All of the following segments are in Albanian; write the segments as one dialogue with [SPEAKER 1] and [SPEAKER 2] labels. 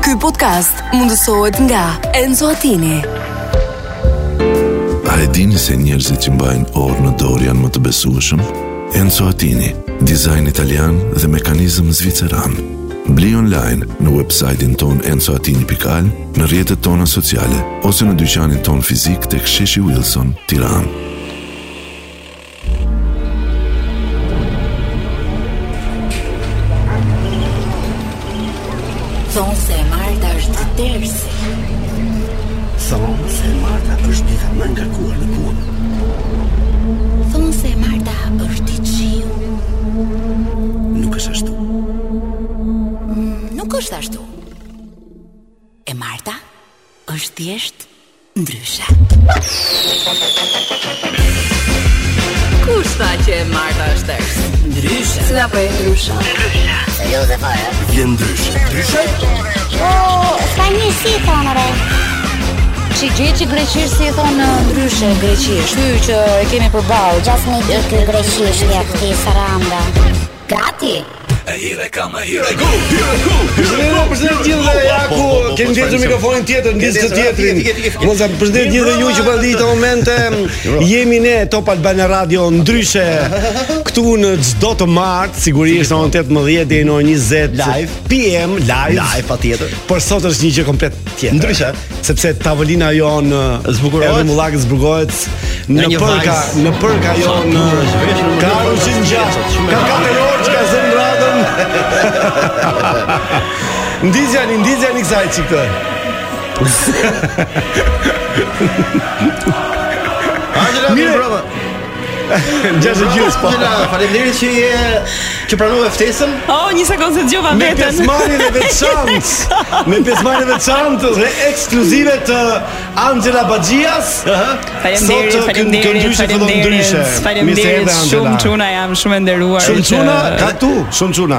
[SPEAKER 1] Ky podcast mundësohet nga Enzo Attini.
[SPEAKER 2] A e dini se njerëzit që mbajnë orë në dorë janë më të besueshëm? Enzo Attini, dizajn italian dhe mekanizëm zviceran. Bli online në website-in ton enzoatini.al, në rjetët tona sociale, ose në dyqanin ton fizik të ksheshi Wilson, tiran.
[SPEAKER 3] Thonë se e Marta është të tërsi
[SPEAKER 4] Thonë se Marta është dita më nga kuar në kuar
[SPEAKER 3] Thonë se e Marta është i qiu
[SPEAKER 4] Nuk është ashtu
[SPEAKER 3] Nuk është ashtu E Marta është thjesht ndryshe Kush tha që e Marta është tërsi? Ndryshe Cila po e ndryshe?
[SPEAKER 4] Vjen ndryshe Ndryshe?
[SPEAKER 5] Ka një si thonë re
[SPEAKER 6] Që gjë që greqisht si e thonë ndryshe greqisht. Ky që e kemi përballë.
[SPEAKER 5] Gjas me ditë greqishtja këti saranda Gati
[SPEAKER 4] E hire kam, e hire go, hire go
[SPEAKER 7] Përshëndetje
[SPEAKER 8] Po,
[SPEAKER 7] përshëndetje të gjithëve, ja ku kemi ndjetur mikrofonin tjetër, ndjesë të tjetrin. Moza, përshëndetje të gjithëve ju që po ndiqni këtë momente. Jemi ne Top Albana Radio ndryshe këtu në çdo të martë, sigurisht në orën 18 deri në orën 20
[SPEAKER 8] Live.
[SPEAKER 7] PM live.
[SPEAKER 8] Live patjetër.
[SPEAKER 7] Por sot është një gjë komplet tjetër.
[SPEAKER 8] Ndryshe.
[SPEAKER 7] sepse tavolina jon
[SPEAKER 8] Zbukurohet.
[SPEAKER 7] Edhe mullak zbukurohet në
[SPEAKER 8] një
[SPEAKER 7] përka,
[SPEAKER 8] vajzë.
[SPEAKER 7] në përka jon
[SPEAKER 8] bukur është, veç në-
[SPEAKER 7] ka ardhur si ngjashtë. Ka katër orë që ka zënë radhën. Ndizja një, ndizja një kësaj që këtë
[SPEAKER 8] Angela,
[SPEAKER 7] Mire.
[SPEAKER 8] mirë brava.
[SPEAKER 7] Gjashtë e gjysë po
[SPEAKER 8] Angela, faleminderit që je që pranove ftesën.
[SPEAKER 9] Oh, një sekondë se dëgjova
[SPEAKER 7] Me
[SPEAKER 9] veten.
[SPEAKER 7] pjesëmarrjen e veçantë, me pjesëmarrjen e veçantë dhe ekskluzive të Angela Baxhias.
[SPEAKER 9] Faleminderit,
[SPEAKER 7] Sot, kë- kë
[SPEAKER 9] faleminderit,
[SPEAKER 7] ndryshe fillon ndryshe.
[SPEAKER 9] faleminderit.
[SPEAKER 7] Mirë se
[SPEAKER 9] Faleminderit
[SPEAKER 7] erdhe,
[SPEAKER 9] shumë
[SPEAKER 7] Angela.
[SPEAKER 9] çuna, jam shumë e nderuar.
[SPEAKER 7] Shumë
[SPEAKER 9] që-
[SPEAKER 7] çuna, ka tu, shumë çuna.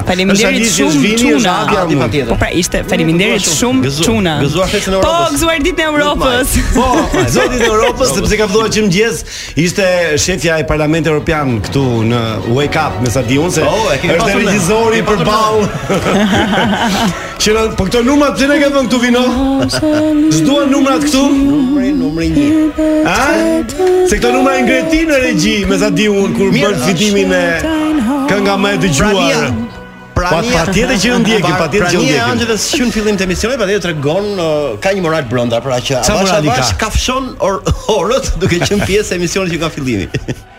[SPEAKER 7] Është
[SPEAKER 9] Faleminderit
[SPEAKER 7] Alicia,
[SPEAKER 9] shumë,
[SPEAKER 7] është Vini, është
[SPEAKER 9] çuna.
[SPEAKER 7] Adja,
[SPEAKER 8] Adi
[SPEAKER 7] unë.
[SPEAKER 9] Po
[SPEAKER 8] patjetër.
[SPEAKER 9] pra ishte faleminderit
[SPEAKER 8] Gëzuar
[SPEAKER 9] shumë
[SPEAKER 8] Gëzuar-
[SPEAKER 9] çuna.
[SPEAKER 8] Gëzuar festën e Europës.
[SPEAKER 9] Po, gëzuar ditën e Europës.
[SPEAKER 7] Po, zoti i Europës, sepse ka vëlluar që mëngjes ishte shefja e Parlamentit Evropian këtu në Wake Up, me sa di unë se
[SPEAKER 8] Oh, e kemi
[SPEAKER 7] është
[SPEAKER 8] pasur ne.
[SPEAKER 7] regjizori
[SPEAKER 8] Kemi pasur
[SPEAKER 7] përballë. Qëra, po këto numrat pse ne ka vënë këtu vino? S'duan numrat këtu?
[SPEAKER 8] Numri numri 1.
[SPEAKER 7] A? Se këto numra e ngretin në regji, me sa di unë kur
[SPEAKER 8] Mirë,
[SPEAKER 7] bën fitimin e kënga më e dëgjuar.
[SPEAKER 8] Prania.
[SPEAKER 7] Pa- patjetër që ju ndjekim, patjetër që ju ndjekim.
[SPEAKER 8] Prania Angelës që në fillim të emisionit patjetër tregon uh, ka një moral brenda, pra që
[SPEAKER 7] Sa morali ka?
[SPEAKER 8] ka fshon or, orët duke qenë pjesë e emisionit që ka fillimi.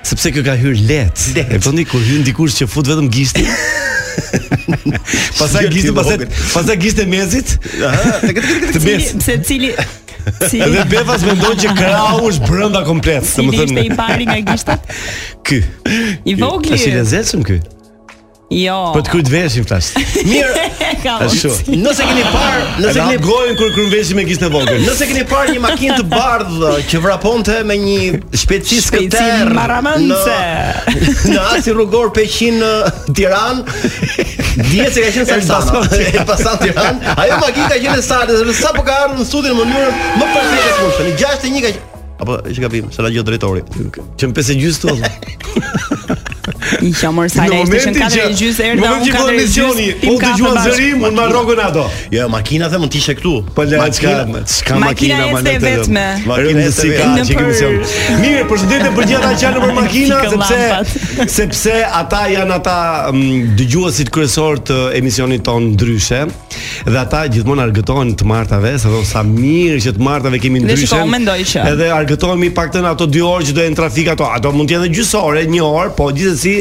[SPEAKER 7] Sepse kjo ka hyrë let.
[SPEAKER 8] Let.
[SPEAKER 7] E vëndi kur hyn dikush që fut vetëm gishtin. pastaj
[SPEAKER 8] Shqyrti
[SPEAKER 7] gishtin, pastaj
[SPEAKER 8] vogël.
[SPEAKER 7] pastaj gishtin e mezit.
[SPEAKER 8] Aha, tek tek tek.
[SPEAKER 7] Të mes.
[SPEAKER 9] Se cili cili
[SPEAKER 7] Dhe Befas mendon që krau është brenda komplet,
[SPEAKER 9] Cili ishte
[SPEAKER 7] domethënë.
[SPEAKER 9] i pari nga gishtat?
[SPEAKER 7] Ky.
[SPEAKER 9] I vogli.
[SPEAKER 7] Tash i lezetshëm ky.
[SPEAKER 9] Jo.
[SPEAKER 7] Po të kujt veshin flas.
[SPEAKER 8] Mirë,
[SPEAKER 9] Ka
[SPEAKER 7] Ashtu.
[SPEAKER 8] nëse keni parë,
[SPEAKER 7] Nëse
[SPEAKER 8] nëse
[SPEAKER 7] ne
[SPEAKER 8] keni
[SPEAKER 7] gojën kur krymveshim me gishtin e vogël.
[SPEAKER 8] Nëse keni parë një makinë të bardhë që vraponte me një shpejtësi
[SPEAKER 9] Shpejtësi
[SPEAKER 8] skëter
[SPEAKER 9] maramëndse.
[SPEAKER 8] në asin rrugor 100 në Tiranë, dje se ka qenë Salsano, e pasan Tiranë. Ajo makinë ka qenë e Salsanës, sepse sa po ka ardhur në studio në mënyrën më perfekte të mundshme. Në 61 ka qenë apo është gabim, se la gjë drejtori.
[SPEAKER 7] Që në pesë gjysmë thotë.
[SPEAKER 9] I qomor sala ishte që në katër e gjysë erdha unë katër e gjysë.
[SPEAKER 7] unë dëgjova zërim, unë marr rrogën ato.
[SPEAKER 8] Jo, makina dhe mund të ishte këtu.
[SPEAKER 7] Po le çka
[SPEAKER 8] Makina-
[SPEAKER 7] çka
[SPEAKER 9] Makina
[SPEAKER 7] makina
[SPEAKER 9] jeste
[SPEAKER 7] letë, jo.
[SPEAKER 9] vetme.
[SPEAKER 8] Makina
[SPEAKER 7] Rëndë
[SPEAKER 8] jeste
[SPEAKER 7] si ka
[SPEAKER 9] vetme.
[SPEAKER 7] që kemi
[SPEAKER 9] Nëpër-
[SPEAKER 7] sjell. Mirë, përshëndetje për gjithë ata që janë për makina
[SPEAKER 9] Fikën
[SPEAKER 7] sepse
[SPEAKER 9] llampat.
[SPEAKER 7] sepse ata janë ata mm, dëgjuesit kryesorë të emisionit ton ndryshe dhe ata gjithmonë argëtohen të martave, se thonë sa mirë që të martave kemi
[SPEAKER 9] Dhe
[SPEAKER 7] ndryshe.
[SPEAKER 9] shiko, unë mendoj që-
[SPEAKER 7] Edhe argëtohemi paktën ato 2 orë që do jenë trafik ato, ato mund të jenë edhe gjysore, 1 orë, po gjithsesi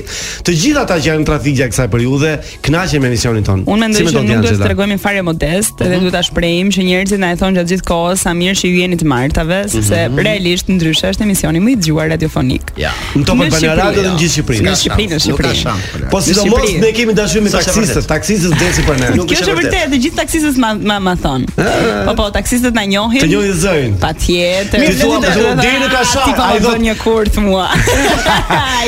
[SPEAKER 7] të gjithë ata që janë në trafik gjatë kësaj periudhe kënaqen me Mhm. emisionin ton.
[SPEAKER 9] Unë mendoj
[SPEAKER 7] Si
[SPEAKER 9] që
[SPEAKER 7] mendon ti,
[SPEAKER 9] nuk duhet të
[SPEAKER 7] Angela?
[SPEAKER 9] tregojmë fare modest, edhe duhet ta shprehim që njerëzit na e thonë gjatë gjithë kohës sa mirë që ju jeni të martave,
[SPEAKER 7] Mhm.
[SPEAKER 9] sepse realisht ndryshe është emisioni më i dëgjuar radiofonik.
[SPEAKER 8] Ja.
[SPEAKER 7] Në Top
[SPEAKER 9] Në
[SPEAKER 7] Albana
[SPEAKER 9] Shqipëri,
[SPEAKER 7] Radio dhe
[SPEAKER 9] jo.
[SPEAKER 7] në gjithë Shqipërinë.
[SPEAKER 9] Në Shqipëri, në
[SPEAKER 8] Nuk ka
[SPEAKER 9] Shqipëri.
[SPEAKER 8] shans. për
[SPEAKER 7] Po
[SPEAKER 8] lart.
[SPEAKER 7] sidomos
[SPEAKER 9] Shqipëri.
[SPEAKER 7] ne kemi dashuri me
[SPEAKER 8] Sa është e
[SPEAKER 7] taksistët,
[SPEAKER 8] vërtet.
[SPEAKER 7] taksistët desin për ne.
[SPEAKER 8] Nuk
[SPEAKER 9] Kjo
[SPEAKER 8] është
[SPEAKER 9] është
[SPEAKER 8] e
[SPEAKER 9] vërtet,
[SPEAKER 8] vërtetë.
[SPEAKER 9] të gjithë taksistët ma ma, ma thon. Po po, taksistët na njohin.
[SPEAKER 7] Ah. Të njohin zërin.
[SPEAKER 9] Patjetër.
[SPEAKER 7] Mirë, ti thua,
[SPEAKER 9] Dhe
[SPEAKER 7] thua,
[SPEAKER 9] thonë,
[SPEAKER 7] deri në Kashar,
[SPEAKER 9] "Ah, Ti po
[SPEAKER 7] ai
[SPEAKER 9] më
[SPEAKER 7] thot-
[SPEAKER 9] bën një kurth mua.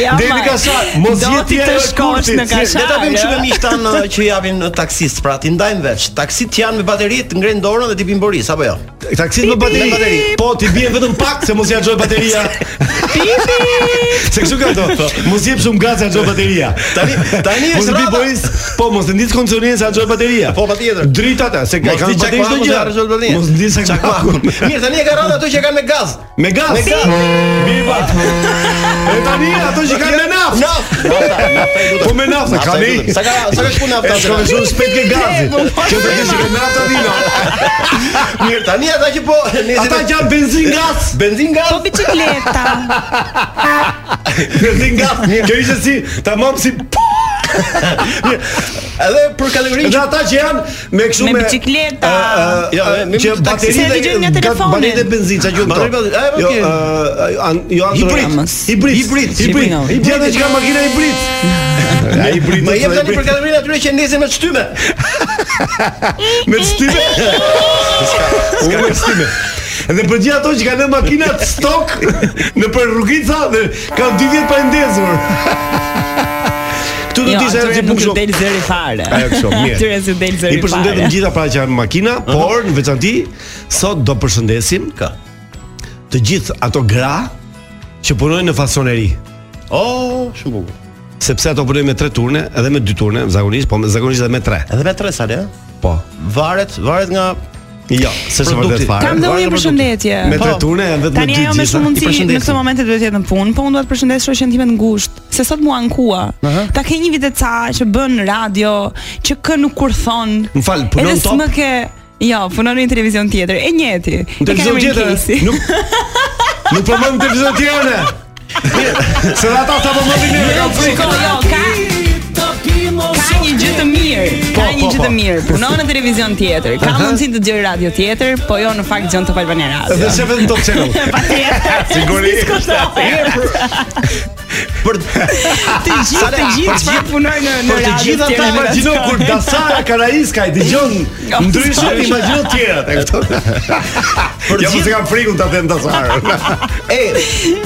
[SPEAKER 9] Ja,
[SPEAKER 7] Deri
[SPEAKER 9] Jo, ma.
[SPEAKER 7] ka sa, mo
[SPEAKER 9] do ti të shkosh në jo? Kashar.
[SPEAKER 8] Ne ta bëjmë shumë miq tan uh, që japin uh, taksist, pra ti ndajmë veç. Taksit janë me bateri, të ngren dorën dhe ti pin Boris apo jo?
[SPEAKER 7] Taksit me bateri.
[SPEAKER 8] Me bateri.
[SPEAKER 7] Po ti bie vetëm pak se mos ja xhoj bateria. Se kështu ka do. Mos jep shumë gaz ja xhoj bateria.
[SPEAKER 8] Tani tani
[SPEAKER 7] Mos
[SPEAKER 8] është
[SPEAKER 7] bi
[SPEAKER 8] rada.
[SPEAKER 7] Boris, po mos të ndis kondicionin se xhoj bateria.
[SPEAKER 8] Po, patjetër.
[SPEAKER 7] Drita ata, se ka
[SPEAKER 8] Mos
[SPEAKER 7] kanë
[SPEAKER 8] ti
[SPEAKER 7] bateri çdo gjë. Mos ndis sa
[SPEAKER 8] çakmakun. Mirë, tani e ka rënë ato që kanë me gaz.
[SPEAKER 7] Me gaz.
[SPEAKER 8] Me gaz.
[SPEAKER 7] Biba. E tani ato që kanë me naftë.
[SPEAKER 8] Naftë. Naftë.
[SPEAKER 7] Po me naftë
[SPEAKER 8] Nafta
[SPEAKER 7] kanë.
[SPEAKER 8] e
[SPEAKER 7] i.
[SPEAKER 8] duhet. Sa ka- sa ka shku nafta,
[SPEAKER 7] E shkon
[SPEAKER 8] Atena?
[SPEAKER 7] shumë shpejt ke gazi. Që të dish që nafta vino.
[SPEAKER 8] Mirë, tani ata që po nesër
[SPEAKER 7] Ata gjatë benzin gas.
[SPEAKER 8] benzin
[SPEAKER 9] Po
[SPEAKER 8] gaz.
[SPEAKER 9] bicikleta.
[SPEAKER 7] Benzin gas. Kjo ishte si tamam si
[SPEAKER 8] Edhe për kalorinë
[SPEAKER 7] Dhe ata që janë me kështu
[SPEAKER 9] Me
[SPEAKER 7] me
[SPEAKER 9] bicikleta.
[SPEAKER 7] Ë, ë,
[SPEAKER 8] Jo, me- me
[SPEAKER 7] që
[SPEAKER 8] taksi.
[SPEAKER 7] bateri
[SPEAKER 9] Se e dëgjojnë nga telefoni.
[SPEAKER 7] bateri dhe benzinë, çfarë
[SPEAKER 8] Bateri,
[SPEAKER 7] gjumë
[SPEAKER 8] bateri, e,
[SPEAKER 7] Jo,
[SPEAKER 8] okej.
[SPEAKER 7] ë, an- jo
[SPEAKER 9] Hibrid.
[SPEAKER 7] android. Hibrid. Hibrid. Hibrid.
[SPEAKER 9] Hibrid.
[SPEAKER 7] Hibrid. Dhe që ka makina hibrid. Ai hibrid.
[SPEAKER 8] Më jep
[SPEAKER 7] është
[SPEAKER 8] tani për
[SPEAKER 7] hibrid.
[SPEAKER 8] kalorinë atyre që ndesin me shtyme.
[SPEAKER 7] me shtyme. Ska me shtyme. Dhe për gjithë ato që kanë lënë makinat stok në për rrugica dhe kanë dy vjet pa i ndezur. Këtu do
[SPEAKER 9] Jo,
[SPEAKER 7] të ishte
[SPEAKER 9] atyre
[SPEAKER 7] ajo që
[SPEAKER 9] nuk
[SPEAKER 7] bukshëm.
[SPEAKER 9] ju del zëri fare.
[SPEAKER 7] Ajo kështu, mirë.
[SPEAKER 9] Atyre s'ju del zëri
[SPEAKER 7] I përshëndetëm
[SPEAKER 9] fare.
[SPEAKER 7] gjitha pra që janë makina, por në veçanti sot do përshëndesim kë. Të gjithë ato gra që punojnë në fasoneri,
[SPEAKER 8] Oh, shumë bukur.
[SPEAKER 7] sepse ato punojnë me 3 turne edhe me 2 turne zakonisht, po me- zakonisht edhe me 3.
[SPEAKER 8] Edhe me tre sale, ëh?
[SPEAKER 7] Po.
[SPEAKER 8] Varet, varet nga
[SPEAKER 7] Jo, s'është
[SPEAKER 8] Produkti.
[SPEAKER 7] vërtet fare.
[SPEAKER 9] Kam dhe unë një përshëndetje.
[SPEAKER 7] Me tre
[SPEAKER 8] Po.
[SPEAKER 7] turne janë vetëm
[SPEAKER 9] Tani
[SPEAKER 7] me dy
[SPEAKER 9] ajo me
[SPEAKER 7] gjitha.
[SPEAKER 9] shumë
[SPEAKER 8] I
[SPEAKER 9] mundësi në
[SPEAKER 8] përshëndesim.
[SPEAKER 9] këtë moment duhet të jetë në punë, po unë dua të përshëndes shoqen time të ngushtë, se sot mua ankua. Ta ke një vit e ca që bën radio, që kë nuk kur thon.
[SPEAKER 7] Më fal, punon
[SPEAKER 9] Edhe
[SPEAKER 7] top?
[SPEAKER 9] s'më ke Jo, punon në një televizion tjetër, e njëti.
[SPEAKER 7] Në televizion tjetër. Nuk Nuk po mund të televizion tjetër. ne. Se dhe ata sa po më vinë kanë frikë.
[SPEAKER 9] Shiko, jo, ka Ka një gjë të mirë,
[SPEAKER 7] Po,
[SPEAKER 9] ka një gjë të mirë. Punon në televizion tjetër, ka mundësi të dëgjoj radio tjetër, po jo në fakt gjon të Albania
[SPEAKER 7] Dhe
[SPEAKER 9] Radio.
[SPEAKER 7] shefet në Top Channel.
[SPEAKER 9] Patjetër.
[SPEAKER 7] Sigurisht.
[SPEAKER 8] për
[SPEAKER 9] Të gjithë, të gjithë çfarë punojnë në në
[SPEAKER 7] Por të
[SPEAKER 9] radio.
[SPEAKER 7] gjitha ata
[SPEAKER 9] tjetër,
[SPEAKER 7] imagjino kur Dasara Karaiska i dëgjon
[SPEAKER 9] Jo,
[SPEAKER 7] ndryshe
[SPEAKER 9] sorry.
[SPEAKER 7] imagjino të tjerat e këto. Për
[SPEAKER 8] Ja, po se
[SPEAKER 7] kam frikun ta them Dasara.
[SPEAKER 8] e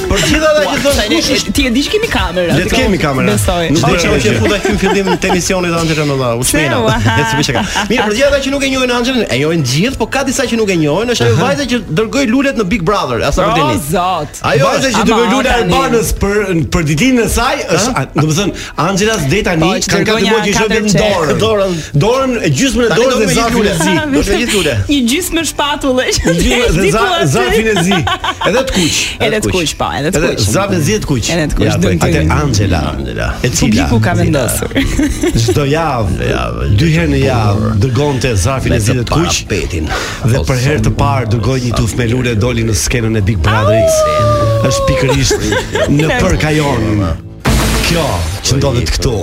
[SPEAKER 8] për gjithë ata që thonë kush është
[SPEAKER 9] Ti e di që kemi kamerë.
[SPEAKER 7] Le të kemi kamera.
[SPEAKER 9] Besoj.
[SPEAKER 7] Nuk
[SPEAKER 8] Po
[SPEAKER 7] do
[SPEAKER 8] çfarë që
[SPEAKER 7] të
[SPEAKER 8] futa këtu në fillim të emisionit anë të rënë u smena.
[SPEAKER 9] Ua.
[SPEAKER 8] E si bishë ka. Mirë, për gjithë ata që nuk e njohin Anxhelën, e njohin gjithë, po ka disa që nuk e njohin, është ajo vajza që dërgoi lulet në Big Brother, asa
[SPEAKER 9] O
[SPEAKER 8] për tani.
[SPEAKER 9] zot.
[SPEAKER 8] Ajo
[SPEAKER 7] Vajza që
[SPEAKER 9] Ama,
[SPEAKER 7] dërgoi lula
[SPEAKER 9] tani.
[SPEAKER 7] Arbanës për për ditën e saj është, a- domethënë Angela deri tani
[SPEAKER 9] Po, që
[SPEAKER 7] kanë
[SPEAKER 9] dërgoi
[SPEAKER 7] katë
[SPEAKER 9] një
[SPEAKER 7] muaj që i shoh
[SPEAKER 9] katër
[SPEAKER 7] vetëm
[SPEAKER 9] çe.
[SPEAKER 7] dorën.
[SPEAKER 8] Dorën.
[SPEAKER 7] dorën e gjysmën e
[SPEAKER 8] Tani do
[SPEAKER 7] dorës
[SPEAKER 8] me
[SPEAKER 7] dhe
[SPEAKER 8] gjithë
[SPEAKER 7] zafin
[SPEAKER 8] lule.
[SPEAKER 7] e zi.
[SPEAKER 8] Do të gjithë lule.
[SPEAKER 9] Një gjysmë shpatullë. që
[SPEAKER 7] Një gjysmë dhe za,
[SPEAKER 9] është diku aty.
[SPEAKER 7] zafin e zi. Edhe të kuq.
[SPEAKER 9] Edhe të kuq, po, edhe të
[SPEAKER 7] Edhe
[SPEAKER 9] kuq.
[SPEAKER 7] zafin e zi e të kuq.
[SPEAKER 9] Edhe të kuq,
[SPEAKER 7] po,
[SPEAKER 9] dëmtimi.
[SPEAKER 7] Atë Angela.
[SPEAKER 8] Angela.
[SPEAKER 7] E cila?
[SPEAKER 9] Publiku ka vendosur.
[SPEAKER 7] Çdo javë,
[SPEAKER 8] javë,
[SPEAKER 7] dy herë në javë dërgonte zafin e zidit kuq
[SPEAKER 8] petin.
[SPEAKER 7] dhe për herë të parë dërgoi një tufë me lule doli në skenën e Big Brotherit. Është pikërisht në përkajon. Kjo që ndodhet këtu.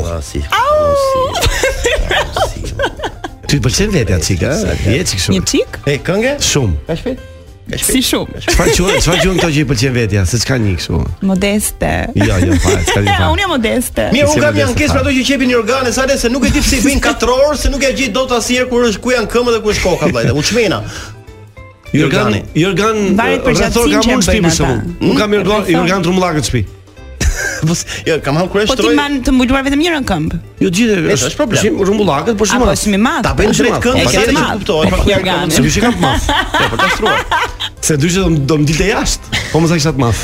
[SPEAKER 7] Ty pëlqen vetja çik, ë? Je çik
[SPEAKER 9] Një
[SPEAKER 7] shumë.
[SPEAKER 9] çik?
[SPEAKER 8] E këngë?
[SPEAKER 7] Shumë.
[SPEAKER 8] Ka shpejt?
[SPEAKER 9] Si shumë.
[SPEAKER 7] Çfarë quhen? Çfarë quhen këto që i pëlqen vetja? Se çka një kështu.
[SPEAKER 9] Modeste.
[SPEAKER 7] Jo, jo, fare, s'ka një
[SPEAKER 9] Ja,
[SPEAKER 7] fare.
[SPEAKER 9] unë jam modeste.
[SPEAKER 8] Mirë,
[SPEAKER 7] Si
[SPEAKER 8] unë kam
[SPEAKER 7] më
[SPEAKER 8] një
[SPEAKER 7] vjen se
[SPEAKER 8] ankesë për
[SPEAKER 7] fare.
[SPEAKER 8] ato që qepin një organe sale se nuk e di pse i bëjnë 4 orë, se nuk e gjej dot asnjëherë kur është ku janë këmbët dhe ku është koka vllajta. U çmena.
[SPEAKER 7] Jorgan,
[SPEAKER 8] Jorgani.
[SPEAKER 7] Jorgan
[SPEAKER 9] Varet për
[SPEAKER 7] rrethor kam
[SPEAKER 9] gjatësinë që e
[SPEAKER 7] unë shtëpi
[SPEAKER 9] bëjnë
[SPEAKER 7] për shembull.
[SPEAKER 9] ata.
[SPEAKER 7] Nuk kam Jorgan,
[SPEAKER 9] Rrethor.
[SPEAKER 7] Jorgan trumbullakët shtëpi.
[SPEAKER 8] Po s- jo, kam hau kurrë
[SPEAKER 9] Po ti
[SPEAKER 8] shtroj.
[SPEAKER 9] man të mbuluar vetëm njërën këmbë.
[SPEAKER 7] Jo gjithë
[SPEAKER 8] është problem.
[SPEAKER 7] Shim rumbullakët, por po shumë.
[SPEAKER 9] Apo është mi madh.
[SPEAKER 8] Ta bëjnë drejt
[SPEAKER 7] Po,
[SPEAKER 8] këngë,
[SPEAKER 9] E
[SPEAKER 7] po,
[SPEAKER 8] se
[SPEAKER 9] ke
[SPEAKER 8] atë që
[SPEAKER 9] madh.
[SPEAKER 8] kuptohet. po,
[SPEAKER 9] Një
[SPEAKER 7] Se
[SPEAKER 9] organe.
[SPEAKER 7] kush e ka të math.
[SPEAKER 8] Po ta shtrua.
[SPEAKER 7] Se dyshe do, do më dilte jashtë, po mos sa kisha të math.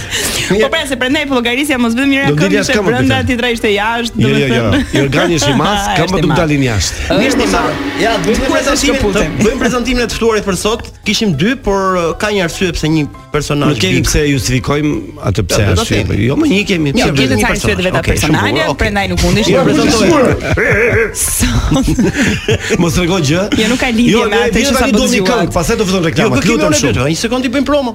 [SPEAKER 9] Po pra se prandaj po llogarisja mos vetëm njëra
[SPEAKER 7] Do del
[SPEAKER 9] këmbë
[SPEAKER 7] jashtë
[SPEAKER 9] se
[SPEAKER 7] këmbët,
[SPEAKER 9] brenda
[SPEAKER 7] Beten.
[SPEAKER 9] ti trajshte jashtë,
[SPEAKER 7] Jo, jo, jo. Jorgani është i math,
[SPEAKER 9] Ah,
[SPEAKER 7] kam
[SPEAKER 9] është i
[SPEAKER 7] do të
[SPEAKER 9] madh.
[SPEAKER 7] dalin jashtë.
[SPEAKER 9] Është i madh.
[SPEAKER 8] Ja, bëjmë
[SPEAKER 9] Ku e thash
[SPEAKER 8] prezantimin,
[SPEAKER 9] këputem?
[SPEAKER 8] të- bëjmë prezantimin e të ftuarit për sot. Kishim dy, por uh, ka një arsye pse një personazh.
[SPEAKER 7] Nuk kemi
[SPEAKER 8] bip.
[SPEAKER 7] pse justifikojmë atë pse
[SPEAKER 8] Ja, do ta
[SPEAKER 7] ashtu.
[SPEAKER 8] kemi.
[SPEAKER 7] Jo, më një kemi.
[SPEAKER 8] Ja,
[SPEAKER 7] pse
[SPEAKER 8] kemi
[SPEAKER 7] bëjmë?
[SPEAKER 9] Gjithë
[SPEAKER 8] një
[SPEAKER 9] ca
[SPEAKER 8] personazh.
[SPEAKER 9] arsye të veta
[SPEAKER 8] Okej, shumë
[SPEAKER 9] personale,
[SPEAKER 8] bukur, okej.
[SPEAKER 9] prandaj nuk mundesh
[SPEAKER 7] Jo,
[SPEAKER 8] Ja,
[SPEAKER 9] të
[SPEAKER 8] prezantoj.
[SPEAKER 7] Mos tregoj gjë.
[SPEAKER 9] Jo, nuk ka lidhje me
[SPEAKER 7] ne
[SPEAKER 9] atë
[SPEAKER 7] vjen
[SPEAKER 9] që sa
[SPEAKER 7] tani
[SPEAKER 9] po
[SPEAKER 7] do një
[SPEAKER 9] zgjuat.
[SPEAKER 7] këngë, pastaj do fillon
[SPEAKER 8] Jo,
[SPEAKER 7] reklamat.
[SPEAKER 8] kë kemi
[SPEAKER 7] Lutem
[SPEAKER 8] unë e dytë,
[SPEAKER 7] shumë.
[SPEAKER 8] një sekond i bëjmë promo.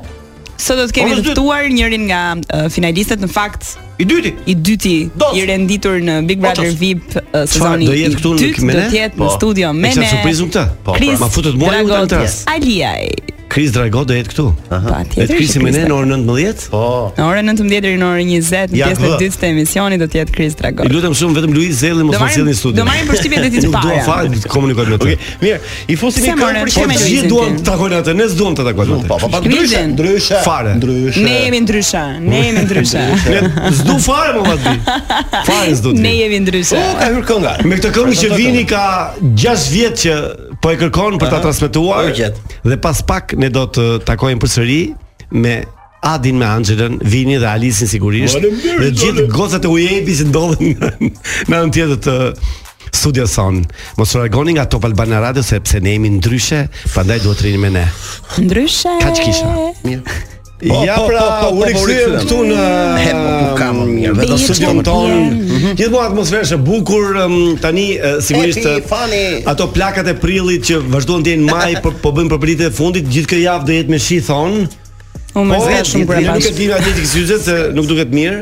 [SPEAKER 9] Sot do të kemi
[SPEAKER 8] Po,
[SPEAKER 9] të
[SPEAKER 8] vazhdo.
[SPEAKER 9] ftuar njërin nga uh, finalistët në fakt
[SPEAKER 8] I dyti.
[SPEAKER 9] i dyti
[SPEAKER 8] Dos.
[SPEAKER 9] i renditur në Big Brother
[SPEAKER 8] Otos.
[SPEAKER 9] VIP uh, sezoni
[SPEAKER 7] Po, do jetë
[SPEAKER 9] i
[SPEAKER 7] këtu në
[SPEAKER 9] dytë,
[SPEAKER 7] me
[SPEAKER 9] do
[SPEAKER 7] ne?
[SPEAKER 9] të jetë
[SPEAKER 7] Po.
[SPEAKER 9] në studio
[SPEAKER 7] E
[SPEAKER 9] me
[SPEAKER 7] kisha
[SPEAKER 9] ne.
[SPEAKER 7] surprizën këtë? Po, pra, ma futet mua ju tani
[SPEAKER 9] Dragot,
[SPEAKER 7] tërës.
[SPEAKER 9] Aliaj.
[SPEAKER 7] Kris Drago do jetë këtu.
[SPEAKER 9] Patjetër.
[SPEAKER 7] Ne të
[SPEAKER 9] që
[SPEAKER 7] krisim me
[SPEAKER 9] Chris
[SPEAKER 7] ne në
[SPEAKER 9] Drago.
[SPEAKER 7] orën 19.
[SPEAKER 8] Po.
[SPEAKER 9] Në orën 19 deri në orën 20, në
[SPEAKER 8] Ja,
[SPEAKER 9] pjesën e
[SPEAKER 8] vë.
[SPEAKER 9] dytë të emisionit do të jetë Chris Drago.
[SPEAKER 7] I lutem shumë vetëm Luiz Zelli mos
[SPEAKER 9] Do
[SPEAKER 7] na
[SPEAKER 9] marrim
[SPEAKER 7] sjellni në studio.
[SPEAKER 9] do marrim përshtypjet e ditës
[SPEAKER 7] Nuk dua
[SPEAKER 9] para.
[SPEAKER 7] fare të komunikoj me ty.
[SPEAKER 8] Okej, mirë. I fusim
[SPEAKER 9] Se
[SPEAKER 8] një
[SPEAKER 9] more,
[SPEAKER 8] këngë për
[SPEAKER 9] çe
[SPEAKER 8] shembull.
[SPEAKER 9] me
[SPEAKER 7] Të po gjithë
[SPEAKER 9] Luizin
[SPEAKER 7] duam
[SPEAKER 9] tim.
[SPEAKER 7] të takojnë atë, ne s'duam të takojnë
[SPEAKER 8] Po,
[SPEAKER 7] atë.
[SPEAKER 8] po, po,
[SPEAKER 9] Shkrim
[SPEAKER 8] ndryshe,
[SPEAKER 9] din.
[SPEAKER 8] ndryshe.
[SPEAKER 7] Fare.
[SPEAKER 8] Ndryshe.
[SPEAKER 9] Ne jemi ndryshe, ne jemi ndryshe.
[SPEAKER 7] Ne s'du fare më vati. Fare s'du ti.
[SPEAKER 9] ne jemi ndryshe.
[SPEAKER 8] Po, ka hyrë kënga.
[SPEAKER 7] Me këtë këngë që vini ka 6 vjet që po e kërkon për ta transmetuar.
[SPEAKER 8] Po e gjet.
[SPEAKER 7] Dhe pas pak ne do të takojmë përsëri me Adin me Anxhelën, Vini dhe Alisin sigurisht.
[SPEAKER 8] Faleminderit,
[SPEAKER 7] Dhe gjithë
[SPEAKER 8] Olem.
[SPEAKER 7] gocat e Ujepi që ndodhen në në anën tjetër të Studio Son. Mos u largoni nga Top Albana Radio sepse ne jemi ndryshe, prandaj duhet të rini me ne.
[SPEAKER 9] Ndryshe.
[SPEAKER 7] Kaç kisha?
[SPEAKER 8] Po,
[SPEAKER 7] ja
[SPEAKER 8] po,
[SPEAKER 7] pra,
[SPEAKER 8] po, po, po,
[SPEAKER 7] u
[SPEAKER 8] po,
[SPEAKER 7] rikthyem
[SPEAKER 8] rikthyem.
[SPEAKER 7] këtu në
[SPEAKER 8] He, po, ku kam, mirë, vetëm
[SPEAKER 7] në studion
[SPEAKER 9] studion
[SPEAKER 7] ton.
[SPEAKER 9] tjerë.
[SPEAKER 7] Gjithmonë atmosferë e bukur em, tani e, sigurisht
[SPEAKER 8] Happy,
[SPEAKER 7] e,
[SPEAKER 8] funny.
[SPEAKER 7] ato plakat e prillit që vazhduan të jenë maj po, po bëjnë përpritje e fundit, gjithë këtë javë do jetë me shi thon.
[SPEAKER 9] U
[SPEAKER 7] Po,
[SPEAKER 9] mërzit shumë kur e
[SPEAKER 7] ne nuk
[SPEAKER 9] pash.
[SPEAKER 7] e dimë atletik syze se nuk duket mirë.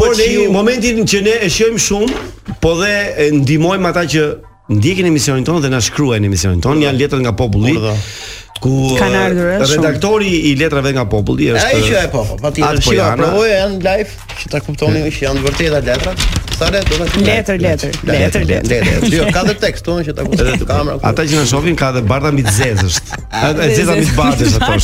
[SPEAKER 7] Por ne
[SPEAKER 8] shiu-
[SPEAKER 7] në momentin që ne e shohim shumë, po dhe e ndihmojmë ata që ndjekin emisionin tonë dhe na shkruajnë emisionin tonë, janë letrat nga populli.
[SPEAKER 8] Urdhë.
[SPEAKER 7] Ku
[SPEAKER 9] Kanë ardhur, e,
[SPEAKER 7] e,
[SPEAKER 9] shumë.
[SPEAKER 7] redaktori i letrave nga populli është
[SPEAKER 8] Ai që e po, po, patjetër.
[SPEAKER 7] Atë po
[SPEAKER 8] Shiva,
[SPEAKER 7] janë.
[SPEAKER 8] provoja janë live, që ta kuptoni që janë vërteta letrat. Sa le do ta shkruaj?
[SPEAKER 9] Letër, letër, letër, letër.
[SPEAKER 8] letër. Jo, ka dhe tekst tonë që ta kuptoni kamera. ku-
[SPEAKER 7] Ata që na shohin ka edhe bardha mbi të zezësht. Edhe e zeza mbi të bardhës ato.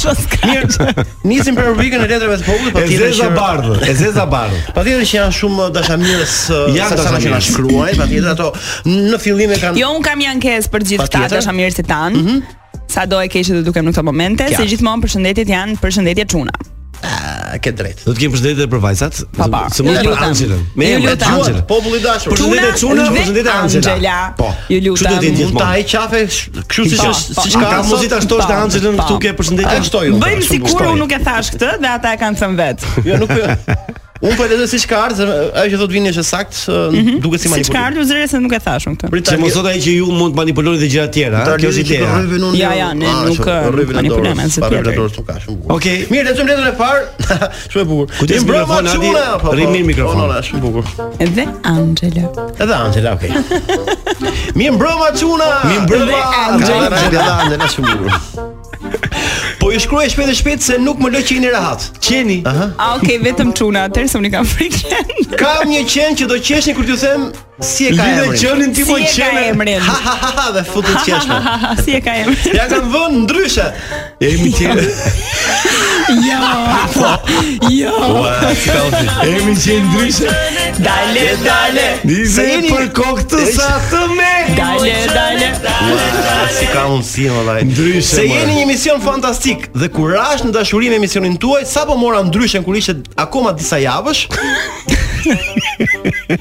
[SPEAKER 9] Mirë.
[SPEAKER 8] Nisim për rubrikën e letrave të popullit,
[SPEAKER 7] E
[SPEAKER 8] patjetër
[SPEAKER 7] zeza
[SPEAKER 8] që
[SPEAKER 7] bardhë, e zeza bardhë.
[SPEAKER 8] Patjetër që janë shumë dashamirës
[SPEAKER 7] Janë
[SPEAKER 8] janë sa që na
[SPEAKER 7] dashamirës.
[SPEAKER 8] shkruajnë, patjetër ato në fillim e kanë
[SPEAKER 9] Jo, un kam një ankesë për gjithë këta
[SPEAKER 8] Patjetër.
[SPEAKER 9] dashamirësit tan. Sa do e keqe do dukem në këto momente, se gjithmonë përshëndetjet janë përshëndetje çuna.
[SPEAKER 8] A, ke drejt.
[SPEAKER 7] Do
[SPEAKER 9] Jo,
[SPEAKER 7] të kemi përshëndetje edhe për vajzat.
[SPEAKER 9] Pa, pa.
[SPEAKER 7] Se mos për
[SPEAKER 9] Ju lutem.
[SPEAKER 7] Anxhelën. Me
[SPEAKER 9] Ju
[SPEAKER 7] emër
[SPEAKER 9] lutem.
[SPEAKER 7] Anxhelën.
[SPEAKER 8] Populli i dashur.
[SPEAKER 7] Për Përshëndetje
[SPEAKER 9] Çuna
[SPEAKER 7] Çuna,
[SPEAKER 9] dhe
[SPEAKER 7] përshëndetje Anxhela.
[SPEAKER 9] Anxhela.
[SPEAKER 7] Po.
[SPEAKER 9] Ju lutem.
[SPEAKER 7] Kështu do të jetë
[SPEAKER 8] Mund ta
[SPEAKER 7] gjithmonë.
[SPEAKER 8] ai qafe, kështu siç
[SPEAKER 9] Po,
[SPEAKER 8] është,
[SPEAKER 9] po,
[SPEAKER 8] siç
[SPEAKER 9] a
[SPEAKER 8] ka
[SPEAKER 7] Ka
[SPEAKER 9] sot-
[SPEAKER 7] muzita shtosh dhe Anxhelën
[SPEAKER 9] Pa.
[SPEAKER 7] këtu ke përshëndetje.
[SPEAKER 8] A, shtoj unë.
[SPEAKER 9] Bëjmë
[SPEAKER 8] Shumë
[SPEAKER 9] sikur
[SPEAKER 8] gushtoj.
[SPEAKER 9] unë nuk e thash këtë dhe ata e kanë thënë vetë.
[SPEAKER 8] Jo, nuk po. Unë po e lezoj siç ka ardhur, se ajo që thot vini është e saktë,
[SPEAKER 9] Mhm.
[SPEAKER 8] ë, duket si
[SPEAKER 9] Siç ka
[SPEAKER 8] manipulim.
[SPEAKER 9] ardhur zëre se nuk e thash unë këtë.
[SPEAKER 7] Se mos thotë ai që ju mund të manipuloni dhe gjëra të tjera, ha? Pra, kjo është ideja.
[SPEAKER 9] Ja, ja,
[SPEAKER 8] jo,
[SPEAKER 9] ne nuk,
[SPEAKER 8] ah,
[SPEAKER 9] eh, manipulojmë, se
[SPEAKER 8] Pa
[SPEAKER 9] tjetër.
[SPEAKER 8] rrëvën dorës nuk ka shumë bukur.
[SPEAKER 7] Okej.
[SPEAKER 8] Mirë, lexojmë letrën e parë. shumë e bukur.
[SPEAKER 7] Kujdes
[SPEAKER 8] I mbrëma
[SPEAKER 7] mikrofon, Adi,
[SPEAKER 8] çuna, po, po.
[SPEAKER 7] rrim mirë mikrofon.
[SPEAKER 8] Po, po, po, shumë e bukur.
[SPEAKER 9] Dhe Angela.
[SPEAKER 8] Edhe Angela, okay. Mi mbrëma çuna. Mi
[SPEAKER 7] mbrëma,
[SPEAKER 8] Angela. Angela, Angela shumë e bukur. Po i shkruaj shpejt e shpejt se nuk më lë qeni rehat.
[SPEAKER 7] Qeni.
[SPEAKER 9] A, okay, vetëm çuna, atëherë se unë i kam frikë.
[SPEAKER 8] Kam një qen që do qeshni kur t'ju them si e ka
[SPEAKER 7] Lidhe
[SPEAKER 8] emrin.
[SPEAKER 7] qenin ti
[SPEAKER 9] Si
[SPEAKER 7] po
[SPEAKER 9] e ka
[SPEAKER 7] qenë.
[SPEAKER 9] emrin?
[SPEAKER 8] Ha ha ha ha dhe futet qeshme.
[SPEAKER 9] Si e ka emrin?
[SPEAKER 8] Ja kanë vënë ndryshe.
[SPEAKER 7] Emi qeni.
[SPEAKER 9] Jo. Jo.
[SPEAKER 8] si ka ndryshe.
[SPEAKER 7] Emi qeni ndryshe.
[SPEAKER 9] Dale, dale.
[SPEAKER 7] Dise
[SPEAKER 8] Se jeni-
[SPEAKER 7] për kokë të sa të me.
[SPEAKER 9] Dale, dale.
[SPEAKER 8] Si ka mundsi vallai.
[SPEAKER 7] Ndryshe,
[SPEAKER 8] Se
[SPEAKER 7] more.
[SPEAKER 8] jeni një mision fantastik dhe kurazh në dashurinë e misionin tuaj, sapo mora ndryshen kur ishte akoma disa javësh.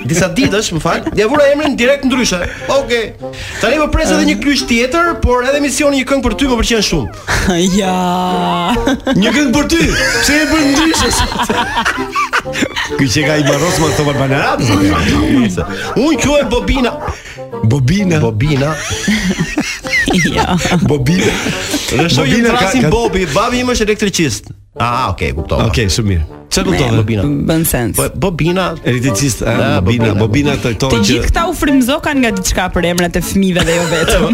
[SPEAKER 8] disa ditësh, më fal. Ja vura emrin direkt ndryshe. Okej. Tani më pres edhe një krysh tjetër, por edhe misioni një këngë për ty më pëlqen shumë.
[SPEAKER 9] Ja.
[SPEAKER 7] Një këngë për ty. Pse e bën ndryshe? Ky që ka i barros me këto balbanarat.
[SPEAKER 8] Unë quaj Bobina.
[SPEAKER 7] Bobina.
[SPEAKER 8] Bobina.
[SPEAKER 9] Ja.
[SPEAKER 7] Bobina.
[SPEAKER 8] Dhe shoh që
[SPEAKER 7] Bobina ka-
[SPEAKER 8] trasin
[SPEAKER 7] ka-
[SPEAKER 8] Bobi, babi im është elektricist. Ah, okay, kuptova.
[SPEAKER 7] Okej, shumë mirë. Çfarë kuptove?
[SPEAKER 8] Bobina.
[SPEAKER 9] Bën sens.
[SPEAKER 8] Po Bobina
[SPEAKER 7] Elektricist, a,
[SPEAKER 8] Da,
[SPEAKER 7] bobina,
[SPEAKER 8] bobina,
[SPEAKER 7] bobina të këto
[SPEAKER 9] Të
[SPEAKER 7] që
[SPEAKER 9] gjithë këta u frymzokan nga diçka për emrat e fëmijëve dhe jo vetëm.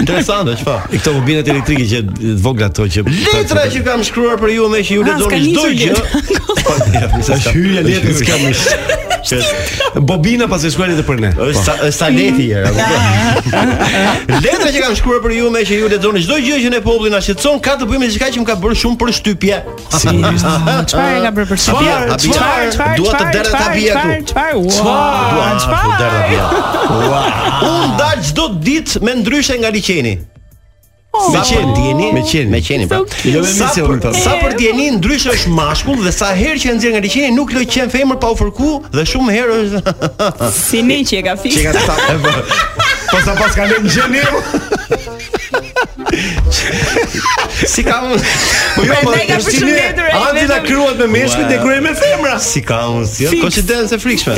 [SPEAKER 8] interesante, çfarë?
[SPEAKER 7] këto bobinat elektrike që të vogla ato që
[SPEAKER 8] Letra që kam shkruar për ju me që ju
[SPEAKER 9] Ah,
[SPEAKER 8] lexoni
[SPEAKER 9] s'ka
[SPEAKER 8] çdo
[SPEAKER 9] nisur
[SPEAKER 8] gjë. Po, ja,
[SPEAKER 7] sa
[SPEAKER 8] s'ka-
[SPEAKER 7] hyja letrës
[SPEAKER 8] s'ka-
[SPEAKER 7] kam. Bobina pas e shkuar letë për ne.
[SPEAKER 8] Është
[SPEAKER 7] Po.
[SPEAKER 8] sa- është sa leti era. Letra që kam shkruar për ju me që ju lexoni çdo gjë që ne populli na shqetëson, ka të bëjë me diçka që më ka bërë shumë përshtypje.
[SPEAKER 7] Seriozisht?
[SPEAKER 9] Çfarë e ka bërë për shpia?
[SPEAKER 8] Çfarë?
[SPEAKER 9] Çfarë? Çfarë?
[SPEAKER 8] Dua të
[SPEAKER 9] çfarë,
[SPEAKER 8] derdha ta
[SPEAKER 9] çfarë,
[SPEAKER 8] bie
[SPEAKER 9] çfarë,
[SPEAKER 8] këtu.
[SPEAKER 9] Çfarë? Ua,
[SPEAKER 8] Dua të
[SPEAKER 9] Çfarë?
[SPEAKER 8] derdha bie. Unë dal çdo ditë me ndryshe nga liçeni.
[SPEAKER 9] Po.
[SPEAKER 8] Sa për djeni,
[SPEAKER 7] Me qeni.
[SPEAKER 8] me qeni pra.
[SPEAKER 9] So cute.
[SPEAKER 7] Jo me
[SPEAKER 8] Sa
[SPEAKER 7] misionin
[SPEAKER 8] për,
[SPEAKER 7] tonë.
[SPEAKER 8] sa për djeni ndryshe është mashkull dhe sa herë që e nxjerr nga liçeni nuk lë qen femër pa u fërku dhe shumë herë është
[SPEAKER 9] Si ne që e ka
[SPEAKER 8] Që
[SPEAKER 9] fikë.
[SPEAKER 8] ka sa e bë.
[SPEAKER 7] Po sa pas ka lënë gjeni.
[SPEAKER 8] Si ka mund- Po jo,
[SPEAKER 9] Prandaj ka
[SPEAKER 8] është si ne,
[SPEAKER 9] përshëndetur ai
[SPEAKER 8] Andi na
[SPEAKER 9] vetëm.
[SPEAKER 8] kruhet me meshkujt dhe
[SPEAKER 7] Wow.
[SPEAKER 8] kruhet me femra. Si ka unë, si
[SPEAKER 9] Fix.
[SPEAKER 8] koincidencë e frikshme.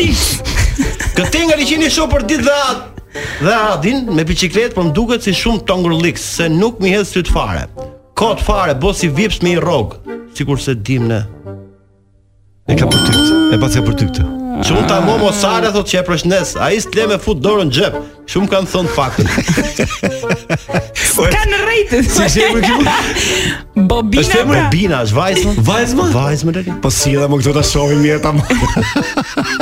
[SPEAKER 8] Këtë nga liçeni shoh për ditë dhe atë dhe Adin me biçikletë, por më duket si shumë tongurlik, se nuk mi hedh syt fare. Kot fare, bos si vips me i rrog, sikur se dim ne.
[SPEAKER 7] E ka për ty. këtë, E pas ka për ty këtë.
[SPEAKER 8] Që unë ta mo mosare thot që e përshnes A i s'tle me fut dorën në gjep Shumë kanë thënë faktën.
[SPEAKER 9] Ka në rrejtë.
[SPEAKER 7] Si shemi këtu?
[SPEAKER 9] Bobina.
[SPEAKER 8] Është emër
[SPEAKER 9] pra.
[SPEAKER 8] Po Bina, është vajzë?
[SPEAKER 7] Vajzë më?
[SPEAKER 8] Vajzë më deri.
[SPEAKER 7] Po si edhe më këtu ta shohim mirë ta
[SPEAKER 9] pra,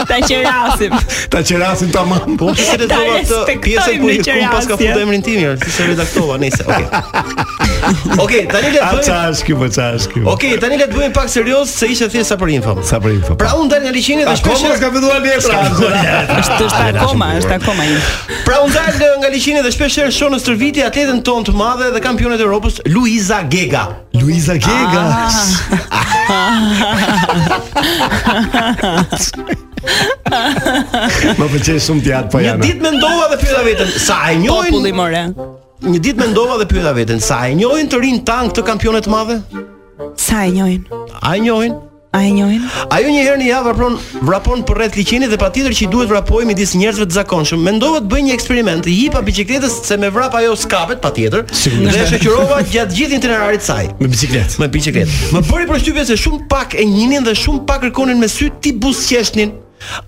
[SPEAKER 9] Ta qerasim.
[SPEAKER 7] ta qerasim tamam.
[SPEAKER 8] Po ti se redaktova atë
[SPEAKER 9] respektojmë
[SPEAKER 8] pjesën ku
[SPEAKER 9] në
[SPEAKER 8] ku pas ka
[SPEAKER 9] qerasje.
[SPEAKER 8] futur emrin tim, ja, si se redaktova, nejse, okay. Okej, tani le të
[SPEAKER 7] A
[SPEAKER 8] bëjmë.
[SPEAKER 7] çfarë është kjo po çfarë është kjo?
[SPEAKER 8] Okej, tani le të bëjmë pak serioz se ishte thjesht sa për info.
[SPEAKER 7] Sa për info.
[SPEAKER 8] Pra unë dal nga liçeni dhe
[SPEAKER 7] Akoma
[SPEAKER 8] shpesh
[SPEAKER 7] s'ka filluar letra.
[SPEAKER 9] Është është akoma, është akoma një.
[SPEAKER 8] Pra unë dal eh, nga liçeni dhe shpesh herë shoh në stërvitje atletën tonë të madhe dhe kampionet e Europës Luiza Gega.
[SPEAKER 7] Luiza Gega. Më pëlqej shumë ti atë po
[SPEAKER 8] Një
[SPEAKER 7] janë.
[SPEAKER 8] ditë mendova dhe pyeta veten, sa e
[SPEAKER 9] Populli
[SPEAKER 8] njohin?
[SPEAKER 9] more.
[SPEAKER 8] Një ditë mendova dhe pyeta veten, sa e njohin të rin tan këtë kampionë të madhe?
[SPEAKER 9] Sa e njohin?
[SPEAKER 8] A e njohin?
[SPEAKER 9] A e njohin?
[SPEAKER 8] Ajo një herë në javë vrapon vrapon për rreth liçenit dhe patjetër që i duhet vrapoj midis njerëzve të zakonshëm. Mendova të bëj një eksperiment, i hipa biçikletës se me vrap ajo skapet patjetër dhe e shoqërova gjatë gjithë itinerarit të saj.
[SPEAKER 7] Me bicikletë.
[SPEAKER 8] Me biçikletë. Më bëri përshtypje se shumë pak e njinin dhe shumë pak kërkonin me sy ti buzqeshnin.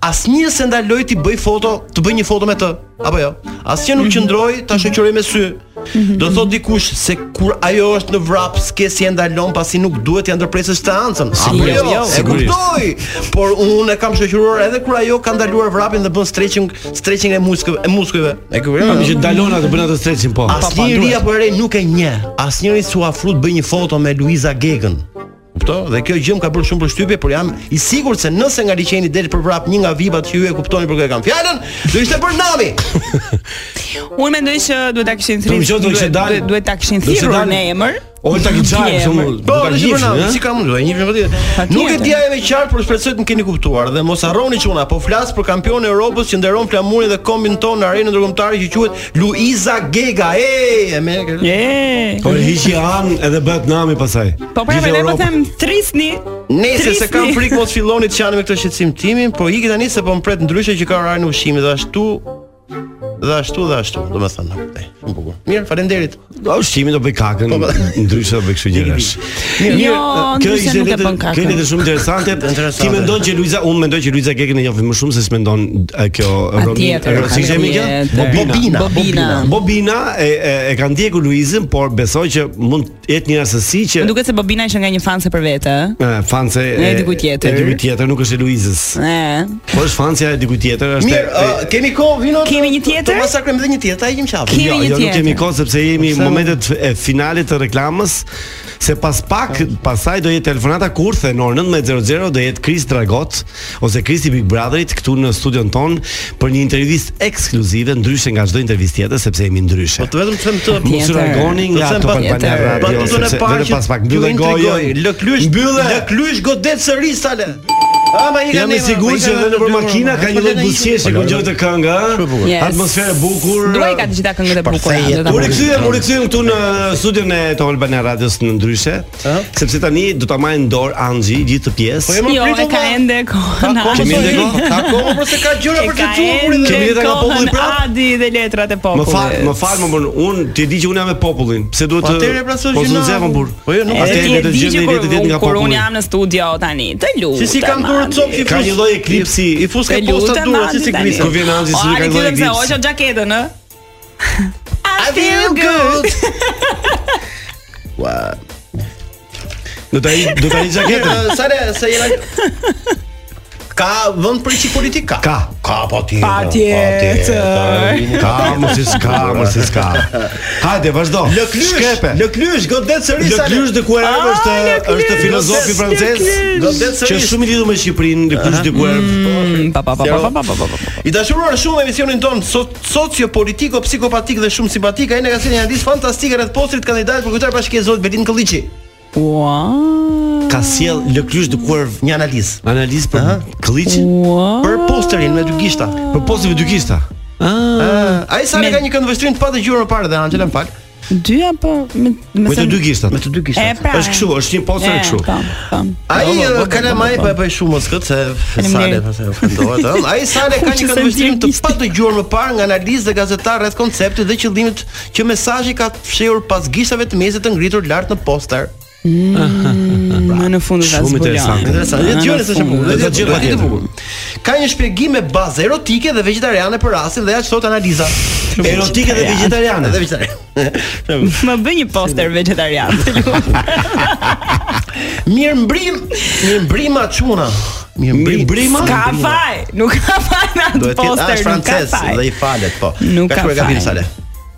[SPEAKER 8] Asnjë se ndaloj ti bëj foto, të bëj një foto me të, apo jo. Asnjë
[SPEAKER 7] Mhm.
[SPEAKER 8] nuk qëndroi ta shoqëroj me sy. Do thot dikush se kur ajo është në vrap, s'ke si e ndalon pasi nuk duhet ja ndërpresësh të ancën. Apo
[SPEAKER 7] Sigurisht,
[SPEAKER 8] jo, jo, e
[SPEAKER 7] sigurisht.
[SPEAKER 8] kuptoj. Por unë e kam shoqëruar edhe kur ajo ka ndaluar vrapin dhe bën stretching, stretching e muskujve, e muskujve. E kuptoj.
[SPEAKER 7] Që dalon atë bën atë stretchin po.
[SPEAKER 8] Asnjëri ri apo re nuk e nje. Asnjëri s'u afrut bëj një foto me Luiza Gegën. Kupto? Dhe kjo gjë më ka bërë shumë përshtypje, por jam i sigurt se nëse nga liçeni del për vrap një nga vipat që ju e kuptoni për kë e kam fjalën, do ishte për nami.
[SPEAKER 9] Unë mendoj që duhet ta kishin
[SPEAKER 7] Të më
[SPEAKER 9] thirrur.
[SPEAKER 7] qoftë, do kishte dalë-
[SPEAKER 9] duhet- Duhet ta kishin
[SPEAKER 7] do kishte
[SPEAKER 9] thirrur
[SPEAKER 7] dalë-
[SPEAKER 9] në emër.
[SPEAKER 7] Olta eh? Gixhaj
[SPEAKER 9] Dje
[SPEAKER 7] për
[SPEAKER 9] emër.
[SPEAKER 7] shembull.
[SPEAKER 8] Po,
[SPEAKER 7] do ta
[SPEAKER 8] do ishte për
[SPEAKER 7] gjifshin,
[SPEAKER 8] nami,
[SPEAKER 7] ë?
[SPEAKER 8] si kam unë, do e njihni
[SPEAKER 9] Pa
[SPEAKER 8] patjetër. Nuk e
[SPEAKER 9] tjetër.
[SPEAKER 8] dija më qartë, por shpresoj të më keni kuptuar dhe mos harroni që unë apo flas për kampionin e Europës që nderon flamurin dhe kombin tonë në arenën ndërkombëtare që quhet Luiza Gega. Ej, e me
[SPEAKER 9] Je.
[SPEAKER 7] Po hiqi an edhe bëhet nami pasaj.
[SPEAKER 9] Po pra
[SPEAKER 7] Gjithë
[SPEAKER 9] ne po
[SPEAKER 7] Europa.
[SPEAKER 9] them trisni.
[SPEAKER 8] Nëse se
[SPEAKER 9] Trisni.
[SPEAKER 8] kam frikë mos filloni të qani me këtë shqetësim timin, por iki tani se po mpret ndryshe që ka orarin e ushqimit dhe ashtu dhe ashtu dhe ashtu, domethënë. e, Shumë bukur. Mirë, faleminderit.
[SPEAKER 7] Do Po, ushqimin do bëj kakën,
[SPEAKER 8] Po,
[SPEAKER 7] ndryshe do bëj kështu gjërash.
[SPEAKER 9] Jo,
[SPEAKER 7] kjo
[SPEAKER 9] ndryshe
[SPEAKER 7] ishte
[SPEAKER 9] nuk e
[SPEAKER 7] letë-
[SPEAKER 9] bën kakën.
[SPEAKER 7] Kjo ishte shumë interesante.
[SPEAKER 8] Interesante.
[SPEAKER 7] Ti mendon që Luiza, unë mendoj që Luiza Gekën e njohim më shumë se s'mendon e, kjo Romi.
[SPEAKER 9] tjetër,
[SPEAKER 7] Si jemi kjo?
[SPEAKER 9] tjetër.
[SPEAKER 7] Bobina.
[SPEAKER 9] Bobina.
[SPEAKER 7] Bobina e e, e ka ndjekur Luizën, por besoj që mund të jetë një rastësi që
[SPEAKER 9] Më duket se Bobina ishte nga një fanse për vete. ë?
[SPEAKER 7] e, fanse
[SPEAKER 9] E dikujt tjetër.
[SPEAKER 7] E dikujt tjetër nuk është e Luizës.
[SPEAKER 9] E.
[SPEAKER 7] Po është fancja e dikujt tjetër, është
[SPEAKER 8] Mirë,
[SPEAKER 7] e-
[SPEAKER 8] uh, kemi kohë vino? të-
[SPEAKER 9] Kemi një tjetër?
[SPEAKER 8] Të masakrojmë edhe një tjetër, ta ikim qafë.
[SPEAKER 9] Kemi
[SPEAKER 7] Jo,
[SPEAKER 9] një
[SPEAKER 7] jo nuk
[SPEAKER 9] tjetër.
[SPEAKER 7] kemi kohë sepse jemi
[SPEAKER 8] Pse?
[SPEAKER 7] në momentet e finale të reklamës, se pas pak pasaj do jetë telefonata kurthe në orën 19:00 do jetë Kris Dragot ose Krisi Big Brotherit këtu në studion ton për një intervistë ekskluzive ndryshe nga çdo intervistë tjetër sepse jemi
[SPEAKER 8] Po
[SPEAKER 7] ndryshe.
[SPEAKER 8] të vetëm të them të
[SPEAKER 7] Mos u largoni
[SPEAKER 8] Të
[SPEAKER 7] nga
[SPEAKER 8] them
[SPEAKER 7] ato
[SPEAKER 8] pa-
[SPEAKER 7] Albania
[SPEAKER 8] Pa
[SPEAKER 9] tjetër.
[SPEAKER 7] Radio,
[SPEAKER 8] të zonë e
[SPEAKER 7] sepse
[SPEAKER 8] parë
[SPEAKER 7] vetëm
[SPEAKER 8] që
[SPEAKER 7] pas pak jo,
[SPEAKER 8] ju
[SPEAKER 7] mbyllë
[SPEAKER 8] intrigoj,
[SPEAKER 7] gojën.
[SPEAKER 8] Lë klysh,
[SPEAKER 7] Mbyllë!
[SPEAKER 8] lë klysh godet sërish tale. Ama i
[SPEAKER 7] Jam i sigurt që edhe nëpër makina ka një lloj buzëqeshje ku gjojë të këngë, ë?
[SPEAKER 9] Yes.
[SPEAKER 7] Po, Atmosferë e bukur.
[SPEAKER 9] Duaj ka të gjitha këngët e bukura.
[SPEAKER 8] jetë.
[SPEAKER 9] do ta
[SPEAKER 7] U
[SPEAKER 9] bëj.
[SPEAKER 7] rikthyem, u rikthyem këtu në studion e Top Albania Radios në ndryshe, sepse tani do ta marrin dorë Anxhi gjithë të pjesë.
[SPEAKER 9] Jo, e
[SPEAKER 7] po.
[SPEAKER 9] ka ende kohën.
[SPEAKER 7] Kemi
[SPEAKER 9] Adi.
[SPEAKER 7] ende kohë?
[SPEAKER 8] Ka kohë për se ka gjëra
[SPEAKER 9] E
[SPEAKER 8] për të
[SPEAKER 9] ka
[SPEAKER 8] çuar.
[SPEAKER 9] ende
[SPEAKER 7] Kemi letra nga populli
[SPEAKER 9] kohën
[SPEAKER 7] prap?
[SPEAKER 9] Adi dhe letrat e
[SPEAKER 7] Më
[SPEAKER 9] popullit.
[SPEAKER 7] fal, më fal, më bën. Un ti di që un jam me popullin. Pse duhet
[SPEAKER 8] Po atëherë
[SPEAKER 7] të
[SPEAKER 8] pra s'u
[SPEAKER 7] Po
[SPEAKER 8] gjëna.
[SPEAKER 7] s'u nxjerrëm burr.
[SPEAKER 8] Po jo, nuk-
[SPEAKER 7] atëherë
[SPEAKER 9] Atëherë
[SPEAKER 7] le të gjejmë një ditë vetë nga
[SPEAKER 9] Kur unë
[SPEAKER 7] populli.
[SPEAKER 9] jam në studio tani, të lutem.
[SPEAKER 8] Si si kam kurrë copë që i
[SPEAKER 7] Ka
[SPEAKER 8] fus-
[SPEAKER 7] një lloj eklipsi.
[SPEAKER 8] i- I fus ka
[SPEAKER 9] E
[SPEAKER 8] posta
[SPEAKER 9] lutem,
[SPEAKER 8] dura
[SPEAKER 9] Adi,
[SPEAKER 8] si si
[SPEAKER 9] tani.
[SPEAKER 8] grisa.
[SPEAKER 7] Ku vjen Anxhi
[SPEAKER 8] Po,
[SPEAKER 7] si ka një lloj
[SPEAKER 9] Adi se
[SPEAKER 7] eklipsi.
[SPEAKER 9] hoqa xhaketën, ë? I feel good.
[SPEAKER 8] Ua.
[SPEAKER 7] Do ta i- do ta i xhaketën.
[SPEAKER 8] Mirë, Sa le, sa jena Ka vend për çik politik ka.
[SPEAKER 7] Ka.
[SPEAKER 8] Ka po ti.
[SPEAKER 9] Patjetër.
[SPEAKER 7] Ka, mos si s'ka, mos si s'ka. Hajde, vazhdo.
[SPEAKER 8] Lë klysh,
[SPEAKER 7] Shkepe.
[SPEAKER 8] lë klysh, godet sërish.
[SPEAKER 7] Lë klysh de Couerve
[SPEAKER 9] Ah,
[SPEAKER 7] është
[SPEAKER 9] Lë Klysh,
[SPEAKER 7] është filozofi
[SPEAKER 8] Lë
[SPEAKER 7] francez
[SPEAKER 9] Klysh.
[SPEAKER 8] Godet
[SPEAKER 7] që
[SPEAKER 8] sërish.
[SPEAKER 7] është shumë i lidhur me Shqipërinë, lë klysh de Couerve.
[SPEAKER 9] Pa pa pa pa pa pa pa pa. pa.
[SPEAKER 8] I dashuruar shumë emisionin ton so sociopolitiko, psikopatik dhe shumë simpatik, ai na ka sjellë një hadis fantastik rreth postrit kandidat për kryetar bashkisë Zot Belin Kolliçi.
[SPEAKER 9] Ua.
[SPEAKER 7] Ka sjell lë klysh de Couerve
[SPEAKER 8] Një analizë
[SPEAKER 7] analizë për Klliçin,
[SPEAKER 9] Ua.
[SPEAKER 8] për posterin me dy gishta.
[SPEAKER 7] për posteve dykista.
[SPEAKER 8] Ah, Ai sa
[SPEAKER 9] Me-
[SPEAKER 8] ka një kënd vështrim të pa dëgjuar më parë dhe Angela më fal.
[SPEAKER 9] Dy apo po, me
[SPEAKER 7] Me të
[SPEAKER 9] se-
[SPEAKER 7] dy gishtat.
[SPEAKER 8] Me të dy
[SPEAKER 9] E
[SPEAKER 8] gishtat.
[SPEAKER 9] pra.
[SPEAKER 7] Është kështu, është një poster
[SPEAKER 9] E,
[SPEAKER 7] kështu.
[SPEAKER 9] Po, po.
[SPEAKER 8] Ai
[SPEAKER 9] Po, po, po,
[SPEAKER 8] kalamaj
[SPEAKER 9] po,
[SPEAKER 8] po
[SPEAKER 9] po.
[SPEAKER 8] e bëj shumë mos këtë se sale
[SPEAKER 9] Faleminderit.
[SPEAKER 8] pastaj ofendohet. ëh. Ai sale ka
[SPEAKER 9] Që
[SPEAKER 8] një
[SPEAKER 9] se
[SPEAKER 8] këndvështrim të
[SPEAKER 9] ndjekiste.
[SPEAKER 8] pa dëgjuar më parë nga analizë dhe gazetar rreth konceptit dhe qëllimit që mesazhi ka fshehur pas gishtave të mesit të ngritur lart në poster. Pra,
[SPEAKER 9] Më në fund do ta
[SPEAKER 7] Shumë
[SPEAKER 9] zbulon.
[SPEAKER 7] interesante.
[SPEAKER 8] Interesant. Dhe
[SPEAKER 9] Më
[SPEAKER 8] dëgjoni
[SPEAKER 9] në
[SPEAKER 8] se çfarë
[SPEAKER 9] fund.
[SPEAKER 8] bukur.
[SPEAKER 7] Do të gjej patjetër.
[SPEAKER 8] Ka një shpjegim me bazë erotike dhe vegetariane për rastin dhe ja që thot analiza.
[SPEAKER 7] Erotike dhe vegetariane.
[SPEAKER 8] Dhe vegetariane.
[SPEAKER 9] Më bëj një poster vegetarian.
[SPEAKER 8] Mirë mbrim, mirë mbrima çuna. Mirë
[SPEAKER 7] Mirë mbrima?
[SPEAKER 9] Ka faj, nuk ka faj në atë
[SPEAKER 8] Duhet të jetë
[SPEAKER 9] poster,
[SPEAKER 8] as
[SPEAKER 9] nuk ka
[SPEAKER 8] francez
[SPEAKER 9] faj.
[SPEAKER 8] dhe i falet po.
[SPEAKER 9] Nuk ka
[SPEAKER 8] shkruar Gabim
[SPEAKER 9] faj.
[SPEAKER 8] Sale.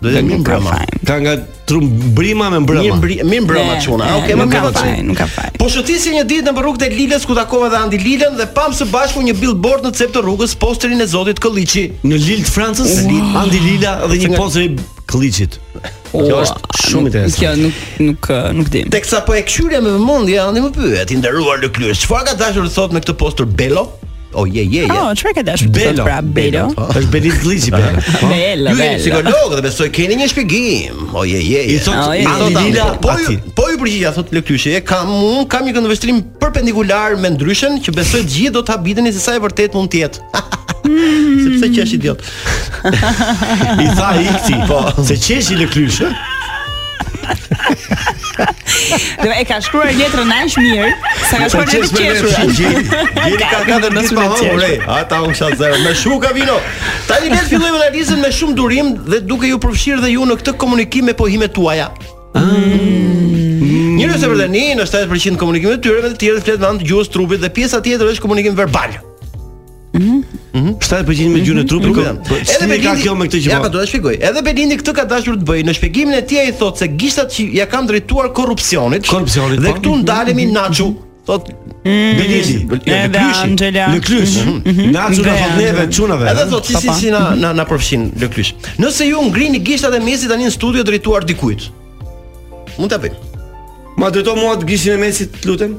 [SPEAKER 8] Duhet të jetë mirë
[SPEAKER 9] Nuk ka
[SPEAKER 8] mbrima.
[SPEAKER 9] faj.
[SPEAKER 7] Ka nga trum brima me
[SPEAKER 8] Mirë
[SPEAKER 7] mbrëma.
[SPEAKER 8] mbri- mirë mbrima
[SPEAKER 9] Ne,
[SPEAKER 8] çuna.
[SPEAKER 9] ne,
[SPEAKER 8] Okej, më
[SPEAKER 9] nuk ka
[SPEAKER 8] mbrima
[SPEAKER 9] faj,
[SPEAKER 8] çuna.
[SPEAKER 9] nuk ka faj.
[SPEAKER 8] Po shëtisje një ditë në rrugët e Lilës ku takova dhe Andi Lilën dhe pam së bashku një billboard në cep të rrugës posterin e Zotit Kolliçi.
[SPEAKER 7] Në Lil të Francës, Andi Lila dhe një pozë i Klliçit. Kjo
[SPEAKER 9] O,
[SPEAKER 7] është shumë interesante.
[SPEAKER 9] Kjo nuk nuk eh, nuk di.
[SPEAKER 8] Teksa po e këshyrja me vëmendje Andi më pyet, i nderuar Lëklyr, çfarë ka dashur të thotë me këtë poster Belo? O je je je.
[SPEAKER 9] Oh, çfarë ka dashur të
[SPEAKER 7] Belo.
[SPEAKER 9] thotë pra Belo?
[SPEAKER 7] Është Belit Klliçi be.
[SPEAKER 9] Belo,
[SPEAKER 8] po. Ju jeni
[SPEAKER 9] Belo.
[SPEAKER 8] psikolog dhe besoj keni një shpjegim. O je je je.
[SPEAKER 7] I thot
[SPEAKER 9] Oh, je, je.
[SPEAKER 7] Andi Lila
[SPEAKER 8] po ju,
[SPEAKER 7] aty.
[SPEAKER 8] po ju përgjigja thot Lektyshi, e kam un kam një këndvështrim perpendikular me ndryshën që besoj të gjithë do të habiteni se sa e vërtet mund të jetë. Sepse që është idiot.
[SPEAKER 7] I tha ikti. Po. Se qeshi Lëklysh.
[SPEAKER 9] Dhe e ka shkruar letrën aq mirë, sa ka shkruar letrën Po, qeshur.
[SPEAKER 8] Gjeni ka ka dhe
[SPEAKER 9] Mos
[SPEAKER 8] ditë
[SPEAKER 9] u
[SPEAKER 8] pa
[SPEAKER 9] le
[SPEAKER 8] hëngër.
[SPEAKER 9] qeshur.
[SPEAKER 8] e, Ata unë kisha zero. Me shuka vino. Tani le të fillojmë analizën me shumë durim dhe duke ju përfshirë dhe ju në këtë komunikim me pohimet tuaja. Njërës e vërdeni në 7% komunikim të tyre, me të tjerët fletë në anë të gjuhës trupit dhe pjesa tjetër është komunikim verbal.
[SPEAKER 7] 7% me gjunën e trupit.
[SPEAKER 8] Nuk e kam.
[SPEAKER 7] Po, Edhe me ka kjo me këtë
[SPEAKER 8] Ja,
[SPEAKER 7] që
[SPEAKER 8] po
[SPEAKER 7] po.
[SPEAKER 8] do ta shpjegoj. Edhe Belindi këtë ka dashur të bëjë. Në shpjegimin e tij ai thotë se gishtat që ja kanë drejtuar korrupsionit.
[SPEAKER 7] Korrupsionit,
[SPEAKER 8] Dhe
[SPEAKER 7] po. Mhm.
[SPEAKER 8] këtu ndalemi Naçu. Thotë
[SPEAKER 7] Beliti.
[SPEAKER 9] Edhe Angela. Mhm,
[SPEAKER 7] Lëklysh. Na çuna
[SPEAKER 9] Dhe
[SPEAKER 7] thot neve
[SPEAKER 9] Angela.
[SPEAKER 7] çunave.
[SPEAKER 8] Edhe
[SPEAKER 7] ha?
[SPEAKER 8] thotë si si, si na na na përfshin Lëklysh. Nëse ju ngrini gishtat e mesit tani në studio drejtuar dikujt. Mund ta bëjmë.
[SPEAKER 7] Ma drejto mua të gishin e mesit, lutem.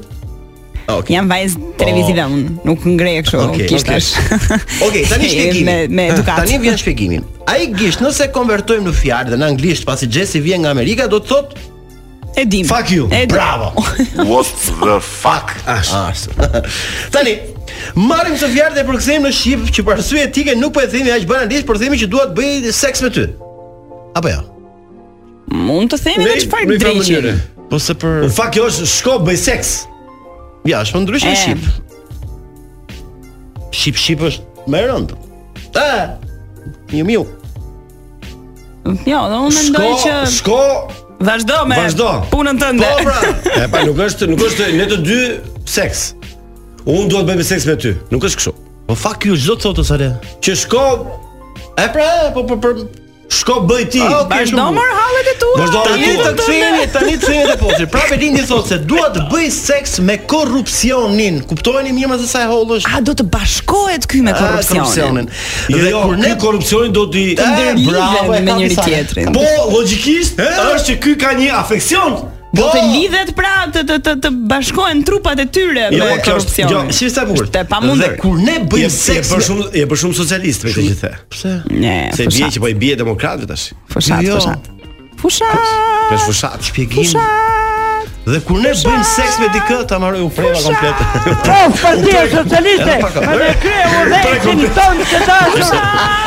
[SPEAKER 8] Okej.
[SPEAKER 9] Jam vajz televizive
[SPEAKER 7] Oh.
[SPEAKER 9] unë, nuk ngrej kështu
[SPEAKER 8] Okej,
[SPEAKER 9] kishtash.
[SPEAKER 8] Okej, tani shpjegimi.
[SPEAKER 9] Me me edukat.
[SPEAKER 8] Tani vjen shpjegimi. Ai gisht nëse konvertojmë në fjalë dhe në anglisht pasi Jesse vjen nga Amerika do të thotë
[SPEAKER 9] E dim.
[SPEAKER 7] Fuck you.
[SPEAKER 9] E dim.
[SPEAKER 8] Bravo. What the fuck? Ashtu. Tani, marrim këtë fjalë dhe e përkthejmë në shqip që për arsye etike nuk po e themi aq banalisht, por themi që dua të bëj seks me ty. Apo jo?
[SPEAKER 9] Mund të themi në çfarë drejtë.
[SPEAKER 8] Po se për
[SPEAKER 7] Në fakt kjo është shko bëj seks.
[SPEAKER 8] ja, është më ndryshe në
[SPEAKER 9] E.
[SPEAKER 8] shqip. Shqip shqip është më e rëndë. Ta. Miu miu.
[SPEAKER 9] Jo, dhe unë
[SPEAKER 7] Shko,
[SPEAKER 9] mendoj që
[SPEAKER 7] shko,
[SPEAKER 9] vazhdo me
[SPEAKER 7] vazhdo.
[SPEAKER 9] punën tënde.
[SPEAKER 7] Po pra. E pa nuk është, nuk është ne të dy seks. Unë dua të bëj seks me ty. Nuk është kështu.
[SPEAKER 8] Po fuck ju çdo të thotë sa le.
[SPEAKER 7] Që shko,
[SPEAKER 8] E pra, po për për
[SPEAKER 7] shko bëj ti.
[SPEAKER 8] A, ok.
[SPEAKER 9] Vazhdo
[SPEAKER 8] shumë.
[SPEAKER 9] mor hallet e tua.
[SPEAKER 7] Vazhdo hallet e
[SPEAKER 8] Po, Tani
[SPEAKER 9] jetën
[SPEAKER 8] të
[SPEAKER 7] tua.
[SPEAKER 9] tënde.
[SPEAKER 8] kthehemi, tani të kthehemi te poshtë. Prapë Lindi thotë se dua të bëj seks me korrupsionin. Kuptojeni mirë më se sa e hollë është.
[SPEAKER 9] A do të bashkohet ky me
[SPEAKER 8] Ah,
[SPEAKER 9] korrupsionin?
[SPEAKER 7] Jo,
[SPEAKER 8] Dhe
[SPEAKER 7] jo,
[SPEAKER 8] kur ne
[SPEAKER 7] korrupsionin do t'i
[SPEAKER 8] Të ndërlidhen
[SPEAKER 9] Lidhen me
[SPEAKER 8] ka
[SPEAKER 9] njëri
[SPEAKER 8] disa-
[SPEAKER 9] tjetrin.
[SPEAKER 7] Po logjikisht është që ky ka një afeksion.
[SPEAKER 9] Do
[SPEAKER 8] po.
[SPEAKER 9] të
[SPEAKER 7] Po.
[SPEAKER 9] lidhet pra të të të, të bashkohen trupat e tyre
[SPEAKER 7] Jo,
[SPEAKER 9] me
[SPEAKER 7] po, kjo është-
[SPEAKER 9] korrupsionin.
[SPEAKER 7] jo,
[SPEAKER 8] Si sa e bukur.
[SPEAKER 9] Është e pamundur.
[SPEAKER 8] Dhe kur ne
[SPEAKER 7] Je
[SPEAKER 8] bëjmë
[SPEAKER 7] je
[SPEAKER 8] seks
[SPEAKER 7] për
[SPEAKER 8] me-
[SPEAKER 7] shumë je për shumë socialist me këtë që the.
[SPEAKER 8] Pse?
[SPEAKER 9] Ne,
[SPEAKER 7] Se bie
[SPEAKER 9] fushat,
[SPEAKER 7] që po i bie demokratëve tash.
[SPEAKER 9] fushat,
[SPEAKER 8] Jo.
[SPEAKER 9] fushat. Fushat.
[SPEAKER 7] Tash fushat.
[SPEAKER 8] Shpjegim. Dhe kur ne bëjmë seks me dikë, ta marroj u preva komplet.
[SPEAKER 10] Partia Po, Socialiste, në krye udhëheqin tonë të dashur,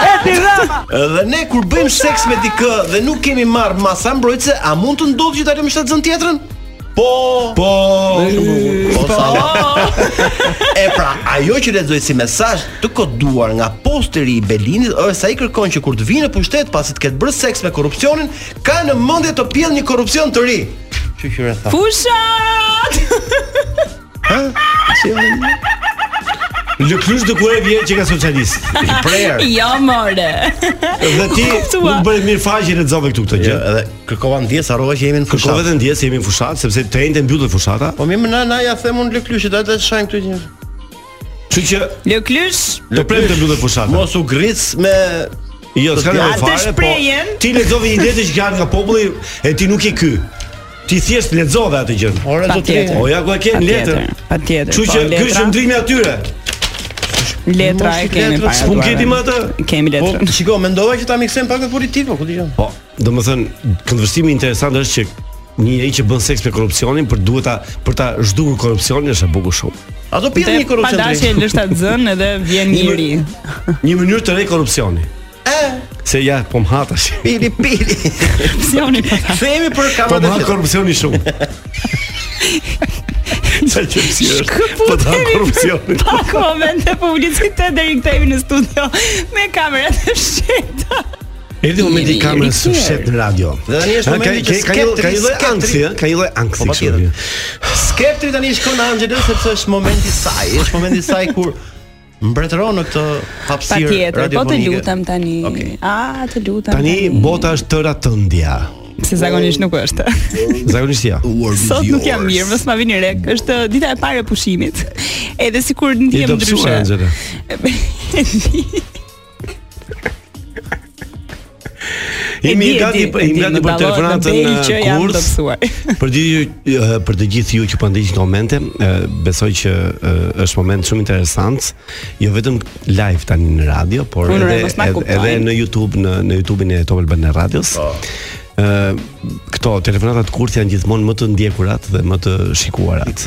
[SPEAKER 10] e Tirana.
[SPEAKER 8] Dhe ne kur bëjmë seks me dikë dhe nuk kemi marr masa mbrojtëse, a mund të ndodhë që ta lëmë shtatzën tjetrën? Po.
[SPEAKER 7] Po.
[SPEAKER 8] Po sa. e pra, ajo që lexoj si mesazh të koduar nga posteri i Belinit është sa i kërkon që kur të vinë në pushtet pasi të ketë bërë seks me korrupsionin, ka në mendje të pjell një korrupsion të ri. Kështu që e tha.
[SPEAKER 9] Fushat.
[SPEAKER 7] Lëkrysh do kur e vjen që ka socialist.
[SPEAKER 8] Prayer.
[SPEAKER 9] Jo more.
[SPEAKER 7] Dhe ti
[SPEAKER 9] Kuptua.
[SPEAKER 7] nuk bëre mirë faqe e lexove këtu këtë
[SPEAKER 8] Jo,
[SPEAKER 7] gjë.
[SPEAKER 8] edhe kërkova ndjes, harrova që jemi në
[SPEAKER 7] Kërkove
[SPEAKER 8] fushat.
[SPEAKER 7] të ndjes jemi në fushat sepse të ende mbyllet fushata.
[SPEAKER 8] Po mirë, më na na ja them unë lëklyshit, atë të shajm këtu një.
[SPEAKER 7] Kështu që
[SPEAKER 9] Lëklysh.
[SPEAKER 7] do prem të mbyllet fushata.
[SPEAKER 8] Mos u gric me
[SPEAKER 7] Jo, s'ka nevojë
[SPEAKER 8] Atë
[SPEAKER 7] fare. po
[SPEAKER 9] shprejen.
[SPEAKER 7] Ti lexove një letër që ka nga populli e ti nuk je ky. Ti thjesht lexove atë gjë.
[SPEAKER 8] Ora do të
[SPEAKER 9] Patjetër.
[SPEAKER 7] O ja ku e ke letër.
[SPEAKER 9] Patjetër.
[SPEAKER 7] Kështu që ky është ndrimi atyre.
[SPEAKER 9] letra
[SPEAKER 8] Mos
[SPEAKER 9] e kemi
[SPEAKER 8] letra,
[SPEAKER 9] para.
[SPEAKER 7] S'pun
[SPEAKER 9] duarve.
[SPEAKER 7] keti më atë.
[SPEAKER 9] Kemi
[SPEAKER 8] Po,
[SPEAKER 9] letrën.
[SPEAKER 8] shiko, mendova që ta miksojmë pak me politikë, po ku dijon.
[SPEAKER 7] Po, domethënë, këndvështrimi interesant është që një njeri që bën seks me korrupsionin për duhet ta për ta zhdukur korrupsionin është e bukur shumë.
[SPEAKER 8] Ato pjell një korrupsion
[SPEAKER 9] Pa
[SPEAKER 8] të
[SPEAKER 9] dashje
[SPEAKER 8] ri.
[SPEAKER 9] lësh ta zën edhe vjen një ri.
[SPEAKER 7] Një mënyrë të re korrupsioni. Se ja po më ha tash.
[SPEAKER 8] Pili pili.
[SPEAKER 9] Opsioni po.
[SPEAKER 8] Kthehemi për
[SPEAKER 7] Po
[SPEAKER 8] kamerat e
[SPEAKER 7] më ha
[SPEAKER 8] fjetë.
[SPEAKER 7] korrupsioni shumë.
[SPEAKER 2] sa qërësi është. Po ta korrupsionin.
[SPEAKER 9] Pa komente publicitet deri kthehemi në studio me kamerat e shqeta.
[SPEAKER 7] Erdhi momenti i kamerës së fshet në radio.
[SPEAKER 8] Dhe tani është
[SPEAKER 7] Ka-
[SPEAKER 8] momenti
[SPEAKER 7] ka-
[SPEAKER 8] që
[SPEAKER 7] ka një- ka një lloj
[SPEAKER 8] skeptri-
[SPEAKER 7] ankthi, ë? ka një lloj ankthi.
[SPEAKER 8] Po,
[SPEAKER 7] kështu
[SPEAKER 8] patjetër.
[SPEAKER 7] vjen.
[SPEAKER 8] Skeptri tani shkon në Anxhelë sepse është momenti i saj, është momenti i saj kur mbretëron në këtë hapësirë
[SPEAKER 9] Patjetër, po të
[SPEAKER 8] radiofonike.
[SPEAKER 9] lutem tani.
[SPEAKER 8] Okej.
[SPEAKER 9] A, të lutem.
[SPEAKER 7] Tani bota është tëra tëndja.
[SPEAKER 9] se zakonisht nuk është.
[SPEAKER 7] Zakonisht ja.
[SPEAKER 9] Sot nuk jam mirë, mos ma vini re. Është dita e parë e pushimit. Edhe sikur
[SPEAKER 7] Je
[SPEAKER 9] ndiem
[SPEAKER 7] dobësuar
[SPEAKER 9] ndryshe.
[SPEAKER 7] Anxhela.
[SPEAKER 9] E
[SPEAKER 7] Jemi
[SPEAKER 9] di, e
[SPEAKER 7] gati
[SPEAKER 9] di, e
[SPEAKER 7] jemi
[SPEAKER 9] di,
[SPEAKER 7] gati
[SPEAKER 9] më
[SPEAKER 7] për
[SPEAKER 9] dallo-
[SPEAKER 7] telefonatën
[SPEAKER 9] dobej që
[SPEAKER 7] në
[SPEAKER 9] jam
[SPEAKER 7] kurs.
[SPEAKER 9] dobësuar.
[SPEAKER 7] Për gjithë ju eh, për të gjithë ju që po ndiqni momente, eh, besoj që eh, është moment shumë interesant, jo vetëm live tani në radio, por
[SPEAKER 9] Unë,
[SPEAKER 7] edhe
[SPEAKER 9] mos ma
[SPEAKER 7] edhe,
[SPEAKER 9] kuptoj.
[SPEAKER 7] edhe në YouTube në në YouTube-in e Top Albana Radios. Ë këto telefonatat kurth janë gjithmonë më të ndjekurat dhe më të shikuarat.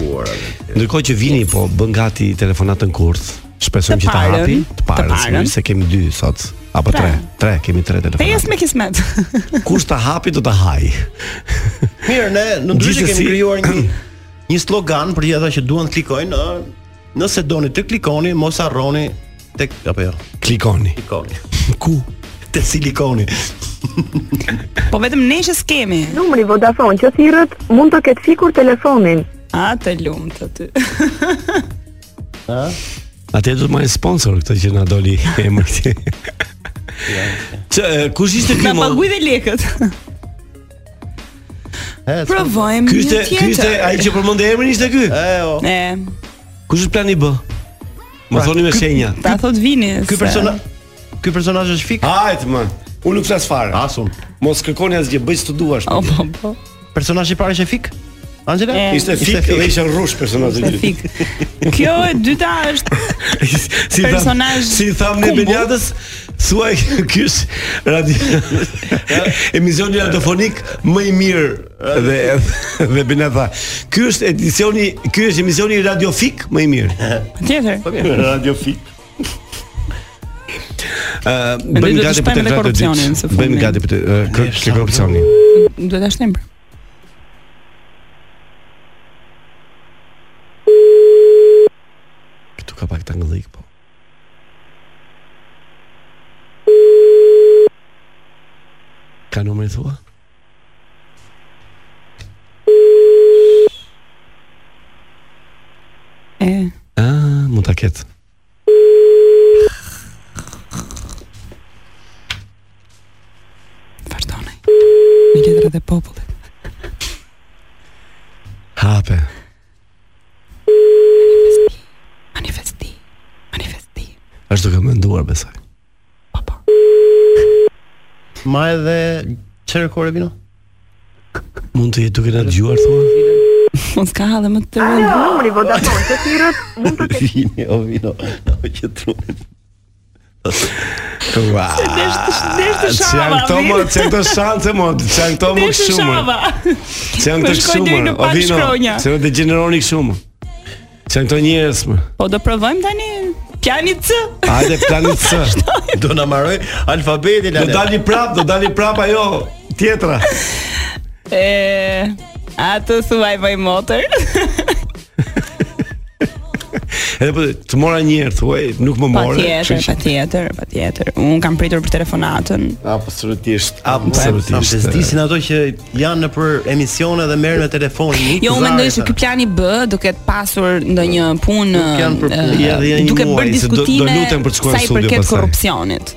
[SPEAKER 7] Ndërkohë që vini po bën gati telefonatën kurth, shpresojmë
[SPEAKER 9] Të
[SPEAKER 7] që ta
[SPEAKER 9] parën,
[SPEAKER 7] hapi,
[SPEAKER 9] të
[SPEAKER 7] parën,
[SPEAKER 9] parën.
[SPEAKER 7] sigurisht se kemi dy sot apo
[SPEAKER 9] Pra.
[SPEAKER 7] tre. Tre, kemi tre telefonata.
[SPEAKER 9] Pesë me kismet.
[SPEAKER 7] Kush ta hapi do ta haj.
[SPEAKER 8] Mirë, ne në ndryshe
[SPEAKER 7] Gjithsesi-
[SPEAKER 8] kemi krijuar një një slogan për ata që duan të klikojnë, ë, nëse doni të klikoni, mos harroni tek apo jo,
[SPEAKER 7] Klikoni.
[SPEAKER 8] klikoni.
[SPEAKER 7] Ku?
[SPEAKER 8] Te silikoni.
[SPEAKER 9] Po vetëm ne që s'kemi.
[SPEAKER 11] Numri Vodafone që thirrët mund të ketë fikur telefonin.
[SPEAKER 9] A të lumt aty.
[SPEAKER 7] Atë do të marrë sponsor këtë që na doli emri këtij. Çe e, kush ishte ky
[SPEAKER 9] Na
[SPEAKER 7] mo?
[SPEAKER 9] paguaj dhe lekët.
[SPEAKER 8] E,
[SPEAKER 9] Provojmë
[SPEAKER 7] Ky
[SPEAKER 9] një
[SPEAKER 7] ishte
[SPEAKER 9] tjetër.
[SPEAKER 7] ky ishte ai që përmendë emrin ishte ky.
[SPEAKER 8] E, o.
[SPEAKER 9] E,
[SPEAKER 7] Kush është plani B? Më thoni me shenja.
[SPEAKER 9] ta pra thot vini.
[SPEAKER 8] Ky
[SPEAKER 9] se-
[SPEAKER 8] persona Pra, Ky personazh është fik.
[SPEAKER 7] Hajt më. Unë nuk flas fare.
[SPEAKER 8] Asun.
[SPEAKER 7] Mos kërkoni asgjë, bëj ç'të duash.
[SPEAKER 9] O, po, po.
[SPEAKER 8] Personazhi i parë është fik? Angela?
[SPEAKER 9] E. Ishte
[SPEAKER 7] ishte rrush personazhi
[SPEAKER 9] Se fik. Kjo e dyta është
[SPEAKER 7] si tham-
[SPEAKER 9] Personazh
[SPEAKER 7] si tham ne
[SPEAKER 9] kumbull.
[SPEAKER 7] Benjatës, thuaj ky është radio emisioni radiofonik më i mirë dhe dhe Benja tha, ky është edicioni, ky është emisioni radiofik më i mirë.
[SPEAKER 9] tjetër.
[SPEAKER 8] Radio fik.
[SPEAKER 7] Ë
[SPEAKER 9] Mendoj
[SPEAKER 7] bëjmë
[SPEAKER 9] do të
[SPEAKER 7] gati për të
[SPEAKER 9] shpajmë dhe
[SPEAKER 7] kratë
[SPEAKER 9] korrupsionin së
[SPEAKER 7] ditë.
[SPEAKER 9] fundi.
[SPEAKER 7] Bëjmë gati për të ë, kë- kë korrupsionin.
[SPEAKER 9] Duhet ta shtim. pra.
[SPEAKER 7] Këtu ka pak tangëllik po. Ka numrin thua?
[SPEAKER 9] E.
[SPEAKER 7] Ah, mund ta ketë.
[SPEAKER 9] Vazhdonaj. Me letrat e popullit.
[SPEAKER 7] Hape.
[SPEAKER 9] Manifesti. Manifesti.
[SPEAKER 7] Është duke menduar besoj.
[SPEAKER 9] Po po.
[SPEAKER 8] Ma edhe çfarë kore vino?
[SPEAKER 7] Mund të jetë duke na dëgjuar thua?
[SPEAKER 9] Mos ka edhe më të rëndë.
[SPEAKER 11] Numri Vodafone që thirrët mund të ketë
[SPEAKER 8] Vini, o vino. O që trunin.
[SPEAKER 7] Ua.
[SPEAKER 9] Desh të
[SPEAKER 7] Që janë
[SPEAKER 9] shava.
[SPEAKER 7] Ah, këto më, që janë këto shanse më, që janë këto më
[SPEAKER 9] Desh të
[SPEAKER 7] kështu më.
[SPEAKER 9] shava.
[SPEAKER 7] Që janë
[SPEAKER 9] Më
[SPEAKER 7] këto
[SPEAKER 9] shkoj
[SPEAKER 7] kështu më.
[SPEAKER 9] deri në
[SPEAKER 7] O
[SPEAKER 9] pak
[SPEAKER 7] vino,
[SPEAKER 9] shkronja.
[SPEAKER 7] që do të gjeneroni kështu më. Që janë këto njerëz më.
[SPEAKER 9] Po do provojmë tani. Pjani C.
[SPEAKER 7] Hajde plani C.
[SPEAKER 8] Do na marroj alfabetin
[SPEAKER 7] Do
[SPEAKER 8] ale.
[SPEAKER 7] dali prap, do dali prap ajo tjetra.
[SPEAKER 9] E. A të thuaj vaj motor.
[SPEAKER 7] Edhe po të mora një herë thuaj, nuk më
[SPEAKER 9] Pa
[SPEAKER 7] morë.
[SPEAKER 9] tjetër, pa tjetër, pa tjetër. Unë kam pritur për telefonatën.
[SPEAKER 7] Ah, Absolutisht.
[SPEAKER 8] Absolutisht.
[SPEAKER 7] Absolutisht.
[SPEAKER 8] Bezdisin ato që janë në për emisione dhe merren me telefonin.
[SPEAKER 9] Jo, unë mendoj se ky plani B duke të pasur ndonjë punë
[SPEAKER 8] Nuk janë për-
[SPEAKER 9] eh,
[SPEAKER 8] ja, dhe janë një
[SPEAKER 9] duke
[SPEAKER 7] muaj,
[SPEAKER 9] bërë
[SPEAKER 7] se do- do
[SPEAKER 9] diskutime
[SPEAKER 7] lutem për të shkuar në
[SPEAKER 9] sa i
[SPEAKER 7] studio
[SPEAKER 9] përket
[SPEAKER 7] pastaj.
[SPEAKER 9] korrupsionit.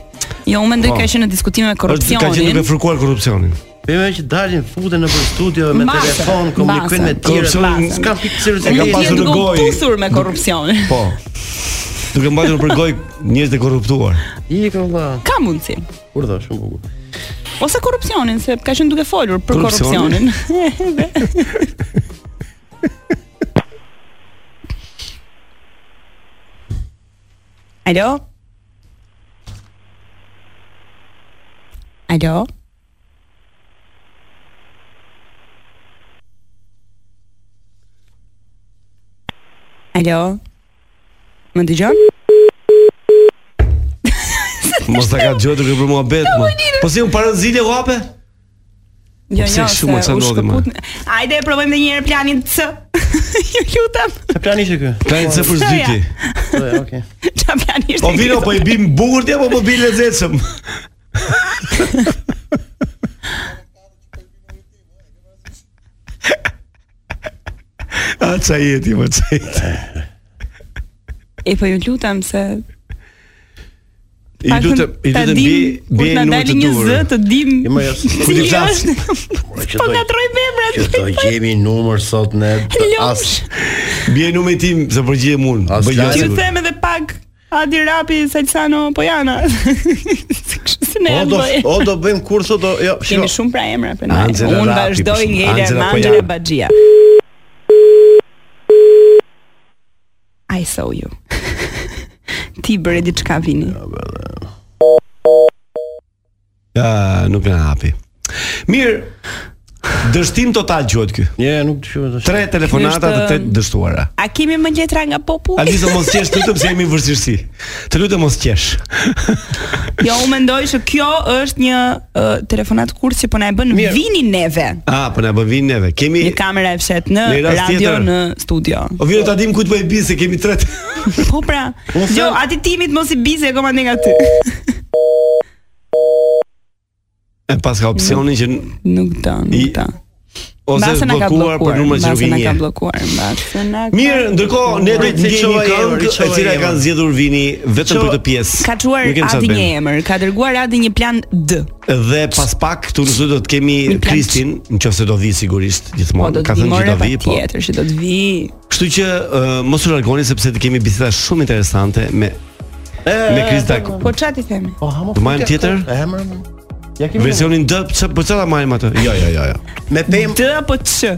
[SPEAKER 9] Jo, unë mendoj
[SPEAKER 7] Po.
[SPEAKER 9] ka qenë në diskutime me
[SPEAKER 7] Është ka qenë
[SPEAKER 9] korrupsionin.
[SPEAKER 7] duke fërkuar korrupsionin.
[SPEAKER 8] Bemë që dalin futen nëpër studio me
[SPEAKER 9] Masën,
[SPEAKER 8] telefon, komunikojnë me
[SPEAKER 9] masën,
[SPEAKER 8] tjerë.
[SPEAKER 7] masën.
[SPEAKER 8] S'kan pikë seriozisht
[SPEAKER 7] E
[SPEAKER 8] e
[SPEAKER 7] ka
[SPEAKER 8] ka
[SPEAKER 9] Ti je
[SPEAKER 7] pasur
[SPEAKER 8] pasur.
[SPEAKER 7] në
[SPEAKER 9] duke u
[SPEAKER 7] gojë.
[SPEAKER 9] pusur me korrupsionin.
[SPEAKER 7] Po. Duke mbajtur për gojë njerëz të korruptuar.
[SPEAKER 8] Ik valla.
[SPEAKER 9] Ka mundësi.
[SPEAKER 8] Urdhë shumë bukur.
[SPEAKER 9] Ose korrupsionin, se ka qenë duke folur për
[SPEAKER 7] Korrupsionin?
[SPEAKER 9] korrupsionin. Alo? Alo? Alo? Më dëgjon?
[SPEAKER 7] Po, Mos ta ka dëgjuar duke për muhabet më. Po si un parazitje u hape?
[SPEAKER 9] Jo,
[SPEAKER 7] pse
[SPEAKER 9] jo,
[SPEAKER 7] shumë
[SPEAKER 9] se
[SPEAKER 7] e ca
[SPEAKER 9] u
[SPEAKER 7] ndodhi, ma?
[SPEAKER 9] shkëput- Hajde e provojmë edhe një herë planin C. Ju lutem.
[SPEAKER 8] Çfarë plani ishte ky?
[SPEAKER 7] Plani se përzyti.
[SPEAKER 8] Po, okay.
[SPEAKER 9] Çfarë plani ishte?
[SPEAKER 7] Po vino, po i bim bukur ti apo po bim lezetshëm? A ça jeti, më ça jeti.
[SPEAKER 9] E po ju lutem se
[SPEAKER 7] I lutem, i lutem bi bi
[SPEAKER 9] në
[SPEAKER 7] numër të
[SPEAKER 9] një
[SPEAKER 7] dur.
[SPEAKER 9] zë të dim.
[SPEAKER 8] Jo, më jashtë.
[SPEAKER 7] Kur ti
[SPEAKER 9] cili
[SPEAKER 7] flas,
[SPEAKER 9] është. Po ta troj
[SPEAKER 8] Që
[SPEAKER 9] vemrat.
[SPEAKER 8] do gjemi numër sot ne të as
[SPEAKER 9] Lomsh.
[SPEAKER 7] bie numri tim se përgjigjem unë.
[SPEAKER 8] As
[SPEAKER 7] Bëj
[SPEAKER 8] lajm.
[SPEAKER 7] gjë.
[SPEAKER 9] Ju
[SPEAKER 8] sigur.
[SPEAKER 9] them edhe pak Adi Rapi, Salsano, Pojana. Se Kështu si ne
[SPEAKER 8] O
[SPEAKER 9] janë
[SPEAKER 8] po, do
[SPEAKER 9] bëjë.
[SPEAKER 8] o do bëjmë kurso do jo, shiko.
[SPEAKER 9] Kemi shumë pra emra prandaj.
[SPEAKER 7] Angela
[SPEAKER 9] Unë
[SPEAKER 7] Rapi,
[SPEAKER 9] vazhdoj
[SPEAKER 7] për shumë.
[SPEAKER 9] ngele
[SPEAKER 7] Angela po
[SPEAKER 9] me
[SPEAKER 7] Pojana.
[SPEAKER 9] Angela Baxhia. I saw you. Ti bëre diçka vini.
[SPEAKER 7] Ja, nuk na hapi. Mirë. Dështim total quhet ky.
[SPEAKER 8] Je, nuk dëgjova tash.
[SPEAKER 7] Tre telefonata
[SPEAKER 9] Është-
[SPEAKER 7] të tre dështuara.
[SPEAKER 9] A kemi më letra nga populli?
[SPEAKER 7] Aliza mos qesh, të lutem se jemi në vështirësi. Të lutem mos qesh.
[SPEAKER 9] Jo, unë mendoj se kjo është një uh, telefonat kursi, po na e bën
[SPEAKER 7] Mirë.
[SPEAKER 9] vini neve.
[SPEAKER 7] Ah, po na bën vinë neve. Kemi
[SPEAKER 9] Një kamera e fshet në
[SPEAKER 7] Në rast
[SPEAKER 9] radio
[SPEAKER 7] tjetër.
[SPEAKER 9] në studio.
[SPEAKER 7] O vjen ta dim ku të bëj bi se kemi tre.
[SPEAKER 9] Po pra,
[SPEAKER 8] Unë
[SPEAKER 9] jo,
[SPEAKER 8] them-
[SPEAKER 9] ati timit mos i bize e komande nga ty.
[SPEAKER 7] E pas ka opsionin që
[SPEAKER 9] Nuk do, nuk
[SPEAKER 7] I-
[SPEAKER 9] do.
[SPEAKER 7] ose
[SPEAKER 9] Mbase
[SPEAKER 7] është
[SPEAKER 9] na ka
[SPEAKER 7] bllokuar për numra që nuk i
[SPEAKER 9] mbase na ka
[SPEAKER 7] njeh.
[SPEAKER 9] bllokuar, mbase na ka.
[SPEAKER 7] Mirë, ndërkohë ne do
[SPEAKER 8] Rit,
[SPEAKER 7] të gjejmë një
[SPEAKER 8] riqoj
[SPEAKER 7] këngë
[SPEAKER 8] emër,
[SPEAKER 7] e cila
[SPEAKER 8] riqoj
[SPEAKER 7] ka
[SPEAKER 8] emër.
[SPEAKER 7] zgjedhur Vini vetëm
[SPEAKER 8] Riqoj-
[SPEAKER 7] për këtë pjesë.
[SPEAKER 9] Ka çuar
[SPEAKER 7] Nuk kemi sa
[SPEAKER 9] Adi
[SPEAKER 7] të
[SPEAKER 9] një
[SPEAKER 7] bëjmë.
[SPEAKER 9] emër, ka dërguar Adi një plan D.
[SPEAKER 7] Dhe pas pak këtu në studio do të kemi
[SPEAKER 9] Një plan-
[SPEAKER 7] Kristin, nëse do vi sigurisht
[SPEAKER 9] Po do
[SPEAKER 7] gjithmonë.
[SPEAKER 9] të
[SPEAKER 7] Ka
[SPEAKER 9] vi
[SPEAKER 7] thënë që
[SPEAKER 9] more
[SPEAKER 7] do vi, po.
[SPEAKER 9] patjetër që do të vi.
[SPEAKER 7] Kështu që ë, mos u largoni sepse të kemi biseda shumë interesante me me Kristak.
[SPEAKER 9] Po çfarë ti themi?
[SPEAKER 8] Po hamo.
[SPEAKER 7] Do marrim tjetër?
[SPEAKER 8] Emër. Ja kemi.
[SPEAKER 7] Versionin D, pse po çfarë ta marrim atë? Jo, jo, jo, jo.
[SPEAKER 8] Me pem.
[SPEAKER 9] D po, apo C?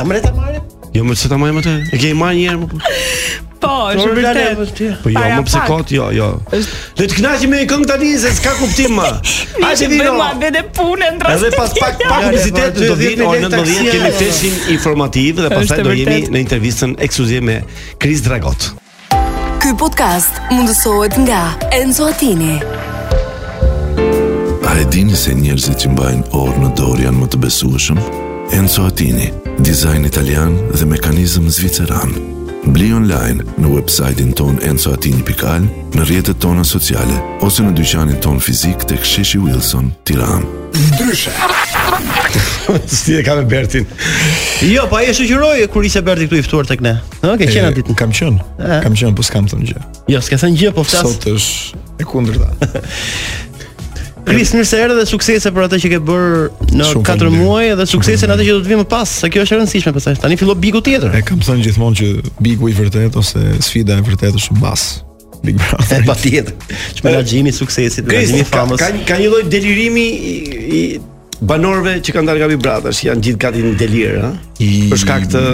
[SPEAKER 8] Amre ta marrim.
[SPEAKER 7] Jo, më çfarë ta marrim atë? E kemi marrë një herë më. po.
[SPEAKER 9] Po, është vërtet.
[SPEAKER 7] Po jo,
[SPEAKER 9] Para
[SPEAKER 7] më pse
[SPEAKER 9] pak.
[SPEAKER 7] kot, jo, jo. Le të kënaqemi me një këngë tani se s'ka kuptim më. Hajde
[SPEAKER 9] Hajde
[SPEAKER 7] vino.
[SPEAKER 9] bëjmë muhabet e punën
[SPEAKER 7] Edhe
[SPEAKER 9] drastik.
[SPEAKER 7] pas pak pak
[SPEAKER 8] Ja,
[SPEAKER 7] publicitet
[SPEAKER 8] po,
[SPEAKER 7] do
[SPEAKER 8] 10
[SPEAKER 7] vinë orë 19
[SPEAKER 8] lekë
[SPEAKER 7] kemi
[SPEAKER 8] taksia.
[SPEAKER 7] feshin informativ dhe pastaj
[SPEAKER 9] Është
[SPEAKER 7] do jemi
[SPEAKER 9] vërtet.
[SPEAKER 7] në intervistën ekskluzive me Kris Dragot.
[SPEAKER 1] Ky podcast mundësohet nga Enzo Attini.
[SPEAKER 2] A e dini se njerëzit që mbajnë orë në dorë janë më të besueshëm? Enzo Attini, dizajn italian dhe mekanizëm zviceran. Bli online në websajtin ton enzoatini.al, në rjetët tona sociale, ose në dyqanin ton fizik të ksheshi Wilson, tiran.
[SPEAKER 7] Si e ka me Bertin.
[SPEAKER 8] Jo, po ai e shoqëroi kur ishte Berti këtu i ftuar tek ne. Ëh, ke qenë atë ditën.
[SPEAKER 12] Kam qen. Kam qen, po s'kam thënë gjë.
[SPEAKER 8] Jo, s'ka thënë gjë, po flas.
[SPEAKER 12] Sot është e kundërta.
[SPEAKER 8] Kris, mirë se erdhe dhe suksese për atë që ke bër në
[SPEAKER 12] Shumë
[SPEAKER 8] 4
[SPEAKER 12] faleminderit.
[SPEAKER 8] muaj dhe
[SPEAKER 12] Shumë
[SPEAKER 8] suksese në atë që do të vi më pas, se kjo është e rëndësishme pastaj. Tani fillo biku tjetër.
[SPEAKER 12] E kam thënë gjithmonë që bigu i vërtet ose sfida e vërtet është mbas Big
[SPEAKER 8] E
[SPEAKER 12] Brother.
[SPEAKER 8] patjetër. Menaxhimi i suksesit,
[SPEAKER 7] Kris,
[SPEAKER 8] menaxhimi i
[SPEAKER 7] ka,
[SPEAKER 8] famës.
[SPEAKER 7] ka, ka një lloj delirimi i, i banorëve që kanë dalë nga Big Brother, që janë gjithë gati në delir, ha?
[SPEAKER 12] I-
[SPEAKER 7] Për shkak të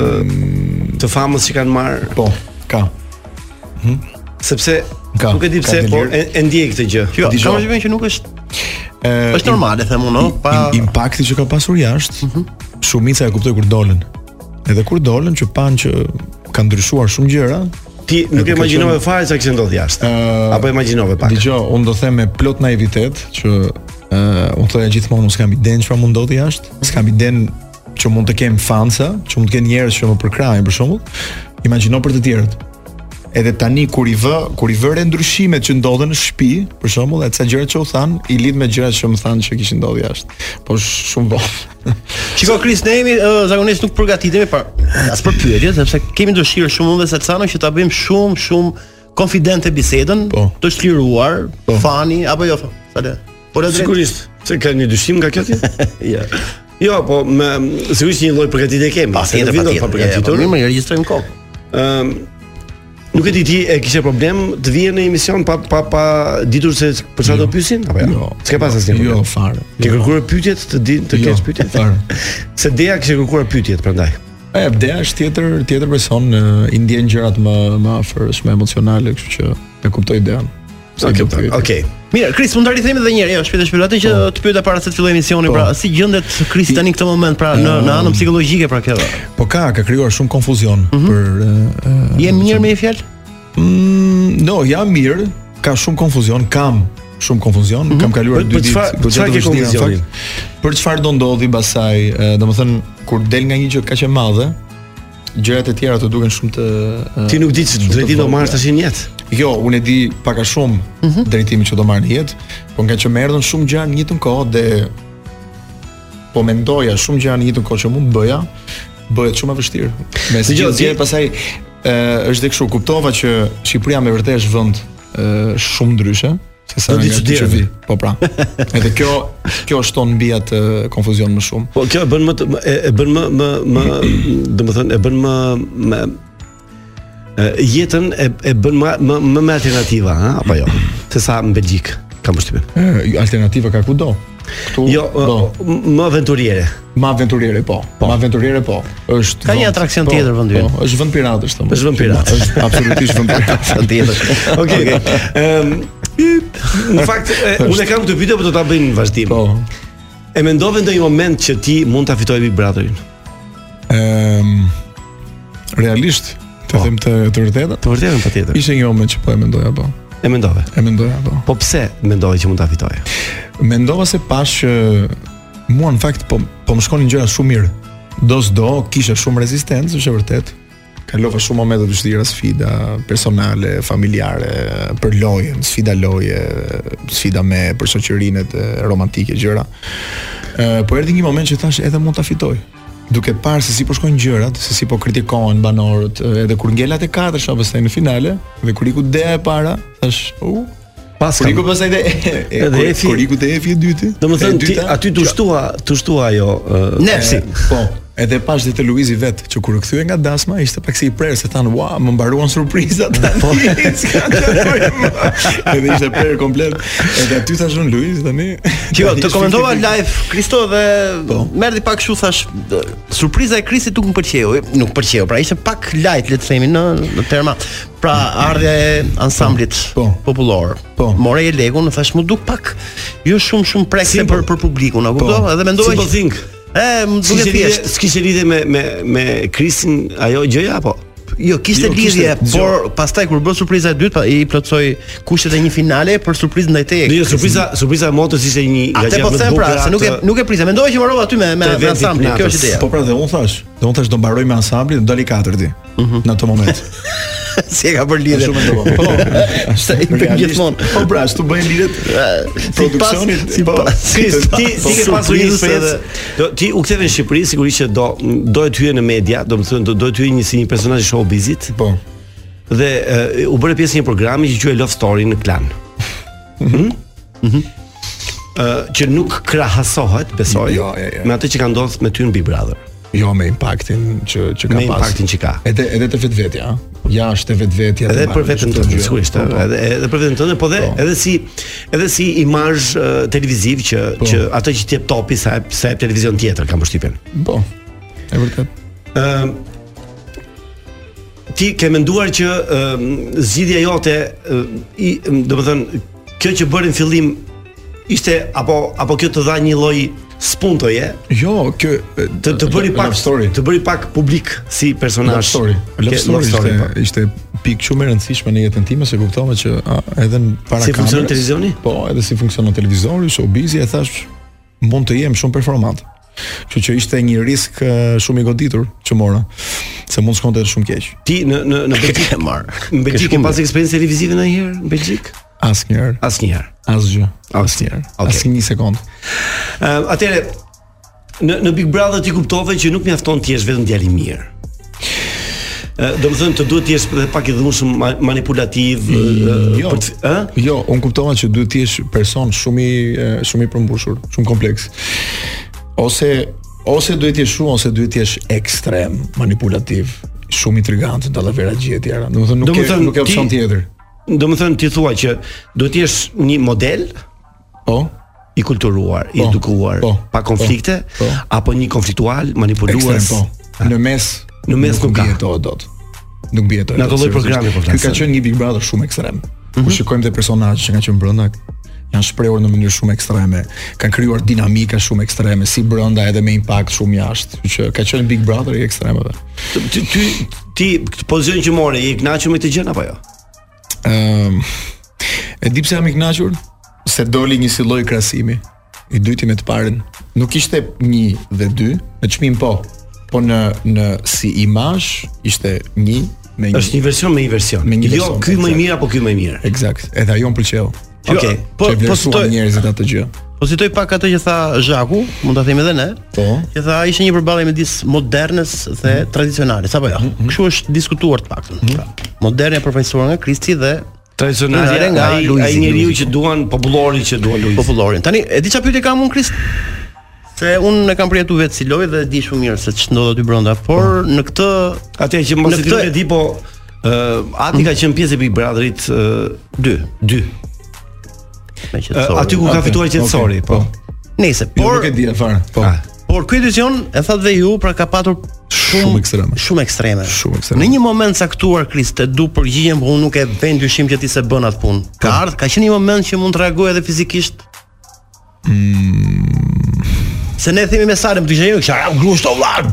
[SPEAKER 7] të famës që kanë marrë,
[SPEAKER 12] Po, ka.
[SPEAKER 7] sepse
[SPEAKER 12] Ka,
[SPEAKER 7] nuk e di
[SPEAKER 12] ka
[SPEAKER 7] pse, po
[SPEAKER 12] delir.
[SPEAKER 7] e, e ndjej këtë gjë.
[SPEAKER 8] Jo,
[SPEAKER 12] Dizho.
[SPEAKER 8] kam vështirë që nuk është
[SPEAKER 12] E,
[SPEAKER 8] është normale them unë, no?
[SPEAKER 12] i-
[SPEAKER 8] pa Mhm.
[SPEAKER 12] i- impakti që ka pasur jashtë, shumica e kuptoi kur dolën. Edhe kur dolën që panë që kanë ndryshuar shumë gjëra,
[SPEAKER 7] Ti nuk
[SPEAKER 12] ka
[SPEAKER 7] e imagjinove
[SPEAKER 12] qenë-
[SPEAKER 7] fare çka kishte ndodhur jashtë.
[SPEAKER 12] Ë,
[SPEAKER 7] Apo imagjinove pak.
[SPEAKER 12] Dgjoj, unë do them me plot naivitet që uh, unë thoya gjithmonë unë s'kam iden çfarë mund ndodhi jashtë, s'kam iden që mund të kem fansa, që mund të kenë njerëz që më përkrahin për shembull. Imagjino për të tjerët. Edhe tani kur i vë, kur i vëre ndryshimet që ndodhen në shtëpi, për shembull, atë sa gjëra që u than, i lidh me gjërat që më thanë që kishin ndodhur jashtë. Po sh- shumë vonë.
[SPEAKER 8] Shiko Kris, ne jemi ë, zakonisht nuk përgatitemi për as për pyetje, sepse kemi dëshirë shumë unë dhe Salsano që ta bëjmë shumë shumë konfidente bisedën,
[SPEAKER 12] Po.
[SPEAKER 8] të shliruar, fani apo jo. fa- Sale. Po le drejt.
[SPEAKER 7] Sigurisht, se ka një dyshim nga kjo ti?
[SPEAKER 8] Ja.
[SPEAKER 7] Jo, po me sigurisht një lloj përgatitje kemi.
[SPEAKER 8] Pa
[SPEAKER 7] se
[SPEAKER 8] tjetër,
[SPEAKER 7] nuk
[SPEAKER 8] pa
[SPEAKER 7] vjen dot
[SPEAKER 8] tjetër.
[SPEAKER 7] pa përgatitur.
[SPEAKER 8] Përgatitur, po, mirë, më regjistrojmë kokë.
[SPEAKER 7] Ëm Ehm, Nuk e di ti e kishe problem të vije në emision pa pa pa ditur se për çfarë do pyesin apo jo? S'ke pas asnjë
[SPEAKER 12] Jo,
[SPEAKER 7] problem.
[SPEAKER 12] fare.
[SPEAKER 7] Ke kërkuar pyetjet të di të kesh pyetje?
[SPEAKER 12] fare.
[SPEAKER 7] Se Dea kishte kërkuar pyetjet prandaj.
[SPEAKER 12] E, Bdea është tjetër, tjetër person, ë, i ndjen gjërat më më afër, është më emocionale, kështu që e kuptoj idean. Sa
[SPEAKER 7] Okej. po, Okej.
[SPEAKER 8] Mirë, Kris, mund ta rithemi edhe një herë, jo, shpejt e shpejt atë që
[SPEAKER 12] Po.
[SPEAKER 8] të pyeta para se të fillojë emisioni, pra si gjendet Kris tani në këtë moment, pra në në anën psikologjike pra kjo.
[SPEAKER 12] Po ka, ka krijuar shumë konfuzion për ë, ë,
[SPEAKER 8] Je mirë me një fjalë?
[SPEAKER 12] mm, no, jam mirë, ka shumë konfuzion, kam shumë konfuzion. Mm -hmm. Kam kaluar
[SPEAKER 7] Për-
[SPEAKER 12] dy
[SPEAKER 7] për
[SPEAKER 12] ditë
[SPEAKER 7] çfarë-
[SPEAKER 12] goxha
[SPEAKER 7] çfarë
[SPEAKER 12] të
[SPEAKER 7] ke
[SPEAKER 12] vështira, në
[SPEAKER 7] konfuzionin?
[SPEAKER 12] fakt. Për çfarë do ndodhi pasaj, e, domethënë kur del nga një gjë kaq e madhe, gjërat e tjera të duken shumë të e,
[SPEAKER 7] Ti nuk di që
[SPEAKER 12] shumë të
[SPEAKER 7] drejtin do
[SPEAKER 12] vogla.
[SPEAKER 7] marrësh tash në jetë.
[SPEAKER 12] Jo, unë e di pak a shumë drejtimin që do marr në jetë, por nga që më erdhën shumë gjëra në një të kohë dhe po mendoja shumë gjëra në një të kohë që mund bëja, bëhet shumë e vështirë. Me si
[SPEAKER 7] Dgjoj,
[SPEAKER 12] gjithë gjë
[SPEAKER 7] ti-
[SPEAKER 12] pasaj ë është dhe kështu, kuptova që Shqipëria me vërtet është vend ë shumë ndryshe se sa
[SPEAKER 7] Do t'i
[SPEAKER 12] nga
[SPEAKER 7] çuditësh.
[SPEAKER 12] që vi. Po pra. Edhe kjo kjo shton mbi atë konfuzion më shumë.
[SPEAKER 7] Po kjo e bën më të, më- e, e bën më më më domethënë e bën më më e, jetën e, e bën më më më me alternativa, ha, apo jo? Se sa në Belgjik kam përshtypjen.
[SPEAKER 12] Ë, alternativa ka kudo. Ktu
[SPEAKER 7] Jo, e, më aventuriere.
[SPEAKER 12] Më aventuriere po. Më aventuriere po. Është
[SPEAKER 8] Ka një
[SPEAKER 12] vend.
[SPEAKER 8] atraksion
[SPEAKER 12] Po,
[SPEAKER 8] tjetër vendi ynë.
[SPEAKER 12] Po, është vend piratësh thonë.
[SPEAKER 7] Është vend piratë.
[SPEAKER 12] Është absolutisht vend piratë.
[SPEAKER 8] tjetër.
[SPEAKER 7] Okej. Ëm në fakt e, unë e kam këtë pyetje, por do ta bëjmë në vazhdim.
[SPEAKER 12] Po.
[SPEAKER 7] E mendove ndonjë moment që ti mund ta fitoje Big Brotherin?
[SPEAKER 12] Ëm Ehm, realisht të them të të vërtetën.
[SPEAKER 7] Të vërtetën patjetër.
[SPEAKER 12] Ishte një moment që po e mendoja po.
[SPEAKER 7] E mendove.
[SPEAKER 12] E mendoja po.
[SPEAKER 7] Po pse mendove që mund ta fitoje?
[SPEAKER 12] Mendova se pash që mua në fakt po po më shkonin gjëra shumë mirë. Do s'do kisha shumë rezistencë, është e vërtet. Kalova shumë momente të vështira sfida personale, familjare, për lojën, sfida loje, sfida me për shoqërinë e romantike gjëra. Ë, po erdhi një moment që thash edhe mund ta fitoj. Duke parë se si po shkojnë gjërat, se si po kritikohen banorët, ë, edhe kur ngelat e katërsha pastaj në finale, dhe kur iku dea e para, thash, u,
[SPEAKER 7] Pas
[SPEAKER 12] Kur iku pastaj te
[SPEAKER 7] Edhe
[SPEAKER 12] edhe
[SPEAKER 7] efi-
[SPEAKER 12] efi, kur iku te efi e dyti.
[SPEAKER 7] Domethënë
[SPEAKER 12] e
[SPEAKER 7] ti
[SPEAKER 12] dyta, Jo.
[SPEAKER 7] aty
[SPEAKER 8] Jo.
[SPEAKER 7] të shtua, të shtua ajo ë,
[SPEAKER 8] Nefsi.
[SPEAKER 12] Po, edhe pash ditë Luizi vet që kur kthye nga dasma ishte pak si i prerë se than, "Ua, më mbaruan surprizat." Po. edhe ishte prerë komplet. Edhe aty thashun Luiz tani.
[SPEAKER 8] Jo,
[SPEAKER 12] tani
[SPEAKER 8] të
[SPEAKER 12] është
[SPEAKER 8] komentova
[SPEAKER 12] 50-50.
[SPEAKER 8] live Kristo dhe
[SPEAKER 12] Po.
[SPEAKER 8] merdi pak kështu thash d- surpriza e Kristit nuk më pëlqeu, nuk pëlqeu, pra ishte pak light le të themi në, në terma. Pra ardhja e ansamblit
[SPEAKER 12] Po.
[SPEAKER 8] popullor.
[SPEAKER 12] Po.
[SPEAKER 8] More e legun, thash më duk pak jo shumë shumë prekse
[SPEAKER 12] po.
[SPEAKER 7] Simple.
[SPEAKER 8] për për publikun, a kupton? Edhe mendova
[SPEAKER 7] Simple
[SPEAKER 8] që-
[SPEAKER 7] think.
[SPEAKER 8] E, më duket
[SPEAKER 7] S'kishte lidhje,
[SPEAKER 8] thjesht.
[SPEAKER 7] s'kishte lidhje me me me Krisin ajo gjëja apo?
[SPEAKER 8] Jo, kishte
[SPEAKER 12] Jo, kishte,
[SPEAKER 8] lidhje,
[SPEAKER 12] dëgjoj.
[SPEAKER 8] por pastaj kur bë surpriza e dytë, pa- i plotsoi kushtet e një finale për surprizën ndaj teje.
[SPEAKER 7] Në surpriza, surpriza e motës ishte një nga
[SPEAKER 8] Atë
[SPEAKER 7] gjërat
[SPEAKER 8] po
[SPEAKER 7] më të
[SPEAKER 8] them pra,
[SPEAKER 7] bukura
[SPEAKER 8] se nuk e
[SPEAKER 7] të-
[SPEAKER 8] nuk e prisa. Mendova që mbarova aty me me
[SPEAKER 7] të
[SPEAKER 8] me
[SPEAKER 7] eventit
[SPEAKER 8] ansamblin, kjo
[SPEAKER 7] natës.
[SPEAKER 8] është ideja.
[SPEAKER 12] Po pra dhe unë thash, dhe unë thash do mbaroj me ansamblin, do dali katërti
[SPEAKER 8] Mhm.
[SPEAKER 12] në atë moment.
[SPEAKER 8] si e ka bërë lidhje.
[SPEAKER 12] Është shumë e dobë. Po.
[SPEAKER 8] Është i bën
[SPEAKER 12] Realisht.
[SPEAKER 8] gjithmonë. Eh,
[SPEAKER 12] Po pra, ashtu bëjnë lidhet produksionit.
[SPEAKER 8] si
[SPEAKER 12] po.
[SPEAKER 8] pas-
[SPEAKER 7] Ti ti
[SPEAKER 12] Po,
[SPEAKER 7] ti ke pasur një
[SPEAKER 8] surprizës
[SPEAKER 7] eksperiencë.
[SPEAKER 8] edhe-
[SPEAKER 7] Do ti u ktheve në Shqipëri sigurisht që do do të hyje në media, do të thonë do do të hyje një si një personazh i showbizit
[SPEAKER 12] Po.
[SPEAKER 7] dhe e, u bëre pjesë një programi që quhej Love Story në Klan. Mhm.
[SPEAKER 12] Mhm.
[SPEAKER 7] Ë, që nuk krahasohet, besoj,
[SPEAKER 12] Jo, jo, jo.
[SPEAKER 7] me atë që ka ndodhur me ty në Big Brother.
[SPEAKER 12] Jo me impaktin që që ka
[SPEAKER 7] Me
[SPEAKER 12] pas.
[SPEAKER 7] impaktin që ka.
[SPEAKER 12] Edhe edhe te vetvetja, ëh. Jashtë te vetvetja.
[SPEAKER 7] Edhe
[SPEAKER 12] te
[SPEAKER 7] për
[SPEAKER 12] barëve,
[SPEAKER 7] veten
[SPEAKER 12] çdo
[SPEAKER 7] tënde,
[SPEAKER 12] gjë.
[SPEAKER 7] sigurisht,
[SPEAKER 12] Po, po.
[SPEAKER 7] edhe edhe për veten tënde, po dhe
[SPEAKER 12] Po.
[SPEAKER 7] edhe si edhe si imazh ë, televiziv që
[SPEAKER 12] Po.
[SPEAKER 7] që atë që ti jep topi sa jep- sa jep televizion tjetër kam përshtypjen.
[SPEAKER 12] Po. E vërtet.
[SPEAKER 7] Ëm Ehm, ti ke menduar që ëm, zgjidhja jote ë, i ehm, do të thënë kjo që bërin fillim ishte apo apo kjo të dha një lloj spuntoje
[SPEAKER 12] Jo, kjo
[SPEAKER 7] të të bëri pak
[SPEAKER 12] love story.
[SPEAKER 7] të bëri pak publik si
[SPEAKER 12] Love
[SPEAKER 7] personazh.
[SPEAKER 12] story. Love
[SPEAKER 7] Ke-
[SPEAKER 12] story
[SPEAKER 7] po.
[SPEAKER 12] ishte ishte pikë shumë e rëndësishme në jetën time se kuptova që a, edhe në para
[SPEAKER 7] Si funksionon
[SPEAKER 12] kamerës-
[SPEAKER 7] televizioni?
[SPEAKER 12] Po, edhe si funksionon televizori, showbizi e thash mund të jem shumë performant. Kështu që ishte një risk ë, shumë i goditur që mora, se mund shkonte edhe shumë keq.
[SPEAKER 7] Ti në në në Belgjik
[SPEAKER 8] E marr.
[SPEAKER 7] në Belgjik ke pas eksperiencë televizive ndonjëherë në Belgjik?
[SPEAKER 12] Asnjëherë,
[SPEAKER 7] Asnjëherë.
[SPEAKER 12] asgjë,
[SPEAKER 7] Asnjëherë. Okej.
[SPEAKER 12] asnjë sekond.
[SPEAKER 7] Ëm atëre në në Big Brother ti kuptove që nuk mjafton të jesh vetëm djalë i mirë. Ë, Do të thënë të duhet të jesh edhe pak i dhunshëm, ma- manipulativ, ë,
[SPEAKER 12] Jo.
[SPEAKER 7] për të, ë?
[SPEAKER 12] Jo, unë kuptova që duhet të jesh person shumë i e, shumë i përmbushur, shumë kompleks. Ose ose duhet të jesh shumë ose duhet të jesh ekstrem, manipulativ, shumë intrigant, dallavera gjë e tjera. Domethënë nuk
[SPEAKER 7] Domethënë,
[SPEAKER 12] ke nuk ke opsion
[SPEAKER 7] ti-
[SPEAKER 12] tjetër.
[SPEAKER 7] Do të thënë ti thua që do të jesh një model
[SPEAKER 12] Po.
[SPEAKER 7] i kulturuar, i
[SPEAKER 12] Po,
[SPEAKER 7] edukuar,
[SPEAKER 12] po,
[SPEAKER 7] pa konflikte,
[SPEAKER 12] po, po.
[SPEAKER 7] apo një konfliktual, manipuluar.
[SPEAKER 12] Ekstrem, po. Në mes
[SPEAKER 7] Në mes nuk ka.
[SPEAKER 12] bjetohet dot. Nuk bjetohet.
[SPEAKER 7] Në ato
[SPEAKER 12] dot,
[SPEAKER 7] lloj
[SPEAKER 12] seriozisht.
[SPEAKER 7] programi po
[SPEAKER 12] Ky ka
[SPEAKER 7] flasim. Mhm.
[SPEAKER 12] qenë një Big Brother shumë ekstrem. Kur shikojmë te personazhet që kanë qenë brenda janë shprehur në mënyrë shumë ekstreme, kanë krijuar dinamika shumë ekstreme, si brenda edhe me impakt shumë jashtë, Kështu që ka qenë Big Brother i ekstremeve.
[SPEAKER 7] Ty ty ti këtë pozicionin që
[SPEAKER 12] Ehm,
[SPEAKER 7] more, je i kënaqur me këtë gjë apo jo?
[SPEAKER 12] Ëm e di pse jam i kënaqur? se doli një si lloj krahasimi. I dyti me të parën nuk ishte 1 dhe 2, në çmim po, po në në si imazh ishte 1 me 1.
[SPEAKER 7] Është një version me një version.
[SPEAKER 12] Me një
[SPEAKER 7] jo,
[SPEAKER 12] version,
[SPEAKER 7] ky më i
[SPEAKER 12] eksakt.
[SPEAKER 7] mirë apo ky më i mirë.
[SPEAKER 12] Eksakt. Edhe ajo "Jo, më pëlqeu.
[SPEAKER 8] Jo,
[SPEAKER 7] Okej, po-
[SPEAKER 12] po
[SPEAKER 7] po
[SPEAKER 12] po
[SPEAKER 7] shtoj-
[SPEAKER 12] njerëzit atë gjë.
[SPEAKER 8] Po citoj pak atë që tha Zhaku, mund ta themi edhe ne.
[SPEAKER 12] Po.
[SPEAKER 8] Që tha ishte një përballje midis modernës dhe tradicionales, apo jo. Kështu është diskutuar të paktën. Moderna e përfaqësuar nga Kristi dhe
[SPEAKER 7] Tradicionale
[SPEAKER 8] Tradicionale
[SPEAKER 7] nga
[SPEAKER 8] nga
[SPEAKER 7] ai
[SPEAKER 8] Luizi,
[SPEAKER 7] ai njeriu
[SPEAKER 8] Luizi,
[SPEAKER 7] që duan popullori që duan Luizi.
[SPEAKER 8] popullorin. Tani e di çfarë pyetje kam unë Krist? Se unë e kam përjetu vetë si lojë dhe di shumë mirë se ç'ndodh aty brenda, por në këtë
[SPEAKER 7] Atje që mos
[SPEAKER 8] Në
[SPEAKER 7] e di
[SPEAKER 8] këtë-
[SPEAKER 7] e di po uh, Ati ka qenë pjesë e Big Brotherit 2. 2.
[SPEAKER 8] me që
[SPEAKER 7] Aty ku ka fituar qetësori, po.
[SPEAKER 8] Nëse, por
[SPEAKER 12] Jo,
[SPEAKER 8] Ah.
[SPEAKER 12] Nuk e di e fare. Po.
[SPEAKER 8] Por ky edicion e thatë dhe ju, pra ka patur
[SPEAKER 12] Shumë
[SPEAKER 8] shumë
[SPEAKER 12] ekstreme.
[SPEAKER 8] shumë ekstreme.
[SPEAKER 12] Shumë ekstreme.
[SPEAKER 8] Në një moment caktuar Kriste du përgjigjem, por unë nuk e vën dyshim që ti se bën atë
[SPEAKER 12] Po.
[SPEAKER 8] punë. Ka ardhur, ka qenë një moment që mund të reagoj edhe fizikisht.
[SPEAKER 12] Mm.
[SPEAKER 8] Se ne themi me Sarën, të gjejë kështu, "Au, gru "Ah, shto vllar."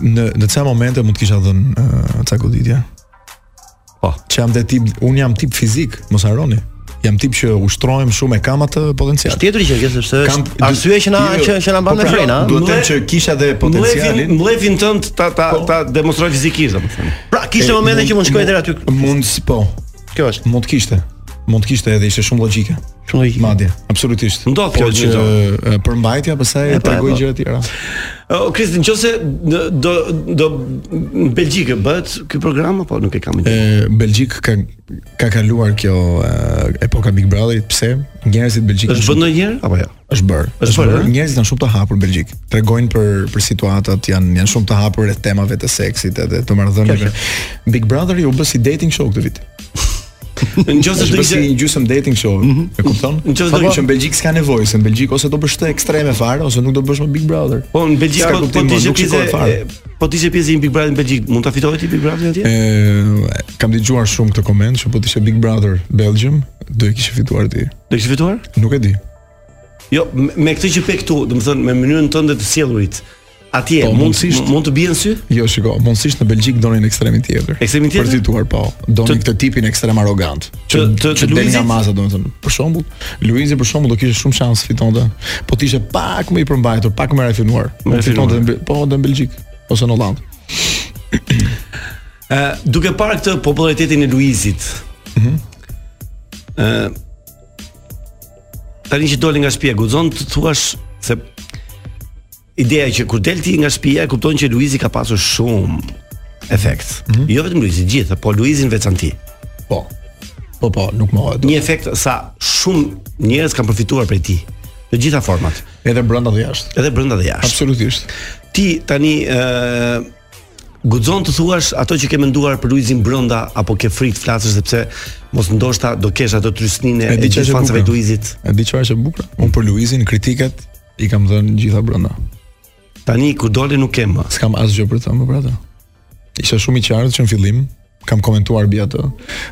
[SPEAKER 12] Në në ca momente mund të kisha dhënë ë, ca goditje. Po, që jam dhe tip, unë jam tip fizik, mos harroni. Jam tip që ushtrohem shumë e kam atë potencial.
[SPEAKER 8] Tjetër gjë, që është është arsye që na
[SPEAKER 12] Jo,
[SPEAKER 8] që, që na mban
[SPEAKER 12] po
[SPEAKER 8] me
[SPEAKER 12] pra,
[SPEAKER 8] frena. eh? ëh.
[SPEAKER 12] Duhet të them që kisha dhe
[SPEAKER 7] Mlefin,
[SPEAKER 12] potencialin.
[SPEAKER 7] mlefin tënd ta ta ta demonstroj fizikisht, domethënë.
[SPEAKER 8] Pra kishte
[SPEAKER 12] E,
[SPEAKER 8] momente që mund shkoj deri aty.
[SPEAKER 12] Mund s- po.
[SPEAKER 8] Kjo është.
[SPEAKER 12] Mund kishte. Mund kishte edhe ishte shumë logjike.
[SPEAKER 8] Shumë logjike.
[SPEAKER 12] Madje, absolutisht.
[SPEAKER 7] Ndodh kjo
[SPEAKER 12] Por
[SPEAKER 7] gjë, do.
[SPEAKER 12] që e, përmbajtja pastaj
[SPEAKER 8] po, e
[SPEAKER 12] tregoi
[SPEAKER 8] po.
[SPEAKER 12] gjëra të tjera.
[SPEAKER 7] O Kristi, nëse do do në Belgjikë bëhet ky program apo nuk e kam ide.
[SPEAKER 12] E, Belgjik ka ka kaluar kjo e, epoka Big Brotherit, pse njerëzit belgjikë
[SPEAKER 7] Është
[SPEAKER 12] janë
[SPEAKER 7] bën ndonjëherë apo jo?
[SPEAKER 12] është bërë. eh?
[SPEAKER 7] Është bërë, ëh?
[SPEAKER 12] Njerëzit janë shumë të hapur në Belgjik. Tregojnë për për situatat, janë janë shumë të hapur rreth temave të seksit edhe të marrëdhënieve. Big Brother ju bë si dating show këtë vit.
[SPEAKER 7] Nëse
[SPEAKER 12] Është
[SPEAKER 7] do
[SPEAKER 12] bërë si
[SPEAKER 7] ishte
[SPEAKER 12] një gjysmë dating show, e kupton?
[SPEAKER 7] Nëse do
[SPEAKER 12] Po,
[SPEAKER 7] ishte-
[SPEAKER 12] që në Belgjik s'ka nevojë, se në Belgjik ose do bësh të ekstreme fare ose nuk do bësh më Big Brother.
[SPEAKER 7] Po në Belgjik
[SPEAKER 12] S'ka
[SPEAKER 7] po po
[SPEAKER 12] kuptim,
[SPEAKER 7] ti
[SPEAKER 12] mo,
[SPEAKER 7] ishe
[SPEAKER 12] nuk
[SPEAKER 7] pjesë
[SPEAKER 12] shikohet fare.
[SPEAKER 7] e- po ti ishe pjesë e një Big Brother në Belgjik, mund ta fitohet ti Big Brother atje?
[SPEAKER 12] E, kam dëgjuar shumë këtë koment që po të ishte Big Brother Belgium, do e kishe fituar ti.
[SPEAKER 7] Do kishe fituar?
[SPEAKER 12] Nuk e di.
[SPEAKER 7] Jo, me me këtë që pe këtu, domethënë me mënyrën tënde të sjellurit. Atje
[SPEAKER 12] Po,
[SPEAKER 7] mund
[SPEAKER 12] mundësisht.
[SPEAKER 7] mund të bien sy?
[SPEAKER 12] Jo, shiko, mundësisht në Belgjik donin ekstremin tjetër.
[SPEAKER 7] Ekstremin tjetër?
[SPEAKER 12] Për fituar po, donin këtë tipin ekstrem arrogant. Që
[SPEAKER 7] Të- të-
[SPEAKER 12] që
[SPEAKER 7] të
[SPEAKER 12] del nga
[SPEAKER 7] Luizit?
[SPEAKER 12] masa domethënë. Për shembull, Luizi për shembull do kishte shumë shans fitonte, po të ishte pak më i përmbajtur, pak më rafinuar.
[SPEAKER 7] Më
[SPEAKER 12] Mund fitonte
[SPEAKER 7] rafinuar.
[SPEAKER 12] në Bel- po do në Belgjik ose në Holland.
[SPEAKER 7] Ë, duke parë këtë popularitetin e Luizit. Ë Tani që doli nga shtëpia, guxon të thuash se ideja që kur del ti nga shtëpia, e kupton që Luizi ka pasur shumë efekt. Jo vetëm Luizi, gjithë, po Luizin veçanti.
[SPEAKER 12] Po. Po po, nuk mohet.
[SPEAKER 7] Një efekt sa shumë njerëz kanë përfituar prej tij në gjitha format,
[SPEAKER 12] Edhe brenda dhe jashtë.
[SPEAKER 7] edhe brenda dhe jashtë.
[SPEAKER 12] Absolutisht.
[SPEAKER 7] Ti tani ë guxon të thuash ato që ke menduar për Luizin brenda apo ke frikë të flasësh sepse mos ndoshta do kesh ato trysninë e,
[SPEAKER 12] E di
[SPEAKER 7] gjithë
[SPEAKER 12] çfarë është e
[SPEAKER 7] fansave
[SPEAKER 12] bukur.
[SPEAKER 7] të Luizit.
[SPEAKER 12] E di çfarë është e bukur? Unë për Luizin kritikat i kam dhënë gjitha brenda.
[SPEAKER 7] Tani kur doli nuk ke më.
[SPEAKER 12] s'kam asgjë për të më për atë. Isha shumë i qartë që në fillim kam komentuar mbi atë.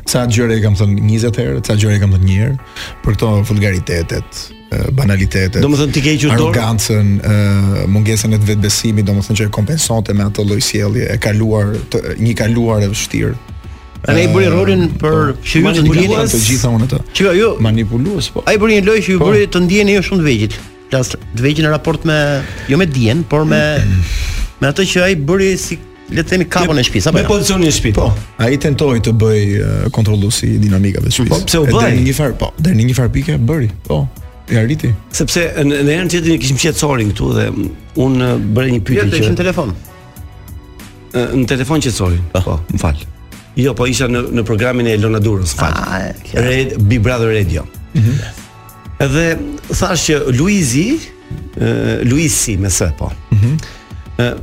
[SPEAKER 12] Ca gjëra i kam thënë 20 herë, ca gjëra i kam thënë një herë për këto vulgaritetet, e, banalitetet.
[SPEAKER 7] Domethënë ti ke hequr dorë?
[SPEAKER 12] arrogancën, e, mungesën e të vetbesimit, domethënë që e kompensonte me atë lloj sjellje, e kaluar të, një kaluar e vështirë.
[SPEAKER 8] Tani i bëri rolin për që ju të
[SPEAKER 12] Manipulues
[SPEAKER 8] ndjeni
[SPEAKER 12] të gjitha unë atë.
[SPEAKER 8] Që jo, ju
[SPEAKER 12] Manipulues po.
[SPEAKER 8] ai bëri një lojë që ju
[SPEAKER 12] Po.
[SPEAKER 8] bëri të ndjeni ju shumë të vegjël. Plas të vegjël në raport me jo me dijen, por me me atë që ai bëri si le të themi kapon e shtëpisë apo
[SPEAKER 7] Me
[SPEAKER 8] jo?
[SPEAKER 7] pozicionin e shtëpisë.
[SPEAKER 12] Po, ai tentoi të bëj e, kontrollues i dinamikave të shtëpisë.
[SPEAKER 7] Po, pse u
[SPEAKER 12] E
[SPEAKER 7] bëj?
[SPEAKER 12] Deri në një far, po, deri në një far pike bëri. Po, i arriti.
[SPEAKER 7] Sepse në në herën tjetër ne kishim qetësorin këtu dhe unë bëre një
[SPEAKER 8] Jo,
[SPEAKER 7] pyetje
[SPEAKER 8] të
[SPEAKER 7] që
[SPEAKER 8] ishim në telefon.
[SPEAKER 7] Ë, në telefon qetësorin. Po, më fal. Jo, po isha në në programin e Elona Durrës, fal.
[SPEAKER 8] Ah, e,
[SPEAKER 7] Red, Big Brother Radio.
[SPEAKER 12] Mhm.
[SPEAKER 7] Edhe thash që Luizi, ë Luisi me s po.
[SPEAKER 12] Mhm.
[SPEAKER 7] Ëh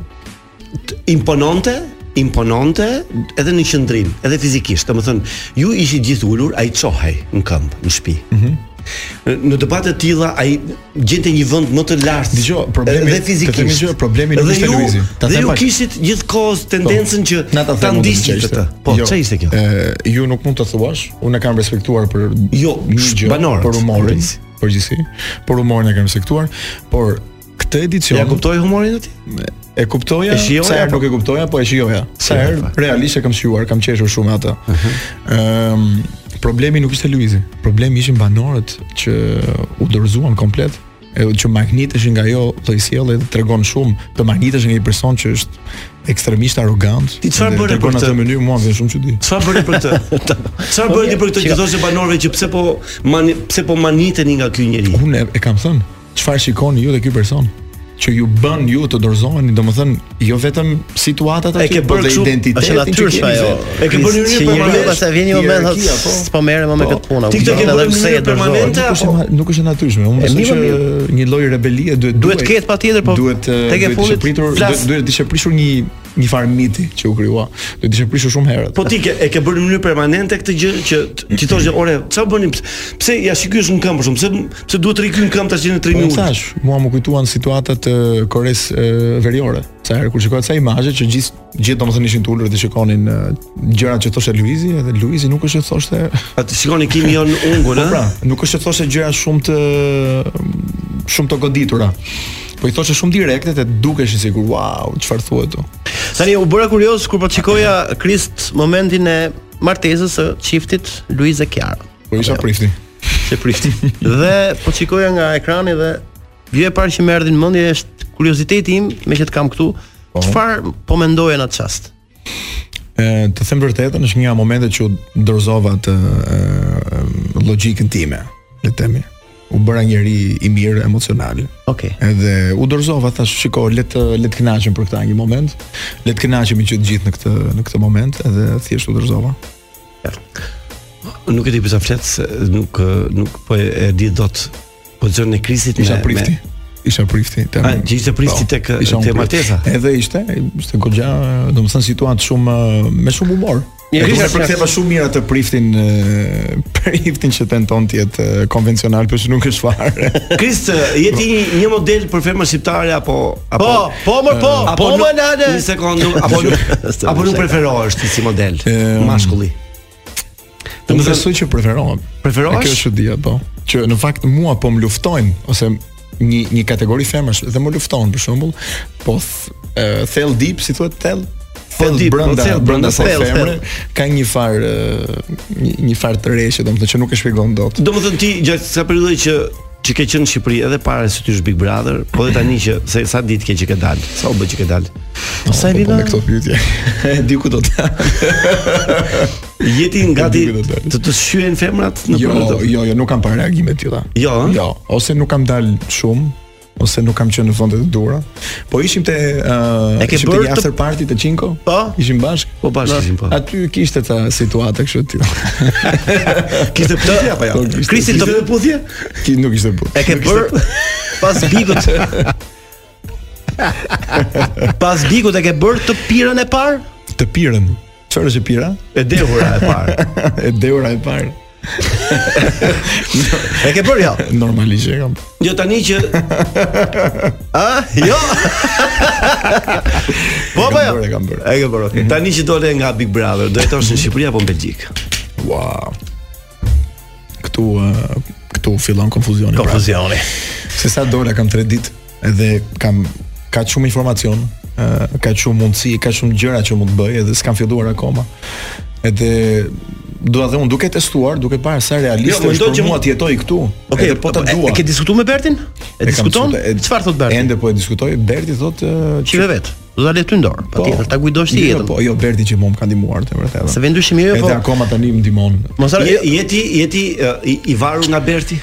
[SPEAKER 7] impononte, impononte edhe në qendrim, edhe fizikisht. Domethënë, ju ishi gjithë ulur, ai çohej në këmbë, në shtëpi.
[SPEAKER 12] Mhm.
[SPEAKER 7] Në debate të tilla ai gjente një vend më të lartë.
[SPEAKER 12] Dgjoj, problemi-
[SPEAKER 7] edhe fizikisht.
[SPEAKER 12] të themi gjë, problemi nuk
[SPEAKER 7] Dhe
[SPEAKER 12] ishte
[SPEAKER 7] ju-
[SPEAKER 12] Luizi. Ta
[SPEAKER 7] Dhe
[SPEAKER 12] them
[SPEAKER 7] ju
[SPEAKER 12] pak.
[SPEAKER 7] kishit gjithkohë tendencën që
[SPEAKER 12] Na ta
[SPEAKER 7] ta
[SPEAKER 12] them unë
[SPEAKER 7] ndiqni
[SPEAKER 12] ç'ishte.
[SPEAKER 7] këtë. Po, ç'ishte ishte kjo?
[SPEAKER 12] Jo, E, ju nuk mund të thuash, unë e kam respektuar për
[SPEAKER 7] Jo,
[SPEAKER 12] një gjë,
[SPEAKER 7] banorët,
[SPEAKER 12] për humorin,
[SPEAKER 7] Andres.
[SPEAKER 12] përgjithësi, për humorin e kam respektuar, por këtë edicion
[SPEAKER 7] Ja kuptoj humorin aty?
[SPEAKER 12] e kuptoja,
[SPEAKER 7] E shijoja,
[SPEAKER 12] sa herë
[SPEAKER 7] po?
[SPEAKER 12] nuk e kuptoja, po e shijoja. Sa
[SPEAKER 7] Shijoja,
[SPEAKER 12] herë
[SPEAKER 7] fakt.
[SPEAKER 12] realisht e kam shijuar, kam qeshur shumë atë. Ëm, Ehm, problemi nuk ishte Luizi. Problemi ishin banorët që u dorëzuan komplet e që magniteshin nga jo lloj sjellje dhe tregon shumë të magniteshin nga një person që është ekstremisht arrogant.
[SPEAKER 7] Ti çfarë
[SPEAKER 12] dhe
[SPEAKER 7] bëre
[SPEAKER 12] tregon
[SPEAKER 7] për
[SPEAKER 12] atë
[SPEAKER 7] këtë?
[SPEAKER 12] mënyrë mua vjen shumë çudi.
[SPEAKER 7] Çfarë bëri për këtë? Çfarë bëri ti për këtë që thoshe banorëve që pse po mani, pse po maniteni nga ky njeri?
[SPEAKER 12] Unë e kam thënë, çfarë shikoni ju dhe ky person? që ju bën ju të dorëzoheni, domethënë jo vetëm situatat
[SPEAKER 8] E
[SPEAKER 12] aty, po
[SPEAKER 8] ke bërë kështu, është natyrshë ajo.
[SPEAKER 12] E ke bërë
[SPEAKER 8] një permanente, pastaj vjen një moment thotë, s'po merrem më me këtë punë.
[SPEAKER 12] po. Ti
[SPEAKER 8] këtë
[SPEAKER 12] Nuk është e ma- nuk është e natyrshme. Unë
[SPEAKER 8] E
[SPEAKER 12] besoj
[SPEAKER 8] mirë,
[SPEAKER 12] që një lloj rebelie duhet
[SPEAKER 8] Duhet ketë patjetër, po
[SPEAKER 12] duhet eh,
[SPEAKER 8] tek e
[SPEAKER 12] duhet
[SPEAKER 8] fundit
[SPEAKER 12] ishte pritur
[SPEAKER 8] flas.
[SPEAKER 12] duhet duhet të ishte prishur një një farë miti që u krijua. Duhet të ishte prishur shumë herët.
[SPEAKER 7] Po ti ke, e ke bërë në mënyrë permanente këtë gjë që t- ti thoshte, "Ore, çfarë bëni? Pse- Pse ja shikyesh në këmbë për shumë? Pse pse duhet të riky në këmbë tash në 3
[SPEAKER 12] Po,
[SPEAKER 7] minuta?"
[SPEAKER 12] thash, mua më kujtuan situatat e Kores e, veriore. Sa herë kur shikohet sa imazhe që gjithë gjithë domethënë ishin tulur dhe shikonin e, gjërat që thoshte Luizi, edhe Luizi nuk është që thoshte
[SPEAKER 8] Po
[SPEAKER 7] Atë shikoni kimi jo në ungull,
[SPEAKER 12] po, pra, nuk është që thoshte gjëra shumë të shumë të goditura. Po i thoshte shumë direkte të dukeshin sikur wow, çfarë thuhet tu.
[SPEAKER 8] Tani u bëra kurioz kur po shikoja Krist momentin e martesës së çiftit Luiz dhe Kiara.
[SPEAKER 12] Po isha prifti.
[SPEAKER 8] Se prifti. dhe po shikoja nga ekrani dhe gjë e parë që më erdhi në mendje është kurioziteti im, me që të kam këtu, çfarë po mendoja në atë çast?
[SPEAKER 12] E, të them vërtetën, është një nga momentet që u dorëzova të e, e, logjikën time, le të themi. U bëra njëri i mirë emocional.
[SPEAKER 8] Okej.
[SPEAKER 12] Edhe u dorëzova, thash, shiko, le të le të kënaqem për këtë një moment. Le të kënaqemi që të gjithë në këtë në këtë moment, edhe thjesht u dorëzova.
[SPEAKER 7] Nuk e di pse flet, se nuk ë, nuk po e e di dot pozicion e krisit
[SPEAKER 12] Isha prifti. Isha prifti. tem-
[SPEAKER 7] A, që ishte prifti
[SPEAKER 12] Po,
[SPEAKER 7] tek-
[SPEAKER 12] isha unë
[SPEAKER 7] te
[SPEAKER 12] prift.
[SPEAKER 7] martesa?
[SPEAKER 12] Edhe ishte, ishte goxha, domethënë situatë shumë e, me shumë humor.
[SPEAKER 8] Ja,
[SPEAKER 12] Ja,
[SPEAKER 8] isha
[SPEAKER 12] kisha përktheva shumë mirë atë priftin, e, priftin që tenton të jetë e, konvencional, por që nuk është fare.
[SPEAKER 7] Krist, je ti një, një model për femër shqiptare apo apo
[SPEAKER 12] Po, po, mor, po,
[SPEAKER 7] apo
[SPEAKER 12] po,
[SPEAKER 7] nuk-
[SPEAKER 12] mor, nane.
[SPEAKER 7] Një sekondë, apo nuk- apo nuk preferohesh ti si model mashkulli.
[SPEAKER 12] Unë besoj që preferohem.
[SPEAKER 7] Preferohesh?
[SPEAKER 12] E Kjo është e dia, po. Që në fakt mua po më luftojnë ose një një kategori femësh dhe më lufton për shembull, po th, e, thell deep, si thuhet thell Thell
[SPEAKER 8] deep, po,
[SPEAKER 12] brenda
[SPEAKER 8] thell,
[SPEAKER 12] brenda së
[SPEAKER 8] thell,
[SPEAKER 12] femre
[SPEAKER 8] thell.
[SPEAKER 12] ka një farë e, një, një farë të rreshë, domethënë që nuk e shpjegon dot.
[SPEAKER 7] Domethënë ti gjatë kësaj periudhe që që ke qenë në Shqipëri edhe para se ty është Big Brother, po edhe tani që se sa ditë ke që ke dalë, sa u bë që ke dalë.
[SPEAKER 12] Sa i vjen Po, me këto pyetje? Di ku do të
[SPEAKER 7] Jeti gati të të shyen femrat në
[SPEAKER 12] jo,
[SPEAKER 7] përmjet të-
[SPEAKER 12] Jo, jo, nuk kam parë reagime të tilla.
[SPEAKER 7] Jo, ëh?
[SPEAKER 12] Jo, ose nuk kam dalë shumë, ose nuk kam qenë në fondet e dura. Po ishim te uh,
[SPEAKER 8] E ke
[SPEAKER 12] ishim te
[SPEAKER 8] bërë
[SPEAKER 12] një
[SPEAKER 8] të-
[SPEAKER 12] after party te Cinco? Po. Ishim bashk?
[SPEAKER 7] Po bashkë ishim, po.
[SPEAKER 12] Aty kishte ta situata kështu të tilla.
[SPEAKER 7] Kishte puthje apo
[SPEAKER 8] po,
[SPEAKER 7] jo? Kristi, të-
[SPEAKER 12] kishte
[SPEAKER 7] puthje?
[SPEAKER 12] Ki nuk ishte puthje.
[SPEAKER 8] E ke
[SPEAKER 12] Nuk ishte
[SPEAKER 8] bër pas bigut. pas bigut e ke bër të pirën e parë?
[SPEAKER 12] Të pirën. Çfarë është e pira?
[SPEAKER 8] E dehura e parë.
[SPEAKER 12] e dehura e parë.
[SPEAKER 8] e ke bër jo. ja?
[SPEAKER 12] Normalisht e kam.
[SPEAKER 7] Jo tani që
[SPEAKER 8] A? Jo.
[SPEAKER 7] Po
[SPEAKER 12] apo jo? E kam bërë.
[SPEAKER 8] E ke bër, okay.
[SPEAKER 7] Tani që dole nga Big Brother, do jetosh në Shqipëri apo në Belgjik?
[SPEAKER 12] Wow. Këtu ë, këtu fillon konfuzioni. pra.
[SPEAKER 8] Konfuzioni.
[SPEAKER 12] Se sa dola kam 3 ditë edhe kam ka shumë informacion, ë, ka shumë mundësi, ka shumë gjëra që mund të bëj edhe s'kam filluar akoma. Edhe dua dhe unë duke testuar, duke parë sa realiste
[SPEAKER 8] Jo,
[SPEAKER 12] jo, është
[SPEAKER 8] mendoj
[SPEAKER 12] për
[SPEAKER 8] që
[SPEAKER 12] mua
[SPEAKER 8] mund-
[SPEAKER 12] të jetoj këtu.
[SPEAKER 8] Okej,
[SPEAKER 12] edhe po ta
[SPEAKER 8] e-
[SPEAKER 12] dua.
[SPEAKER 8] E ke diskutuar me Bertin? E
[SPEAKER 12] kam
[SPEAKER 8] diskuton?
[SPEAKER 12] diskutuar, e-
[SPEAKER 8] Çfarë thot Berti?
[SPEAKER 12] Ende po e diskutoj, Berti thotë ë,
[SPEAKER 8] Çive vet. Do ta le ty në dorë, patjetër ta kujdosh ti
[SPEAKER 12] jo,
[SPEAKER 8] jetën.
[SPEAKER 12] Po, jo Berti që mua më ka ndihmuar të vërtetë.
[SPEAKER 8] Se vendyshim jo,
[SPEAKER 12] Edhe
[SPEAKER 8] po.
[SPEAKER 12] akoma tani më ndihmon.
[SPEAKER 8] Mos
[SPEAKER 7] Je-
[SPEAKER 8] harro.
[SPEAKER 7] Jeti jeti ë, i, i varur nga Berti?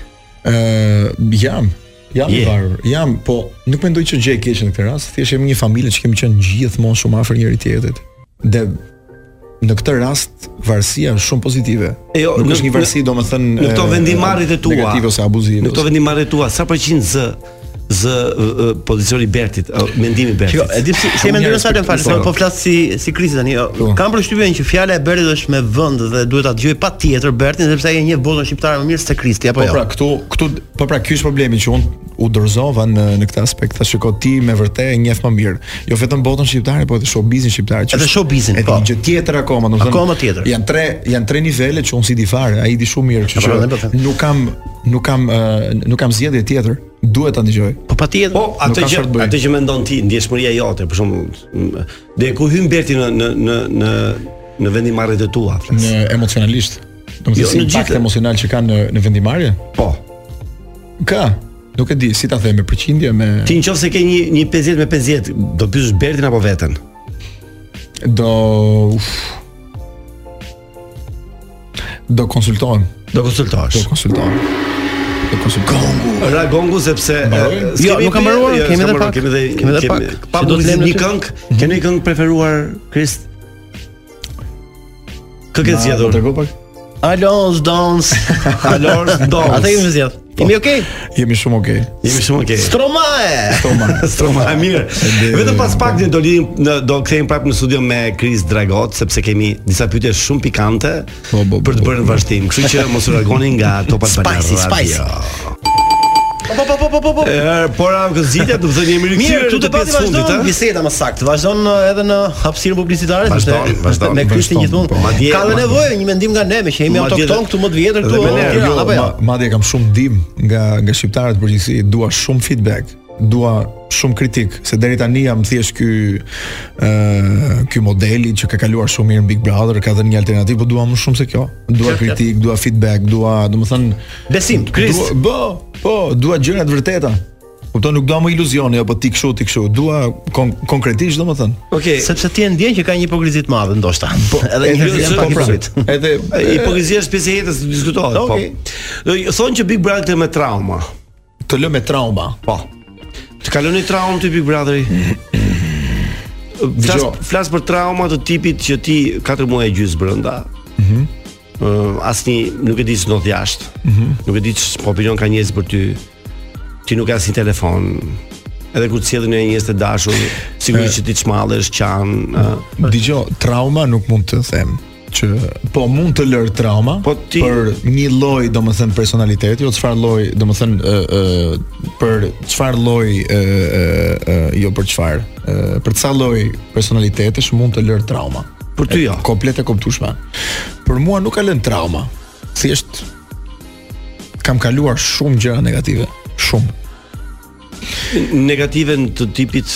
[SPEAKER 12] Ë jam Jam
[SPEAKER 7] Je.
[SPEAKER 12] i varur. Jam, po nuk mendoj që gjej keq në këtë rast. Thjesht jemi një familje që kemi qenë gjithmonë shumë afër njëri tjetrit. Dhe në këtë rast varësia është shumë pozitive.
[SPEAKER 7] E jo,
[SPEAKER 12] nuk
[SPEAKER 7] në-
[SPEAKER 12] është një varësi,
[SPEAKER 7] në-
[SPEAKER 12] domethënë
[SPEAKER 7] në këto
[SPEAKER 12] e,
[SPEAKER 7] vendimarrjet e tua.
[SPEAKER 12] negative ose abuzive.
[SPEAKER 7] Në këto vendimarrje tua, sa përqind zë zë ë, ë, pozicioni i Bertit, ë, mendimi i Bertit.
[SPEAKER 8] Shiko, Jo, e di pse si e mendon sa të fal, po po flas si si Krisi tani. jo.
[SPEAKER 12] Po.
[SPEAKER 8] Kam përshtypjen që fjala e Bertit është me vend dhe duhet ta dëgjoj patjetër Bertin sepse ai e njeh botën shqiptare më mirë se Kristi apo
[SPEAKER 12] Po
[SPEAKER 8] jo.
[SPEAKER 12] pra këtu këtu po pra ky është problemi që unë u dorëzova në në këtë aspekt. Tash shiko ti me vërtet e njeh më mirë. Jo vetëm botën shqiptare, po edhe showbizin shqiptar. që
[SPEAKER 8] Edhe
[SPEAKER 12] është-
[SPEAKER 8] showbizin,
[SPEAKER 12] Edhe
[SPEAKER 8] po.
[SPEAKER 12] një gjë tjetër akoma, domethënë.
[SPEAKER 8] Akoma tjetër.
[SPEAKER 12] Janë tre janë tre nivele që unë si di fare, ai di shumë mirë, kështu
[SPEAKER 8] Po, pra, ne po them.
[SPEAKER 12] që nuk kam nuk kam ë, nuk kam zgjedhje tjetër. Duhet ta ndëgjoj.
[SPEAKER 8] Po patjetër.
[SPEAKER 7] Po, atë
[SPEAKER 12] ka
[SPEAKER 7] që
[SPEAKER 12] çfarë të bëj.
[SPEAKER 7] atë që mendon ti, ndjeshmëria jote, për shembull, dhe ku hyn Berti në në në në në vendimarrjet e tua, flas.
[SPEAKER 12] Në emocionalisht.
[SPEAKER 8] Jo,
[SPEAKER 12] Domethënë si impakt emocional që kanë në në vendimarrje?
[SPEAKER 7] Po.
[SPEAKER 12] Ka. Nuk e di si ta them me përqindje me
[SPEAKER 7] Ti nëse ke një një 50 me 50, do pysh Bertin apo veten?
[SPEAKER 12] Do uf, do konsultohem.
[SPEAKER 7] Do konsultohesh.
[SPEAKER 12] Do konsultohem. Do konsultohem.
[SPEAKER 7] Ra gongu sepse
[SPEAKER 8] Po. Mbaroj?
[SPEAKER 7] e,
[SPEAKER 8] Jo,
[SPEAKER 7] s'kemi
[SPEAKER 8] nuk ka
[SPEAKER 7] bie-
[SPEAKER 8] mbaruar,
[SPEAKER 7] jo,
[SPEAKER 8] kemi
[SPEAKER 7] s'ka
[SPEAKER 8] edhe
[SPEAKER 7] mbaruar,
[SPEAKER 8] pak.
[SPEAKER 7] Kemi edhe
[SPEAKER 8] Kemi edhe pak. Mhm.
[SPEAKER 7] Pa
[SPEAKER 8] Që do
[SPEAKER 7] do
[SPEAKER 8] të
[SPEAKER 7] të
[SPEAKER 8] lëmë
[SPEAKER 7] lëmë një
[SPEAKER 8] në ty?
[SPEAKER 7] këngë. Ke një këngë preferuar, Chris? Kë ke
[SPEAKER 8] Ma,
[SPEAKER 7] zgjedhur?
[SPEAKER 8] ma
[SPEAKER 12] Tregu pak.
[SPEAKER 8] Alons dons.
[SPEAKER 7] Alons dons.
[SPEAKER 8] Ata kemi zgjedh. Jemi okay?
[SPEAKER 12] Jemi shumë okay.
[SPEAKER 7] Jemi shumë okay.
[SPEAKER 8] Stromae.
[SPEAKER 12] Stromae.
[SPEAKER 7] Stromae mirë. Vetëm pas pak do lidhim në- do kthehemi prapë në studio me Chris Dragot sepse kemi disa pyetje shumë pikante për të bërë në vazhdim. Kështu që mos u largoni nga Top
[SPEAKER 8] Po,
[SPEAKER 7] Albana
[SPEAKER 8] Spicy, spicy.
[SPEAKER 7] Radio.
[SPEAKER 8] Po po po po po po.
[SPEAKER 7] Er, por am këzitja, do të thënë jemi
[SPEAKER 8] Mirë,
[SPEAKER 7] rikthyer
[SPEAKER 8] këtu
[SPEAKER 7] në
[SPEAKER 8] të pati
[SPEAKER 7] pjesë fundit,
[SPEAKER 8] vazhdon
[SPEAKER 7] ëh.
[SPEAKER 8] biseda më saktë. Vazhdon uh, edhe në hapësirën publicitare,
[SPEAKER 7] Vazhdon,
[SPEAKER 8] sepse
[SPEAKER 7] vazhdon,
[SPEAKER 8] Me Krishtin
[SPEAKER 12] vazhdon,
[SPEAKER 8] gjithmonë.
[SPEAKER 12] po. Madje-
[SPEAKER 8] Ka dhe
[SPEAKER 12] madje-
[SPEAKER 8] nevojë një mendim nga ne, me që jemi
[SPEAKER 12] Madje edhe-
[SPEAKER 8] autokton këtu më të vjetër këtu.
[SPEAKER 12] Edhe me
[SPEAKER 8] o,
[SPEAKER 12] ne,
[SPEAKER 8] Tiranë,
[SPEAKER 12] jo,
[SPEAKER 8] apo jo?
[SPEAKER 12] ma- madje kam shumë ndim nga nga shqiptarët përgjithësi, dua shumë feedback, dua shumë kritik, se deri tani jam thjesht ky ë ky modeli që ka kaluar shumë mirë në Big Brother, ka dhënë një alternativë, por dua më shumë se kjo. Dua kritik, dua feedback, dua, domethënë
[SPEAKER 8] besim,
[SPEAKER 12] Chris. Po, po, dua gjëra të vërteta. Kupton, nuk dua më iluzione apo ti kështu, ti kështu. Dua kon konkretisht domethënë.
[SPEAKER 7] Okej.
[SPEAKER 8] Sepse ti e ndjen që ka një hipokrizi të madhe ndoshta. Po, edhe një
[SPEAKER 7] Edhe
[SPEAKER 8] hipokrizi
[SPEAKER 7] po,
[SPEAKER 8] pak hipokrit.
[SPEAKER 7] pra.
[SPEAKER 12] Edhe
[SPEAKER 7] hipokrizia është pjesë e jetës, diskutohet, po.
[SPEAKER 8] Okej.
[SPEAKER 7] Do- Thonë që Big Brother të me trauma.
[SPEAKER 12] Të lë me trauma.
[SPEAKER 7] Po. Të kaloni traumë ty Big Brotheri. Flas,
[SPEAKER 12] Dgjoj.
[SPEAKER 7] flas për trauma të tipit që ti 4 muaj e gjys brenda.
[SPEAKER 12] Mhm.
[SPEAKER 7] Uh, asnjë nuk e di ç'do të jashtë.
[SPEAKER 12] Mhm.
[SPEAKER 7] Nuk e di ç'po opinion ka njerëz për ty. Ti nuk ke asnjë telefon. Edhe kur të sjellin e njerëz të dashur,
[SPEAKER 12] Eh.
[SPEAKER 7] sigurisht që ti çmallesh, qan. ë.
[SPEAKER 12] Dgjoj, trauma nuk mund të them që po mund të lër trauma po ti... për një lloj domethën personaliteti o çfarë lloj domethën ë ë për çfarë lloj ë ë ë, jo për çfarë ë, për çfarë lloj personalitetesh mund të lër trauma
[SPEAKER 7] për
[SPEAKER 12] Eh,
[SPEAKER 7] ty jo
[SPEAKER 12] komplet e kuptueshme për mua nuk ka lënë trauma thjesht kam kaluar shumë gjëra negative shumë
[SPEAKER 7] negative në të tipit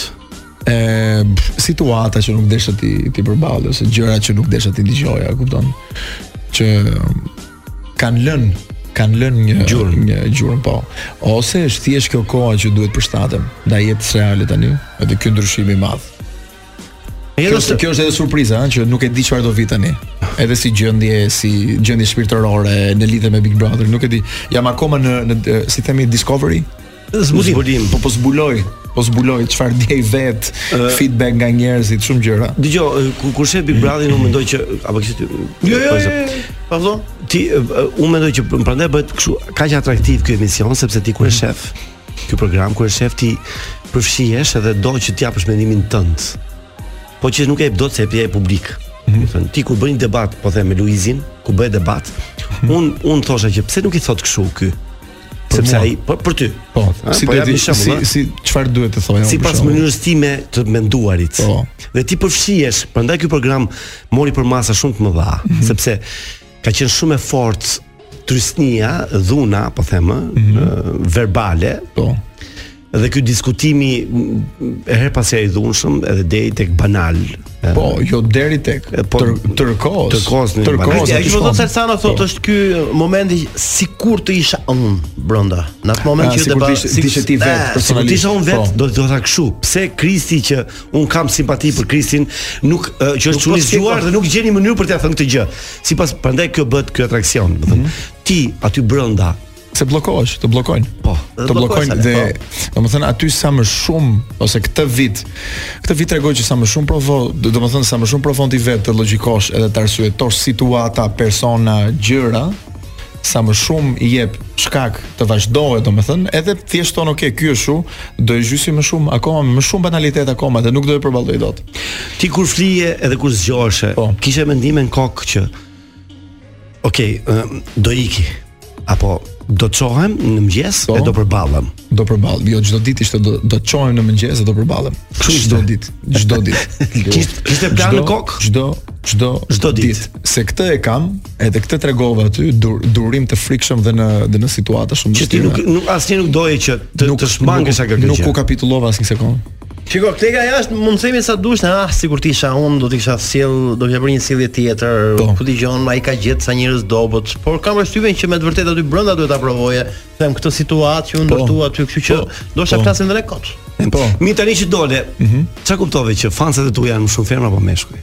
[SPEAKER 12] e pff, situata që nuk desha ti ti përballë ose gjëra që nuk desha ti dëgjoja, kupton? Që um, kanë lënë kanë lënë një gjurmë, një gjurmë po. Ose është thjesht kjo koha që duhet përshtatem ndaj jetës reale tani, edhe ky ndryshim i madh. Kjo është, kjo është edhe surpriza, ëh, që nuk e di çfarë do vi tani. Edhe si gjendje, si gjendje shpirtërore në lidhje me Big Brother, nuk e di. Jam akoma në në eh, si themi discovery.
[SPEAKER 7] Zbulim.
[SPEAKER 12] Po po zbuloj, po zbuloj çfarë ndjej vet, feedback nga njerëzit, shumë gjëra.
[SPEAKER 7] Dgjoj, eh, ku kur shef Big Brother unë mendoj që apo kishte ty.
[SPEAKER 12] Jo, jo, jo,
[SPEAKER 7] Pardon? Ti e, e, unë mendoj që prandaj bëhet kështu kaq atraktiv ky emision sepse ti
[SPEAKER 12] Mhm.
[SPEAKER 7] kur e shef ky program kur e shef ti përfshihesh edhe do që të japësh mendimin tënd. Po që nuk e jep dot se e jep publik. Mm
[SPEAKER 12] Mhm.
[SPEAKER 7] -hmm. Ti kur bën një debat, po them me Luizin, ku bëhet debat,
[SPEAKER 12] Mhm.
[SPEAKER 7] un un thosha që pse nuk i thot kështu ky? Sepse
[SPEAKER 12] mua.
[SPEAKER 7] ai për, për ty.
[SPEAKER 12] Po,
[SPEAKER 7] Ha,
[SPEAKER 12] si
[SPEAKER 7] po
[SPEAKER 12] do
[SPEAKER 7] jap
[SPEAKER 12] të
[SPEAKER 7] një shembull,
[SPEAKER 12] si
[SPEAKER 7] ha?
[SPEAKER 12] si çfarë duhet të thoja unë për
[SPEAKER 7] sipas
[SPEAKER 12] shembull?
[SPEAKER 7] mënyrës time të menduarit.
[SPEAKER 12] Po.
[SPEAKER 7] Dhe ti përfshihesh, prandaj ky program mori për masa shumë të mëdha, sepse ka qenë shumë e fortë trysnia, dhuna, po them, ë, verbale.
[SPEAKER 12] Po.
[SPEAKER 7] Dhe ky diskutimi m, e her pas here i dhunshëm edhe deri tek banal.
[SPEAKER 12] Po, jo deri tek tër, tërkos.
[SPEAKER 7] Tërkos në
[SPEAKER 8] Tërkohës.
[SPEAKER 7] banal.
[SPEAKER 8] Ai më thot Salsano
[SPEAKER 12] Po.
[SPEAKER 8] thotë është ky momenti sikur të isha unë brenda. Në atë moment
[SPEAKER 12] Ah,
[SPEAKER 8] që
[SPEAKER 12] sikur
[SPEAKER 8] deba-
[SPEAKER 12] t'ishe- t'ishe ti
[SPEAKER 8] Eh,
[SPEAKER 12] vet,
[SPEAKER 8] sikur
[SPEAKER 12] personalisht.
[SPEAKER 7] Sigurisht unë vet
[SPEAKER 12] Po.
[SPEAKER 7] do të thotë kështu. Pse Kristi që un kam simpati për Kristin, nuk ë, që
[SPEAKER 8] Nuk
[SPEAKER 7] është
[SPEAKER 8] po
[SPEAKER 7] çunizuar
[SPEAKER 8] shpjegoj.
[SPEAKER 7] dhe nuk gjeni mënyrë për t'ia thënë këtë gjë. Sipas prandaj kjo bëhet ky atraksion, do të
[SPEAKER 12] Mhm.
[SPEAKER 7] thënë. Ti aty brenda
[SPEAKER 12] se bllokohesh, të bllokojnë.
[SPEAKER 7] Po,
[SPEAKER 12] të po. bllokojnë dhe domethënë aty sa më shumë ose këtë vit, këtë vit tregoj që sa më shumë provo, domethënë sa më shumë provon ti vetë të logjikosh edhe të arsyetosh situata, persona, gjëra, sa më shumë i jep shkak të vazhdohet domethënë, edhe thjesht ton ok, ky është shu, do e gjysi më shumë, akoma më shumë banalitet akoma dhe nuk do e përballoj dot.
[SPEAKER 7] Ti kur flije edhe kur zgjoheshe,
[SPEAKER 12] Po.
[SPEAKER 7] kishe mendime në kokë që Okej, ë, do iki apo do të çohem në mëngjes
[SPEAKER 12] Po.
[SPEAKER 7] e do përballem.
[SPEAKER 12] Do përball, jo çdo ditë ishte do do të çohem në mëngjes dhe do përballem. Çdo ditë, çdo ditë.
[SPEAKER 7] Kishte- kishte plan në
[SPEAKER 12] Çdo-
[SPEAKER 7] kokë?
[SPEAKER 12] Çdo çdo çdo ditë. Se këtë e kam, edhe këtë tregova aty, dur, durim të frikshëm dhe në dhe në situata shumë
[SPEAKER 7] Që ti nuk nuk asnjë nuk doje që të të shmangesh nga kjo
[SPEAKER 12] nuk
[SPEAKER 7] gjë.
[SPEAKER 12] u kapitullova asnjë sekond.
[SPEAKER 8] Shiko, klega jashtë mund të themi sa dush, ne, ah, sikur ti isha unë do të kisha sjell, do të kisha bërë një sjellje tjetër.
[SPEAKER 12] Po.
[SPEAKER 8] Ku dëgjon, ai ka gjetë sa njerëz dobët, por kam përshtypjen që me të vërtetë aty brenda duhet ta provoje. Them këtë situatë që unë
[SPEAKER 12] Po.
[SPEAKER 8] ndërtua aty, kështu që do të flasim edhe kot.
[SPEAKER 7] Po. Mhm. Mi tani që dole, çka kuptove që fansat e tu janë më shumë femra apo meshkuj?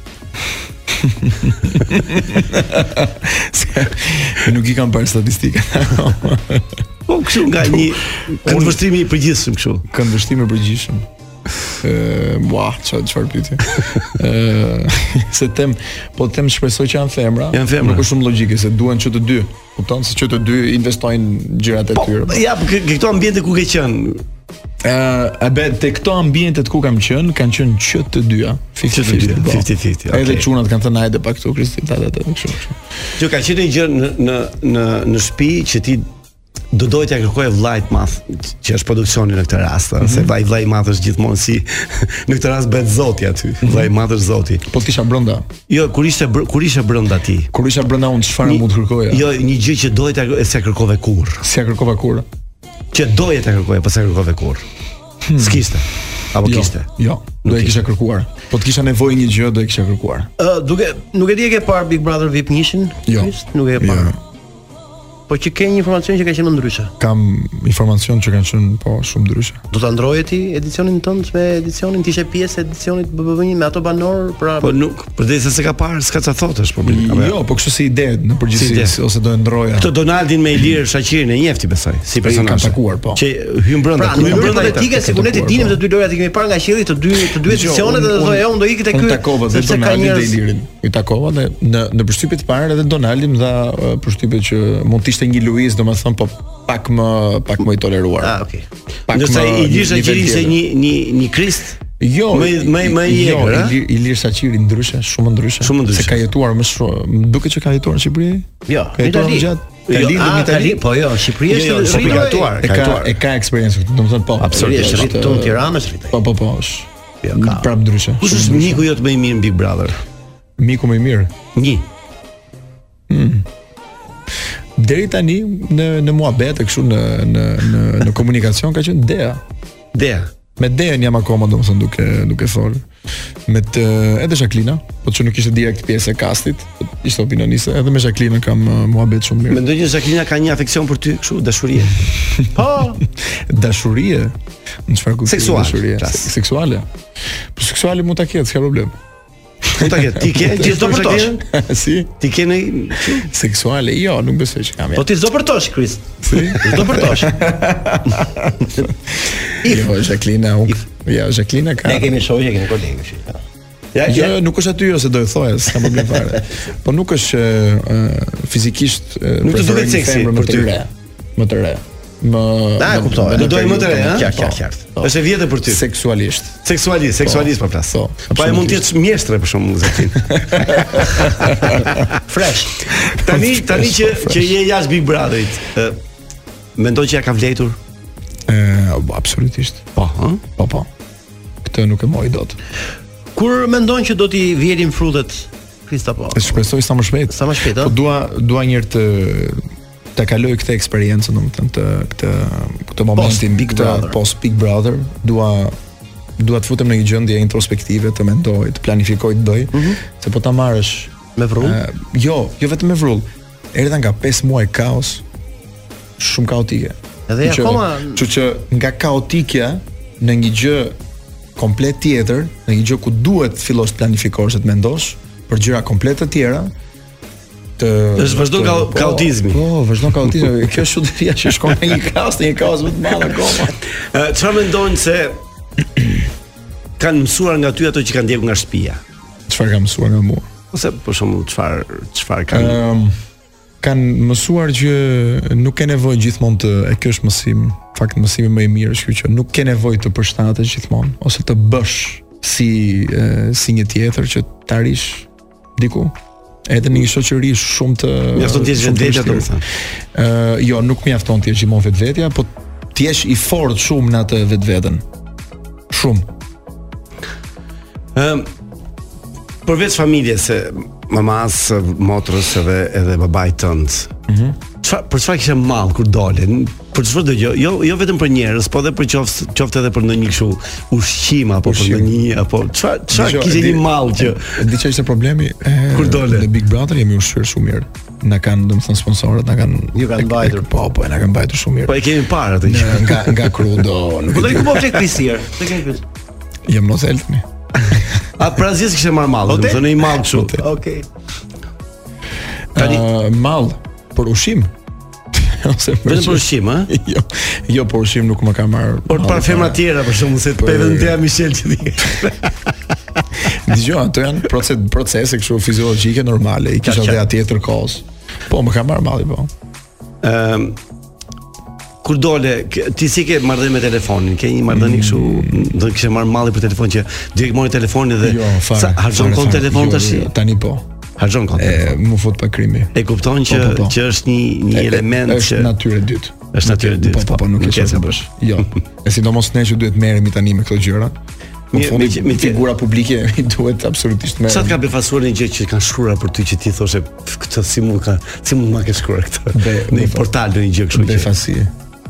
[SPEAKER 12] Nuk i kam parë statistikën.
[SPEAKER 7] po kështu nga një këndvështrimi i përgjithshëm kështu.
[SPEAKER 12] Këndvështrimi i përgjithshëm. Ë, bua, çfarë çfarë pyetje. Ë, se them, po them shpresoj që janë femra.
[SPEAKER 7] Janë femra.
[SPEAKER 12] Nuk është shumë logjike se duan që të dy. Kupton se që të dy investojnë gjërat e tyre.
[SPEAKER 7] Po, ja, po kë- këto ambiente ku ke qenë?
[SPEAKER 12] Ë, a be te këto ambientet ku kam qenë, kanë qenë që të dyja, 50-50. po.
[SPEAKER 7] 50-50,
[SPEAKER 12] Edhe
[SPEAKER 7] okay.
[SPEAKER 12] çunat kanë thënë hajde pak këtu Kristi, ta ta ta kështu. kështu.
[SPEAKER 7] Që ka qenë një gjë në në në në shtëpi që ti do doja t'ja kërkoje vllajt madh, që është produksioni në këtë rast, mm se vllai vllai i madh është gjithmonë si në këtë rast bëhet zoti aty. Vllai i madh është zoti.
[SPEAKER 12] Po t'isha brenda.
[SPEAKER 7] Jo, kur ishte br- kur ishe brenda ti.
[SPEAKER 12] Kur isha brenda unë çfarë mund të kërkoja?
[SPEAKER 7] Jo, një gjë që doja t'ja e se kërkove kurr.
[SPEAKER 12] Se kërkova kurr.
[SPEAKER 7] Që doja t'ja kërkoje, po se kërkove kurr. S'kishte. Apo
[SPEAKER 12] Hmm. Jo,
[SPEAKER 7] Po kishte.
[SPEAKER 12] Jo, do e kisha kërkuar. Po të kisha nevojë një gjë, do e kisha kërkuar.
[SPEAKER 8] Ë, duke nuk e di e ke parë Big Brother VIP 100-shin?
[SPEAKER 12] Jo.
[SPEAKER 8] Nuk e ke parë. Po që ke një informacion që ka qenë më ndryshe.
[SPEAKER 12] Kam informacion që kanë qenë po shumë ndryshe.
[SPEAKER 8] Do ta ndroje ti edicionin tënd me edicionin ti ishe pjesë e edicionit BBV1 me ato banor pra
[SPEAKER 7] Po nuk, përdesë se ka parë, s'ka çfarë thotë problemi. apo
[SPEAKER 12] Jo, po kështu si ide në
[SPEAKER 7] Mm. Si ide.
[SPEAKER 12] përgjithësi ose do e ndroja.
[SPEAKER 7] Këtë Donaldin me Ilir Shaqirin e njefti besoj, si
[SPEAKER 12] Po, i kam
[SPEAKER 7] personazh.
[SPEAKER 12] takuar, po.
[SPEAKER 7] Që hyn brenda,
[SPEAKER 8] Pra, në mënyrë hipotetike sikur ne të dinim të dy lojrat i kemi parë nga qielli të dy të dy
[SPEAKER 12] Dgjoj,
[SPEAKER 8] edicionet dhe do thoya po. Jo, unë do ikë te
[SPEAKER 12] unë
[SPEAKER 8] ky.
[SPEAKER 12] takova dhe
[SPEAKER 8] sepse ka
[SPEAKER 12] Donaldin
[SPEAKER 8] njerëz-
[SPEAKER 12] dhe Ilirin. I takova dhe në në përshtypje të parë edhe Donaldin dha ë, përshtypje që mund të ishte një Luiz, domethënë po pak më pak më i toleruar. Ah,
[SPEAKER 8] okay.
[SPEAKER 12] Pak
[SPEAKER 7] Ndërsa
[SPEAKER 12] më
[SPEAKER 7] Ilir Shaqiri
[SPEAKER 12] nivel
[SPEAKER 7] ishte
[SPEAKER 12] tjetër.
[SPEAKER 7] një një një krist.
[SPEAKER 12] Jo,
[SPEAKER 7] më më më i
[SPEAKER 12] jo,
[SPEAKER 7] egër, a?
[SPEAKER 12] Ilir- Ilir Saqiri ndryshe, shumë ndryshe. Shumë ndryshe. Se ka jetuar më shumë, më duket që ka jetuar në Shqipëri.
[SPEAKER 8] Jo,
[SPEAKER 12] ka
[SPEAKER 8] në
[SPEAKER 12] jetuar
[SPEAKER 8] Itali.
[SPEAKER 12] më gjatë.
[SPEAKER 8] Jo,
[SPEAKER 12] Ka lindur
[SPEAKER 8] a,
[SPEAKER 12] në
[SPEAKER 8] ka
[SPEAKER 12] Itali.
[SPEAKER 8] li- po jo, në Shqipëri është
[SPEAKER 12] jo,
[SPEAKER 8] rritur,
[SPEAKER 12] po,
[SPEAKER 8] e-
[SPEAKER 12] gatuar,
[SPEAKER 8] e
[SPEAKER 12] e
[SPEAKER 8] ka-
[SPEAKER 12] ka e ka eksperiencë, domethënë po.
[SPEAKER 7] Absolutisht,
[SPEAKER 12] është,
[SPEAKER 7] rritur në
[SPEAKER 12] ë,
[SPEAKER 7] Tiranë është rritur.
[SPEAKER 12] Po, po, po. është. Prap ndryshe.
[SPEAKER 7] Kush
[SPEAKER 12] shumë
[SPEAKER 7] është
[SPEAKER 12] ndryshe.
[SPEAKER 7] miku jot më i mirë në Big Brother?
[SPEAKER 12] Miku më i mirë.
[SPEAKER 7] Një.
[SPEAKER 12] Hmm. Deri tani në në muhabet e kështu në në në në komunikacion ka qenë Dea.
[SPEAKER 7] Dea.
[SPEAKER 12] Me Deën jam akoma domethënë duke duke folur. Me të, edhe Jacqueline, po që nuk ishte direkt pjesë e kastit, po ishte opinioniste, edhe me Jacqueline kam uh, muhabet shumë mirë.
[SPEAKER 7] Mendoj që Jacqueline ka një afeksion për ty, kështu dashurie. Po.
[SPEAKER 12] dashurie. Në çfarë kuptimi
[SPEAKER 7] Seksuale,
[SPEAKER 12] dashurie?
[SPEAKER 7] plas.
[SPEAKER 12] Se- Seksuale. Po seksuale mund ta ketë, s'ka problem.
[SPEAKER 7] Mund ta ketë, ti ke, ti s'do përtosh.
[SPEAKER 12] si?
[SPEAKER 7] Ti ke në
[SPEAKER 12] seksuale? Jo, nuk besoj që kam. ja.
[SPEAKER 8] Po ti s'do përtosh Kris.
[SPEAKER 12] Si?
[SPEAKER 8] S'do përtosh.
[SPEAKER 12] Jo, Jacqueline, unë... Ja, Jacqueline ka.
[SPEAKER 8] Ne kemi shoqë, kemi kolegë kështu.
[SPEAKER 12] Ja, jo, nuk është aty ose do e thoja, s'ka problem fare. Po nuk është ë, ë, fizikisht ë,
[SPEAKER 7] Nuk të
[SPEAKER 12] preferoj
[SPEAKER 7] duket
[SPEAKER 12] një
[SPEAKER 7] seksi
[SPEAKER 12] femër më
[SPEAKER 7] për
[SPEAKER 12] të
[SPEAKER 7] ty.
[SPEAKER 12] re, më të re.
[SPEAKER 7] Na
[SPEAKER 12] Më
[SPEAKER 7] e Ah, kuptoj. Do doj më të re, ha? Qartë, qartë, qartë. Është e vjetër për ty.
[SPEAKER 12] Seksualisht.
[SPEAKER 7] Seksualist, seksualist po plas. Po, pa e mund të jetë mjeshtre për shkakun Jacqueline.
[SPEAKER 8] Fresh.
[SPEAKER 7] Tani tani që
[SPEAKER 12] Fresh.
[SPEAKER 7] që je jashtë Big Brotherit, ë mendon që ja ka vletur?
[SPEAKER 12] Ë, po, absolutisht.
[SPEAKER 7] Po, ha?
[SPEAKER 12] Po, po. Këtë nuk e moj dot.
[SPEAKER 8] Kur mendon që do t'i vjelin frutet Krista po.
[SPEAKER 12] E shpresoj sa më shpejt.
[SPEAKER 8] Sa më shpejt, ë?
[SPEAKER 12] Po dua dua një herë të ta kaloj këtë eksperiencë, domethënë të këtë këtë momentin
[SPEAKER 8] Big
[SPEAKER 12] këtë
[SPEAKER 8] Brother.
[SPEAKER 12] post Big Brother, dua dua të futem në një gjendje introspektive, të mendoj, të planifikoj, të bëj, se po ta marrësh
[SPEAKER 8] Mhm. me vrull?
[SPEAKER 12] jo, jo vetëm me vrull. Erdha nga 5 muaj kaos, shumë kaotike.
[SPEAKER 8] Edhe
[SPEAKER 12] Që-
[SPEAKER 8] akoma-
[SPEAKER 12] Kështu që nga kaotikja në një gjë komplet tjetër, në një gjë ku duhet të fillosh të planifikosh, dhe të mendosh për gjëra komplet të tjera, të
[SPEAKER 7] Është vazhdon
[SPEAKER 12] të-
[SPEAKER 7] kao- kaotizmi.
[SPEAKER 12] Po, po vazhdon kaotizmi. Kjo është çuditëria që shkon në një kaos, në një kaos më të madh akoma.
[SPEAKER 7] Ë, Çfarë mendojnë se kanë mësuar nga ty ato që kanë ndjekur nga shtëpia?
[SPEAKER 12] Çfarë ka mësuar nga mua?
[SPEAKER 7] Ose për shembull çfarë çfarë kanë
[SPEAKER 12] Ëm, Ehm, kanë mësuar që nuk ke nevojë gjithmonë të e kjo është mësim, fakt mësimi më i mirë është ky që nuk ke nevojë të përshtatesh gjithmonë ose të bësh si e, si një tjetër që ta rish diku edhe në një shoqëri shumë të
[SPEAKER 7] Mjafton të jesh
[SPEAKER 12] shumë
[SPEAKER 7] vetvetja,
[SPEAKER 12] vështirë.
[SPEAKER 7] domethënë.
[SPEAKER 12] Ë, jo, nuk mjafton të jesh gjithmonë vetvetja, po të jesh i fortë shumë në atë vetveten. Shumë.
[SPEAKER 7] Ëm përveç familjes se mamas,
[SPEAKER 12] Mhm.
[SPEAKER 7] motrës edhe edhe babait tënd. Çfarë për çfarë kishe mall kur dolën? për çfarë do gjë, jo jo vetëm për njerëz, po edhe për qoftë qoftë edhe për ndonjë kështu ushqim apo për
[SPEAKER 12] Ushqim.
[SPEAKER 7] ndonjë apo çfarë çfarë kishte një mall që
[SPEAKER 12] di çfarë ishte problemi e,
[SPEAKER 7] Kur dole?
[SPEAKER 12] Dhe Big Brother jemi ushqyer shumë mirë. Na kanë domethënë sponsorët, na kanë ju kanë mbajtur. Po, po, na kanë mbajtur shumë mirë.
[SPEAKER 7] po e kemi parë atë
[SPEAKER 12] Në- nga nga crudo. nuk e
[SPEAKER 7] Po do
[SPEAKER 12] di.
[SPEAKER 7] të ku po flet
[SPEAKER 8] er.
[SPEAKER 7] pisir. Tek ai pis.
[SPEAKER 12] Jam në hotel tani.
[SPEAKER 7] A prazjes kishte marr mall, do të thonë i mall kështu.
[SPEAKER 8] Okej.
[SPEAKER 12] Tani mall për ushqim. Ose
[SPEAKER 7] Vetëm për ushqim, ha?
[SPEAKER 12] Jo. Jo, për ushqim nuk më ka marr.
[SPEAKER 7] Por
[SPEAKER 12] malli
[SPEAKER 7] para femra
[SPEAKER 12] fare.
[SPEAKER 7] tjera për shkakun se të
[SPEAKER 12] Për-
[SPEAKER 7] pe vetëm Dea Michel që di.
[SPEAKER 12] Dgjoj, ato janë proces procese kështu fiziologjike normale, i kisha
[SPEAKER 7] Qa- qa-
[SPEAKER 12] dhe atje tërkos. Po, më ka marr malli po.
[SPEAKER 7] Ëm Ehm, kur dole, k- ti si ke marrëdhënie me telefonin? Ke një marrëdhënie kështu, do të kishe marr malli për telefon që direkt mori telefonin dhe
[SPEAKER 12] Mm. Jo, fare.
[SPEAKER 7] sa harxhon
[SPEAKER 12] fare,
[SPEAKER 7] kon
[SPEAKER 12] fare.
[SPEAKER 7] telefon
[SPEAKER 12] Jo,
[SPEAKER 7] tash?
[SPEAKER 12] jo, Tani po.
[SPEAKER 7] Harxhon kon.
[SPEAKER 12] E më fut pa krimi.
[SPEAKER 7] E kupton që
[SPEAKER 12] Po, po, po.
[SPEAKER 7] që është një një
[SPEAKER 12] E- e-
[SPEAKER 7] element
[SPEAKER 12] është
[SPEAKER 7] që
[SPEAKER 12] natyrë e dytë.
[SPEAKER 7] Është natyrë e dytë,
[SPEAKER 12] Po, po, po, nuk
[SPEAKER 7] nuk
[SPEAKER 12] e
[SPEAKER 7] e
[SPEAKER 12] shoh
[SPEAKER 7] se
[SPEAKER 12] se
[SPEAKER 7] bësh.
[SPEAKER 12] bësh. Jo. E sidomos ne që duhet merremi tani me këto gjëra.
[SPEAKER 7] Mi-
[SPEAKER 12] Në fundi
[SPEAKER 7] mi- mi-
[SPEAKER 12] me figura publike i duhet absolutisht merrem.
[SPEAKER 7] Sa të ka befasuar një gjë që kanë shkruar për ty që ti thoshe "Pf, këtë si mund ka, si mund ma ke shkruar këtë në një portal në një gjë kështu që.
[SPEAKER 12] Befasi.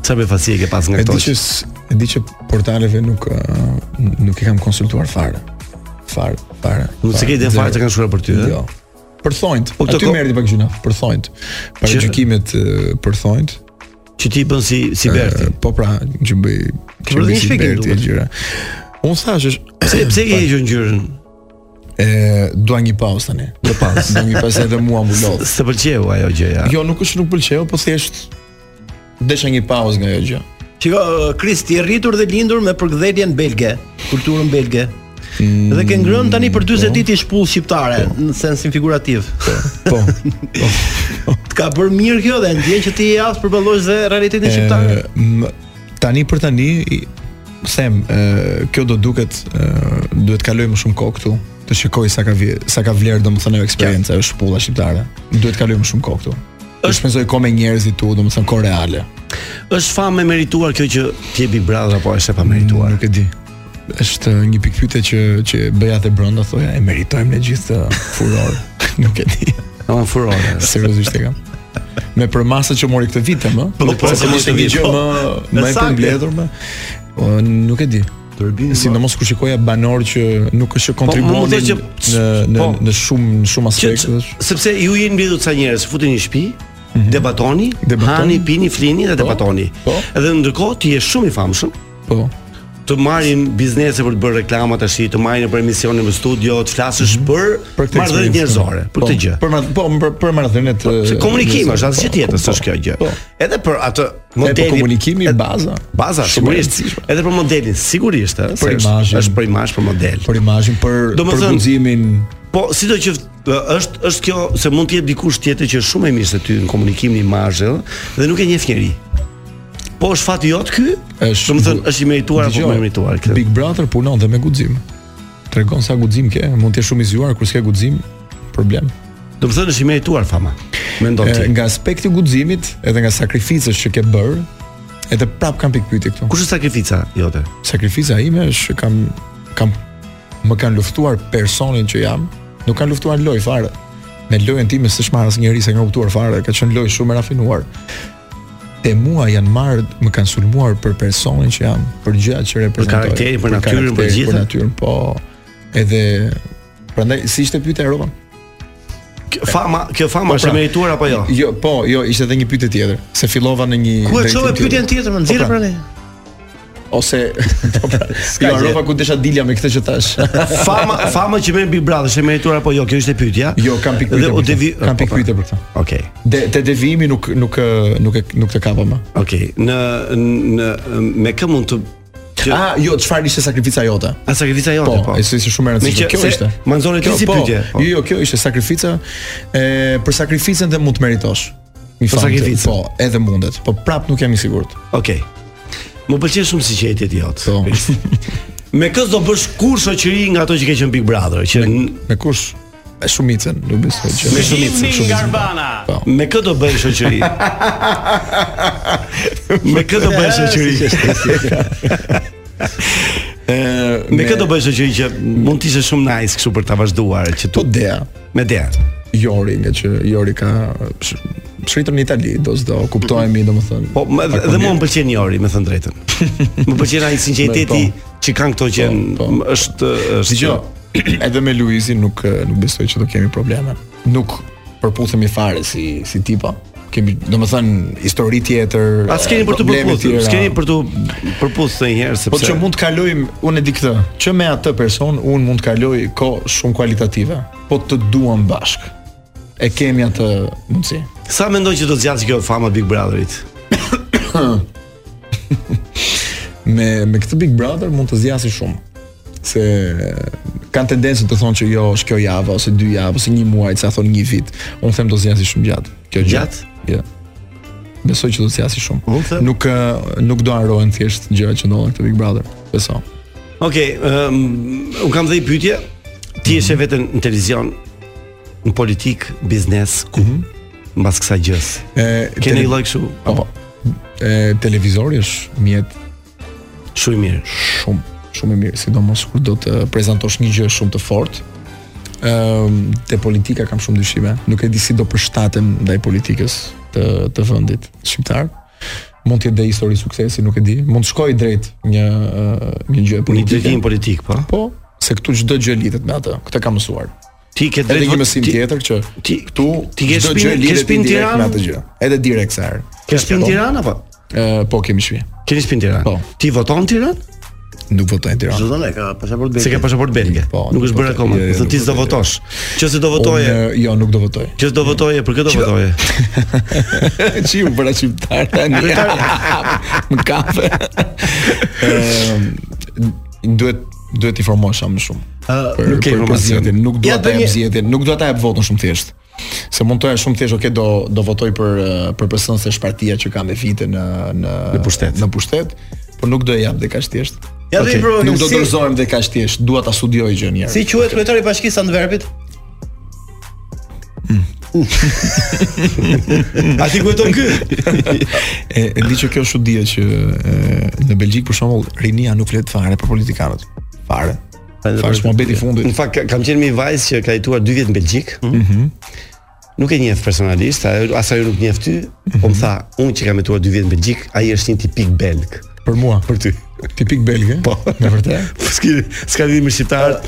[SPEAKER 7] Sa befasi e ke pas nga
[SPEAKER 12] E
[SPEAKER 7] këto?
[SPEAKER 12] di që s- e di që portaleve nuk uh, nuk e kam konsultuar fare. Fare, fare.
[SPEAKER 7] Nuk se ke ide fare
[SPEAKER 12] Zero.
[SPEAKER 7] që kanë shkruar për ty, ëh?
[SPEAKER 12] Jo. Për thonjt.
[SPEAKER 7] Po këto
[SPEAKER 12] Aty
[SPEAKER 7] ko-
[SPEAKER 12] merri pak gjëna, për thonjt. Para
[SPEAKER 7] Që-
[SPEAKER 12] gjykimet eh, për thonjt.
[SPEAKER 7] Që ti bën si si Berti.
[SPEAKER 12] Po pra, që bëj
[SPEAKER 7] Ke bërë një shpjegim,
[SPEAKER 12] e
[SPEAKER 7] duket.
[SPEAKER 12] gjëra. Unë thash është
[SPEAKER 7] Pse pse ke hequr ngjyrën?
[SPEAKER 12] e dua një pauzë tani. Do pauzë. Do një pauzë edhe mua më lodh.
[SPEAKER 7] S'të pëlqeu ajo gjë ja.
[SPEAKER 12] Jo, nuk është nuk pëlqeu, po thjesht desha një pauzë nga ajo gjë.
[SPEAKER 8] Shiko, Kris, ti je rritur dhe lindur me përkthjeljen belge, kulturën belge. Dhe ke ngrënë tani për 40 ditë i shpull shqiptare, në sensin figurativ.
[SPEAKER 12] Po.
[SPEAKER 8] Të ka bërë mirë kjo dhe ndjen që ti je aftë përballojsh dhe realitetin shqiptar.
[SPEAKER 12] E, m- tani për tani i- them, e, kjo do duket e, duhet kaloj më shumë kohë këtu të shikoj sa ka vje, sa ka vlerë domethënë ajo eksperjenca e shpulla shqiptare. Duhet kaloj më shumë kohë këtu. Është shpenzoj kohë me njerëzit tu, domethënë kohë reale.
[SPEAKER 7] Është famë e merituar kjo që ti je Big Brother apo është e pamerituar?
[SPEAKER 12] Nuk e di. Është një pikë pyetje që që bëja te brenda thoja e meritojmë ne gjithë të furor. Nuk e di.
[SPEAKER 7] Ama furor.
[SPEAKER 12] Seriozisht e kam. Me përmasa që mori këtë vit, më.
[SPEAKER 7] Po, po, se mos e
[SPEAKER 12] një
[SPEAKER 7] vi,
[SPEAKER 12] gjë
[SPEAKER 7] po.
[SPEAKER 12] më më e
[SPEAKER 7] Saktë.
[SPEAKER 12] përmbledhur më. O, nuk e di.
[SPEAKER 7] Turbini.
[SPEAKER 12] Sidomos kur shikoja banor që nuk është që
[SPEAKER 7] Po, mund
[SPEAKER 12] kontribuonin
[SPEAKER 7] të që-
[SPEAKER 12] në në
[SPEAKER 7] po.
[SPEAKER 12] në shumë në shumë
[SPEAKER 7] Që,
[SPEAKER 12] aspekte.
[SPEAKER 7] që- sepse ju jeni mbledhur ca njerëz, futeni në shtëpi,
[SPEAKER 12] Mhm.
[SPEAKER 7] debatoni, hani, pini, flini dhe debatoni. Edhe ndërkohë ti je shumë i famshëm.
[SPEAKER 12] Po.
[SPEAKER 7] Të marrin biznese për të bërë reklama tash, të marrin për emisione në studio, të flasësh për
[SPEAKER 12] Mhm. këtë
[SPEAKER 7] marrëdhënie
[SPEAKER 12] eksperiencë,
[SPEAKER 7] njerëzore, për
[SPEAKER 12] po,
[SPEAKER 7] këtë gjë.
[SPEAKER 12] Për mar- po për, për marrëdhënie të
[SPEAKER 7] Se komunikim është
[SPEAKER 12] po,
[SPEAKER 7] asgjë tjetër, s'është kjo gjë. Edhe për atë modelin
[SPEAKER 12] komunikimi,
[SPEAKER 7] ed-
[SPEAKER 12] baza.
[SPEAKER 7] Baza
[SPEAKER 12] po Shumë e
[SPEAKER 7] sigurisht.
[SPEAKER 12] rëndësishme.
[SPEAKER 7] Edhe për modelin sigurisht, ëh, se
[SPEAKER 12] Për
[SPEAKER 7] është-
[SPEAKER 12] imazhin.
[SPEAKER 7] është për imazh, për model.
[SPEAKER 12] për imazhin, për
[SPEAKER 7] Do më
[SPEAKER 12] për
[SPEAKER 7] thënë-
[SPEAKER 12] guximin.
[SPEAKER 7] Po, sidoqoftë ë, është është kjo se mund të jetë dikush tjetër që është shumë e mirë se ty në komunikimin imazh ëh, dhe nuk e njeh njerëj. Po është fati jot ky?
[SPEAKER 12] Është,
[SPEAKER 7] Do të thënë është i merituar apo
[SPEAKER 12] Dgjoj,
[SPEAKER 7] më merituar këtë?
[SPEAKER 12] Big Brother punon dhe me guxim. Tregon sa guxim ke, mund të jesh shumë i zgjuar kur s'ke guxim, problem.
[SPEAKER 7] Do të thënë është i merituar fama. Mendon
[SPEAKER 12] E,
[SPEAKER 7] ti.
[SPEAKER 12] Nga aspekti i guximit, edhe nga sakrificës që ke bër, edhe prap kam pikë pyetje këtu.
[SPEAKER 7] Kush është sakrifica jote?
[SPEAKER 12] Sakrifica ime është që kam kam më kanë luftuar personin që jam, nuk kanë luftuar loj fare. Me lojën time s'është marrë asnjë njerëz se nga luftuar fare, ka qenë lojë shumë e rafinuar. Te mua janë marrë, më kanë sulmuar për personin që jam, për gjërat që reprezentoj.
[SPEAKER 7] karakterin, për natyrën, për
[SPEAKER 12] karakterin,
[SPEAKER 7] gjithë.
[SPEAKER 12] Për natyrën, po. Edhe prandaj si ishte pyetja e Roman?
[SPEAKER 7] Kjo fama, kjo fama është e merituar apo jo?
[SPEAKER 12] Jo, po, jo, ishte edhe një pyetje tjetër, se fillova në një
[SPEAKER 8] Ku e
[SPEAKER 12] drejtim
[SPEAKER 8] çove
[SPEAKER 12] tjetër.
[SPEAKER 8] pyetjen tjetër, më
[SPEAKER 12] Po
[SPEAKER 8] nxjerr
[SPEAKER 12] pra,
[SPEAKER 8] pra ne.
[SPEAKER 12] Ose po pra, jo,
[SPEAKER 7] gjë.
[SPEAKER 12] Rova ku desha dilja me këtë që tash.
[SPEAKER 7] Fama, fama që merr Big Brother është e merituar apo jo? Kjo është e pyetja.
[SPEAKER 12] Jo, kam pikë
[SPEAKER 7] Dhe
[SPEAKER 12] pyetje.
[SPEAKER 7] u
[SPEAKER 12] për
[SPEAKER 7] devi Ah, po,
[SPEAKER 12] këtë. Kam pikë pyetje për këtë.
[SPEAKER 7] Okej.
[SPEAKER 12] De, te devijimi nuk nuk ë, nuk e nuk të kapa më.
[SPEAKER 7] Okej. Në në me kë mund të që-
[SPEAKER 12] Ah, jo, çfarë ishte sakrifica jote?
[SPEAKER 7] A sakrifica jote,
[SPEAKER 12] Po,
[SPEAKER 7] po.
[SPEAKER 12] e si ishte shumë e rëndësishme.
[SPEAKER 7] Me që-
[SPEAKER 12] Kjo
[SPEAKER 7] se
[SPEAKER 12] ishte.
[SPEAKER 7] ma nxorri ti
[SPEAKER 12] Kjo,
[SPEAKER 7] si
[SPEAKER 12] po,
[SPEAKER 7] pyetje, po.
[SPEAKER 12] Jo, jo, kjo ishte sakrifica. E për sakrificën dhe mund të meritosh. Një
[SPEAKER 7] Për
[SPEAKER 12] fam të-
[SPEAKER 7] sakrificën.
[SPEAKER 12] Po, edhe mundet, po prap nuk jam i sigurt.
[SPEAKER 7] Okej. Më pëlqen shumë si që jeti ti jot.
[SPEAKER 12] Po.
[SPEAKER 7] Me kës do bësh kur shoqëri nga ato që ke qenë Big Brother, që me,
[SPEAKER 12] me kush? Me shumicën, nuk besoj që.
[SPEAKER 7] me shumicën, shumicën.
[SPEAKER 12] Po.
[SPEAKER 7] Me kë do bëj shoqëri? me kë do bëj shoqëri?
[SPEAKER 12] Ë,
[SPEAKER 7] me kë do bëj shoqëri që mund të ishte shumë nice kështu për ta vazhduar që
[SPEAKER 12] Po
[SPEAKER 7] tu
[SPEAKER 12] dea.
[SPEAKER 7] me dea.
[SPEAKER 12] Jori nga që Jori ka sh- shkritëm në Itali, do s'do kuptohemi, domethënë.
[SPEAKER 7] Po, më-
[SPEAKER 12] pak më
[SPEAKER 7] dhe mua
[SPEAKER 12] mirë.
[SPEAKER 7] më pëlqen Jori, me thënë drejtën. Më pëlqen ai sinqeriteti
[SPEAKER 12] Me, po.
[SPEAKER 7] që kanë këto që janë-
[SPEAKER 12] Po, po.
[SPEAKER 7] është është
[SPEAKER 12] Dgjoj, edhe me Luizin nuk eh, nuk besoj që do kemi probleme. Nuk përputhemi fare si si tipa. Kemi, domethënë, histori tjetër.
[SPEAKER 7] A s'keni për të
[SPEAKER 12] probleme
[SPEAKER 7] përputhur,
[SPEAKER 12] tjera.
[SPEAKER 7] s'keni për të përputhur një herë sepse
[SPEAKER 12] Po që mund të kalojmë, unë e di këtë, që me atë person unë mund të kaloj kohë shumë kualitative, po të duam bashk. E kemi atë mundësi.
[SPEAKER 7] Sa mendoj që do të zgjasë kjo fama Big Brotherit?
[SPEAKER 12] Jo. me me këtë Big Brother mund të zgjasë shumë se kanë tendencën të thonë që jo, është kjo javë ose dy javë ose një muaj, sa thonë një vit. Unë them do zjasi shumë gjatë. Kjo gjë.
[SPEAKER 7] Gjatë?
[SPEAKER 12] Jo. Besoj që do zjasi shumë. Nuk ë, nuk do harohen thjesht gjërat që ndodhin këtë Big Brother. Beso.
[SPEAKER 7] Okej, okay, um, un kam dhe i pyetje. Ti ishe vetën në televizion, në politik, biznes, ku? Mbas kësaj gjës.
[SPEAKER 12] E
[SPEAKER 7] Mhm. Keni
[SPEAKER 12] tele-
[SPEAKER 7] lloj kështu?
[SPEAKER 12] Po. E televizori është mjet
[SPEAKER 7] shumë i mirë,
[SPEAKER 12] shumë shumë i mirë, sidomos kur do të prezantosh një gjë shumë të fortë. Ëm te politika kam shumë dyshime. Nuk e di si do përshtatem ndaj politikës të të vendit shqiptar. Mund të jetë dhe histori suksesi, nuk e di. Mund të shkojë drejt një ë, një gjë
[SPEAKER 7] Një
[SPEAKER 12] politike.
[SPEAKER 7] drejtim politik, po.
[SPEAKER 12] Po, se këtu çdo gjë lidhet me atë. Këtë kam mësuar.
[SPEAKER 7] Ti ke drejt
[SPEAKER 12] Edhe një
[SPEAKER 7] vot-
[SPEAKER 12] mësim
[SPEAKER 7] ti-
[SPEAKER 12] tjetër që
[SPEAKER 7] ti
[SPEAKER 12] këtu
[SPEAKER 7] ti ke
[SPEAKER 12] çdo
[SPEAKER 7] shtëpinë-
[SPEAKER 12] gjë
[SPEAKER 7] ke
[SPEAKER 12] lidhet
[SPEAKER 7] shtëpinë në
[SPEAKER 12] indirekt
[SPEAKER 7] Tiranë?
[SPEAKER 12] me atë gjë. Edhe direkt sa herë.
[SPEAKER 7] Ke shtëpinë në
[SPEAKER 12] Po.
[SPEAKER 7] Tiranë apo?
[SPEAKER 12] Ë, po kemi shtëpi.
[SPEAKER 7] Keni shtëpi në Tiranë?
[SPEAKER 12] Po.
[SPEAKER 7] Ti voton në Tiranë?
[SPEAKER 12] Nuk votoj në Tiranë.
[SPEAKER 8] Zonë ka pasaportë belge.
[SPEAKER 7] Se ke pasaportë belge.
[SPEAKER 12] Po,
[SPEAKER 7] nuk
[SPEAKER 12] nuk
[SPEAKER 7] është bërë
[SPEAKER 12] votoj.
[SPEAKER 7] akoma.
[SPEAKER 12] Jo, jo,
[SPEAKER 7] Do
[SPEAKER 12] nuk
[SPEAKER 7] ti s'do
[SPEAKER 12] votoj.
[SPEAKER 7] votosh. Qëse do votoje,
[SPEAKER 12] Unë, jo, nuk do votoj.
[SPEAKER 7] qëse do votoje, për këtë do votoje.
[SPEAKER 12] Çiu për shqiptar tani. Më kafe. Ëm duhet duhet i formosh sa më shumë. Për-
[SPEAKER 7] nuk ke
[SPEAKER 12] për
[SPEAKER 7] informacion.
[SPEAKER 12] zgjedhjen, nuk dua
[SPEAKER 7] Ja,
[SPEAKER 12] ta
[SPEAKER 7] do
[SPEAKER 12] jap
[SPEAKER 7] një-
[SPEAKER 12] zgjedhjen, nuk dua ta jap votën shumë thjesht. Se mund të jesh shumë thjesht, okay, do do votoj për eh, për personën se shpartia që kanë vite në në
[SPEAKER 7] Në pushtet.
[SPEAKER 12] Në pushtet, por nuk do e jap dhe kaq thjesht.
[SPEAKER 8] Ja, dhe i
[SPEAKER 12] Okej,
[SPEAKER 8] bro,
[SPEAKER 12] nuk do
[SPEAKER 8] si-
[SPEAKER 12] dorëzohem dhe kaq thjesht, dua ta studioj gjën një herë.
[SPEAKER 8] Si quhet kryetari i bashkisë Antwerpit?
[SPEAKER 7] A ti kujton ky?
[SPEAKER 12] E, e di që kjo është çudia që e, në Belgjik për shembull rinia nuk flet fare për politikanët. Fare. Fare është muhabeti i fundit.
[SPEAKER 7] Në fakt ka- kam qenë me një vajzë që ka jetuar 2 vjet në Belgjik. Mhm. Nuk e njeh personalisht, ajo as ajo nuk njeh ty, po më tha, unë që kam jetuar 2 vjet në Belgjik, ai është një tipik belg.
[SPEAKER 12] Për mua.
[SPEAKER 7] Për ty.
[SPEAKER 12] Tipik belgë.
[SPEAKER 7] Po,
[SPEAKER 12] me vërtet.
[SPEAKER 7] Ski, s'ka lidhje me shqiptarët.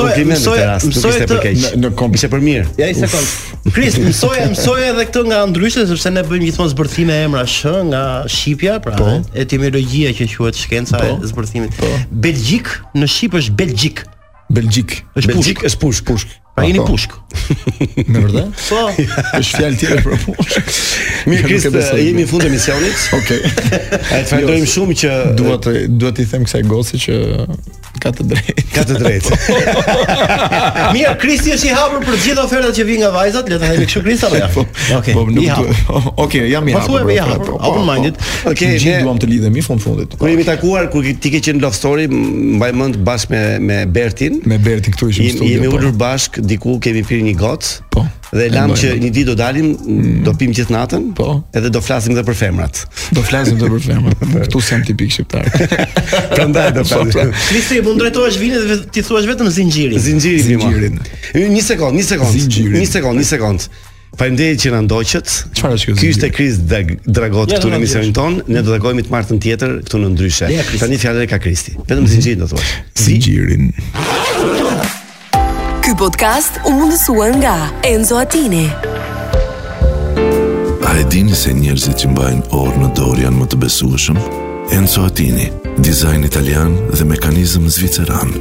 [SPEAKER 8] mësoj-
[SPEAKER 7] kompliment në
[SPEAKER 8] mësoj-
[SPEAKER 7] këtë rast, nuk
[SPEAKER 8] mësoj
[SPEAKER 7] ishte
[SPEAKER 8] të-
[SPEAKER 7] për keq.
[SPEAKER 8] në- në kom-
[SPEAKER 7] Ishte për mirë.
[SPEAKER 8] Ja, një sekond. Kris, mësoje, mësoje edhe këtë nga ndryshe sepse ne bëjmë gjithmonë zbërthime e emra sh nga shqipja, pra
[SPEAKER 7] Po.
[SPEAKER 8] etimologjia që quhet shkenca
[SPEAKER 7] Po.
[SPEAKER 8] e zbërthimit. Belgjik në shqip është Belgjik.
[SPEAKER 12] Belgjik.
[SPEAKER 8] Është
[SPEAKER 7] Belgjik
[SPEAKER 8] pushk.
[SPEAKER 7] është pushk, pushk.
[SPEAKER 8] Pra jeni
[SPEAKER 12] Po.
[SPEAKER 8] pushk.
[SPEAKER 12] Me vërtet?
[SPEAKER 8] Po.
[SPEAKER 12] Është fjalë tjetër për pushë.
[SPEAKER 7] Mirë
[SPEAKER 12] Nuk e
[SPEAKER 7] Kris,
[SPEAKER 12] besoj.
[SPEAKER 7] jemi në fund të misionit.
[SPEAKER 12] Okej.
[SPEAKER 7] Ai të
[SPEAKER 12] Jo.
[SPEAKER 7] falenderojmë shumë që
[SPEAKER 12] Dua të dua t'i them kësaj goci që ka të drejtë.
[SPEAKER 7] ka të drejtë.
[SPEAKER 8] Mirë, Kristi është i hapur për të gjitha ofertat që vijnë nga vajzat, le ta hemi kështu Kris apo ja. Okej.
[SPEAKER 12] Po nuk
[SPEAKER 8] i hapur.
[SPEAKER 12] dua. Okej, jam i
[SPEAKER 8] Po thuaj
[SPEAKER 12] hapur.
[SPEAKER 8] me i
[SPEAKER 12] bro,
[SPEAKER 8] hapur,
[SPEAKER 12] po, po,
[SPEAKER 8] open
[SPEAKER 12] po.
[SPEAKER 8] minded.
[SPEAKER 7] Okej,
[SPEAKER 12] Të
[SPEAKER 7] ne-
[SPEAKER 12] Gjithë duam të lidhemi fund fundit.
[SPEAKER 8] Po,
[SPEAKER 7] Kur jemi takuar, kur ti ke qenë në Love Story, m- mbaj mend bashkë me me Bertin.
[SPEAKER 12] Me Berti këtu ishim në
[SPEAKER 7] Jemi,
[SPEAKER 12] studio.
[SPEAKER 7] jemi
[SPEAKER 12] po.
[SPEAKER 7] ulur bashk, diku kemi pirë një gocë.
[SPEAKER 12] Po.
[SPEAKER 7] Dhe
[SPEAKER 12] E
[SPEAKER 7] lam
[SPEAKER 12] mbaj
[SPEAKER 7] që
[SPEAKER 12] mend. Mm.
[SPEAKER 7] një ditë do dalim, do pim gjithë natën,
[SPEAKER 12] Po.
[SPEAKER 7] edhe do flasim edhe për femrat.
[SPEAKER 12] Do flasim të për femrat. Ktu s'jam tipik shqiptar.
[SPEAKER 7] Prandaj
[SPEAKER 12] Po,
[SPEAKER 7] do
[SPEAKER 12] pra.
[SPEAKER 7] flasim.
[SPEAKER 8] Kristi, mund drejtohesh vinit dhe ti thuash vetëm zinxhirin.
[SPEAKER 7] Zinxhiri bima.
[SPEAKER 12] Zinxhirin.
[SPEAKER 7] Një sekond, një sekond.
[SPEAKER 12] Zinxhirin.
[SPEAKER 7] Një sekond, një sekond. Faleminderit që na ndoqët.
[SPEAKER 12] Çfarë është kjo
[SPEAKER 7] Ky ishte
[SPEAKER 12] zinxhiri?
[SPEAKER 7] Kris Dag- Dragot
[SPEAKER 8] Ja,
[SPEAKER 7] këtu në
[SPEAKER 8] Dragot,
[SPEAKER 7] emisionin ton. Ne do takohemi të martën tjetër këtu në ndryshe.
[SPEAKER 8] Ja, Kristi.
[SPEAKER 7] Tani fjalën e ka Kristi. Vetëm zinxhirin do thuash.
[SPEAKER 12] Zinxhirin.
[SPEAKER 3] Ky podcast u mundësua nga Enzo Attini.
[SPEAKER 2] A e dini se njerëzit që mbajnë orë në dorë janë më të besueshëm? Enzo Attini, dizajn italian dhe mekanizëm zviceran.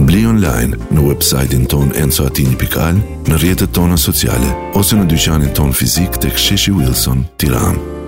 [SPEAKER 2] Bli online në website-in ton enzoatini.al, në rjetët tona sociale, ose në dyqanin ton fizik të ksheshi Wilson, tiranë.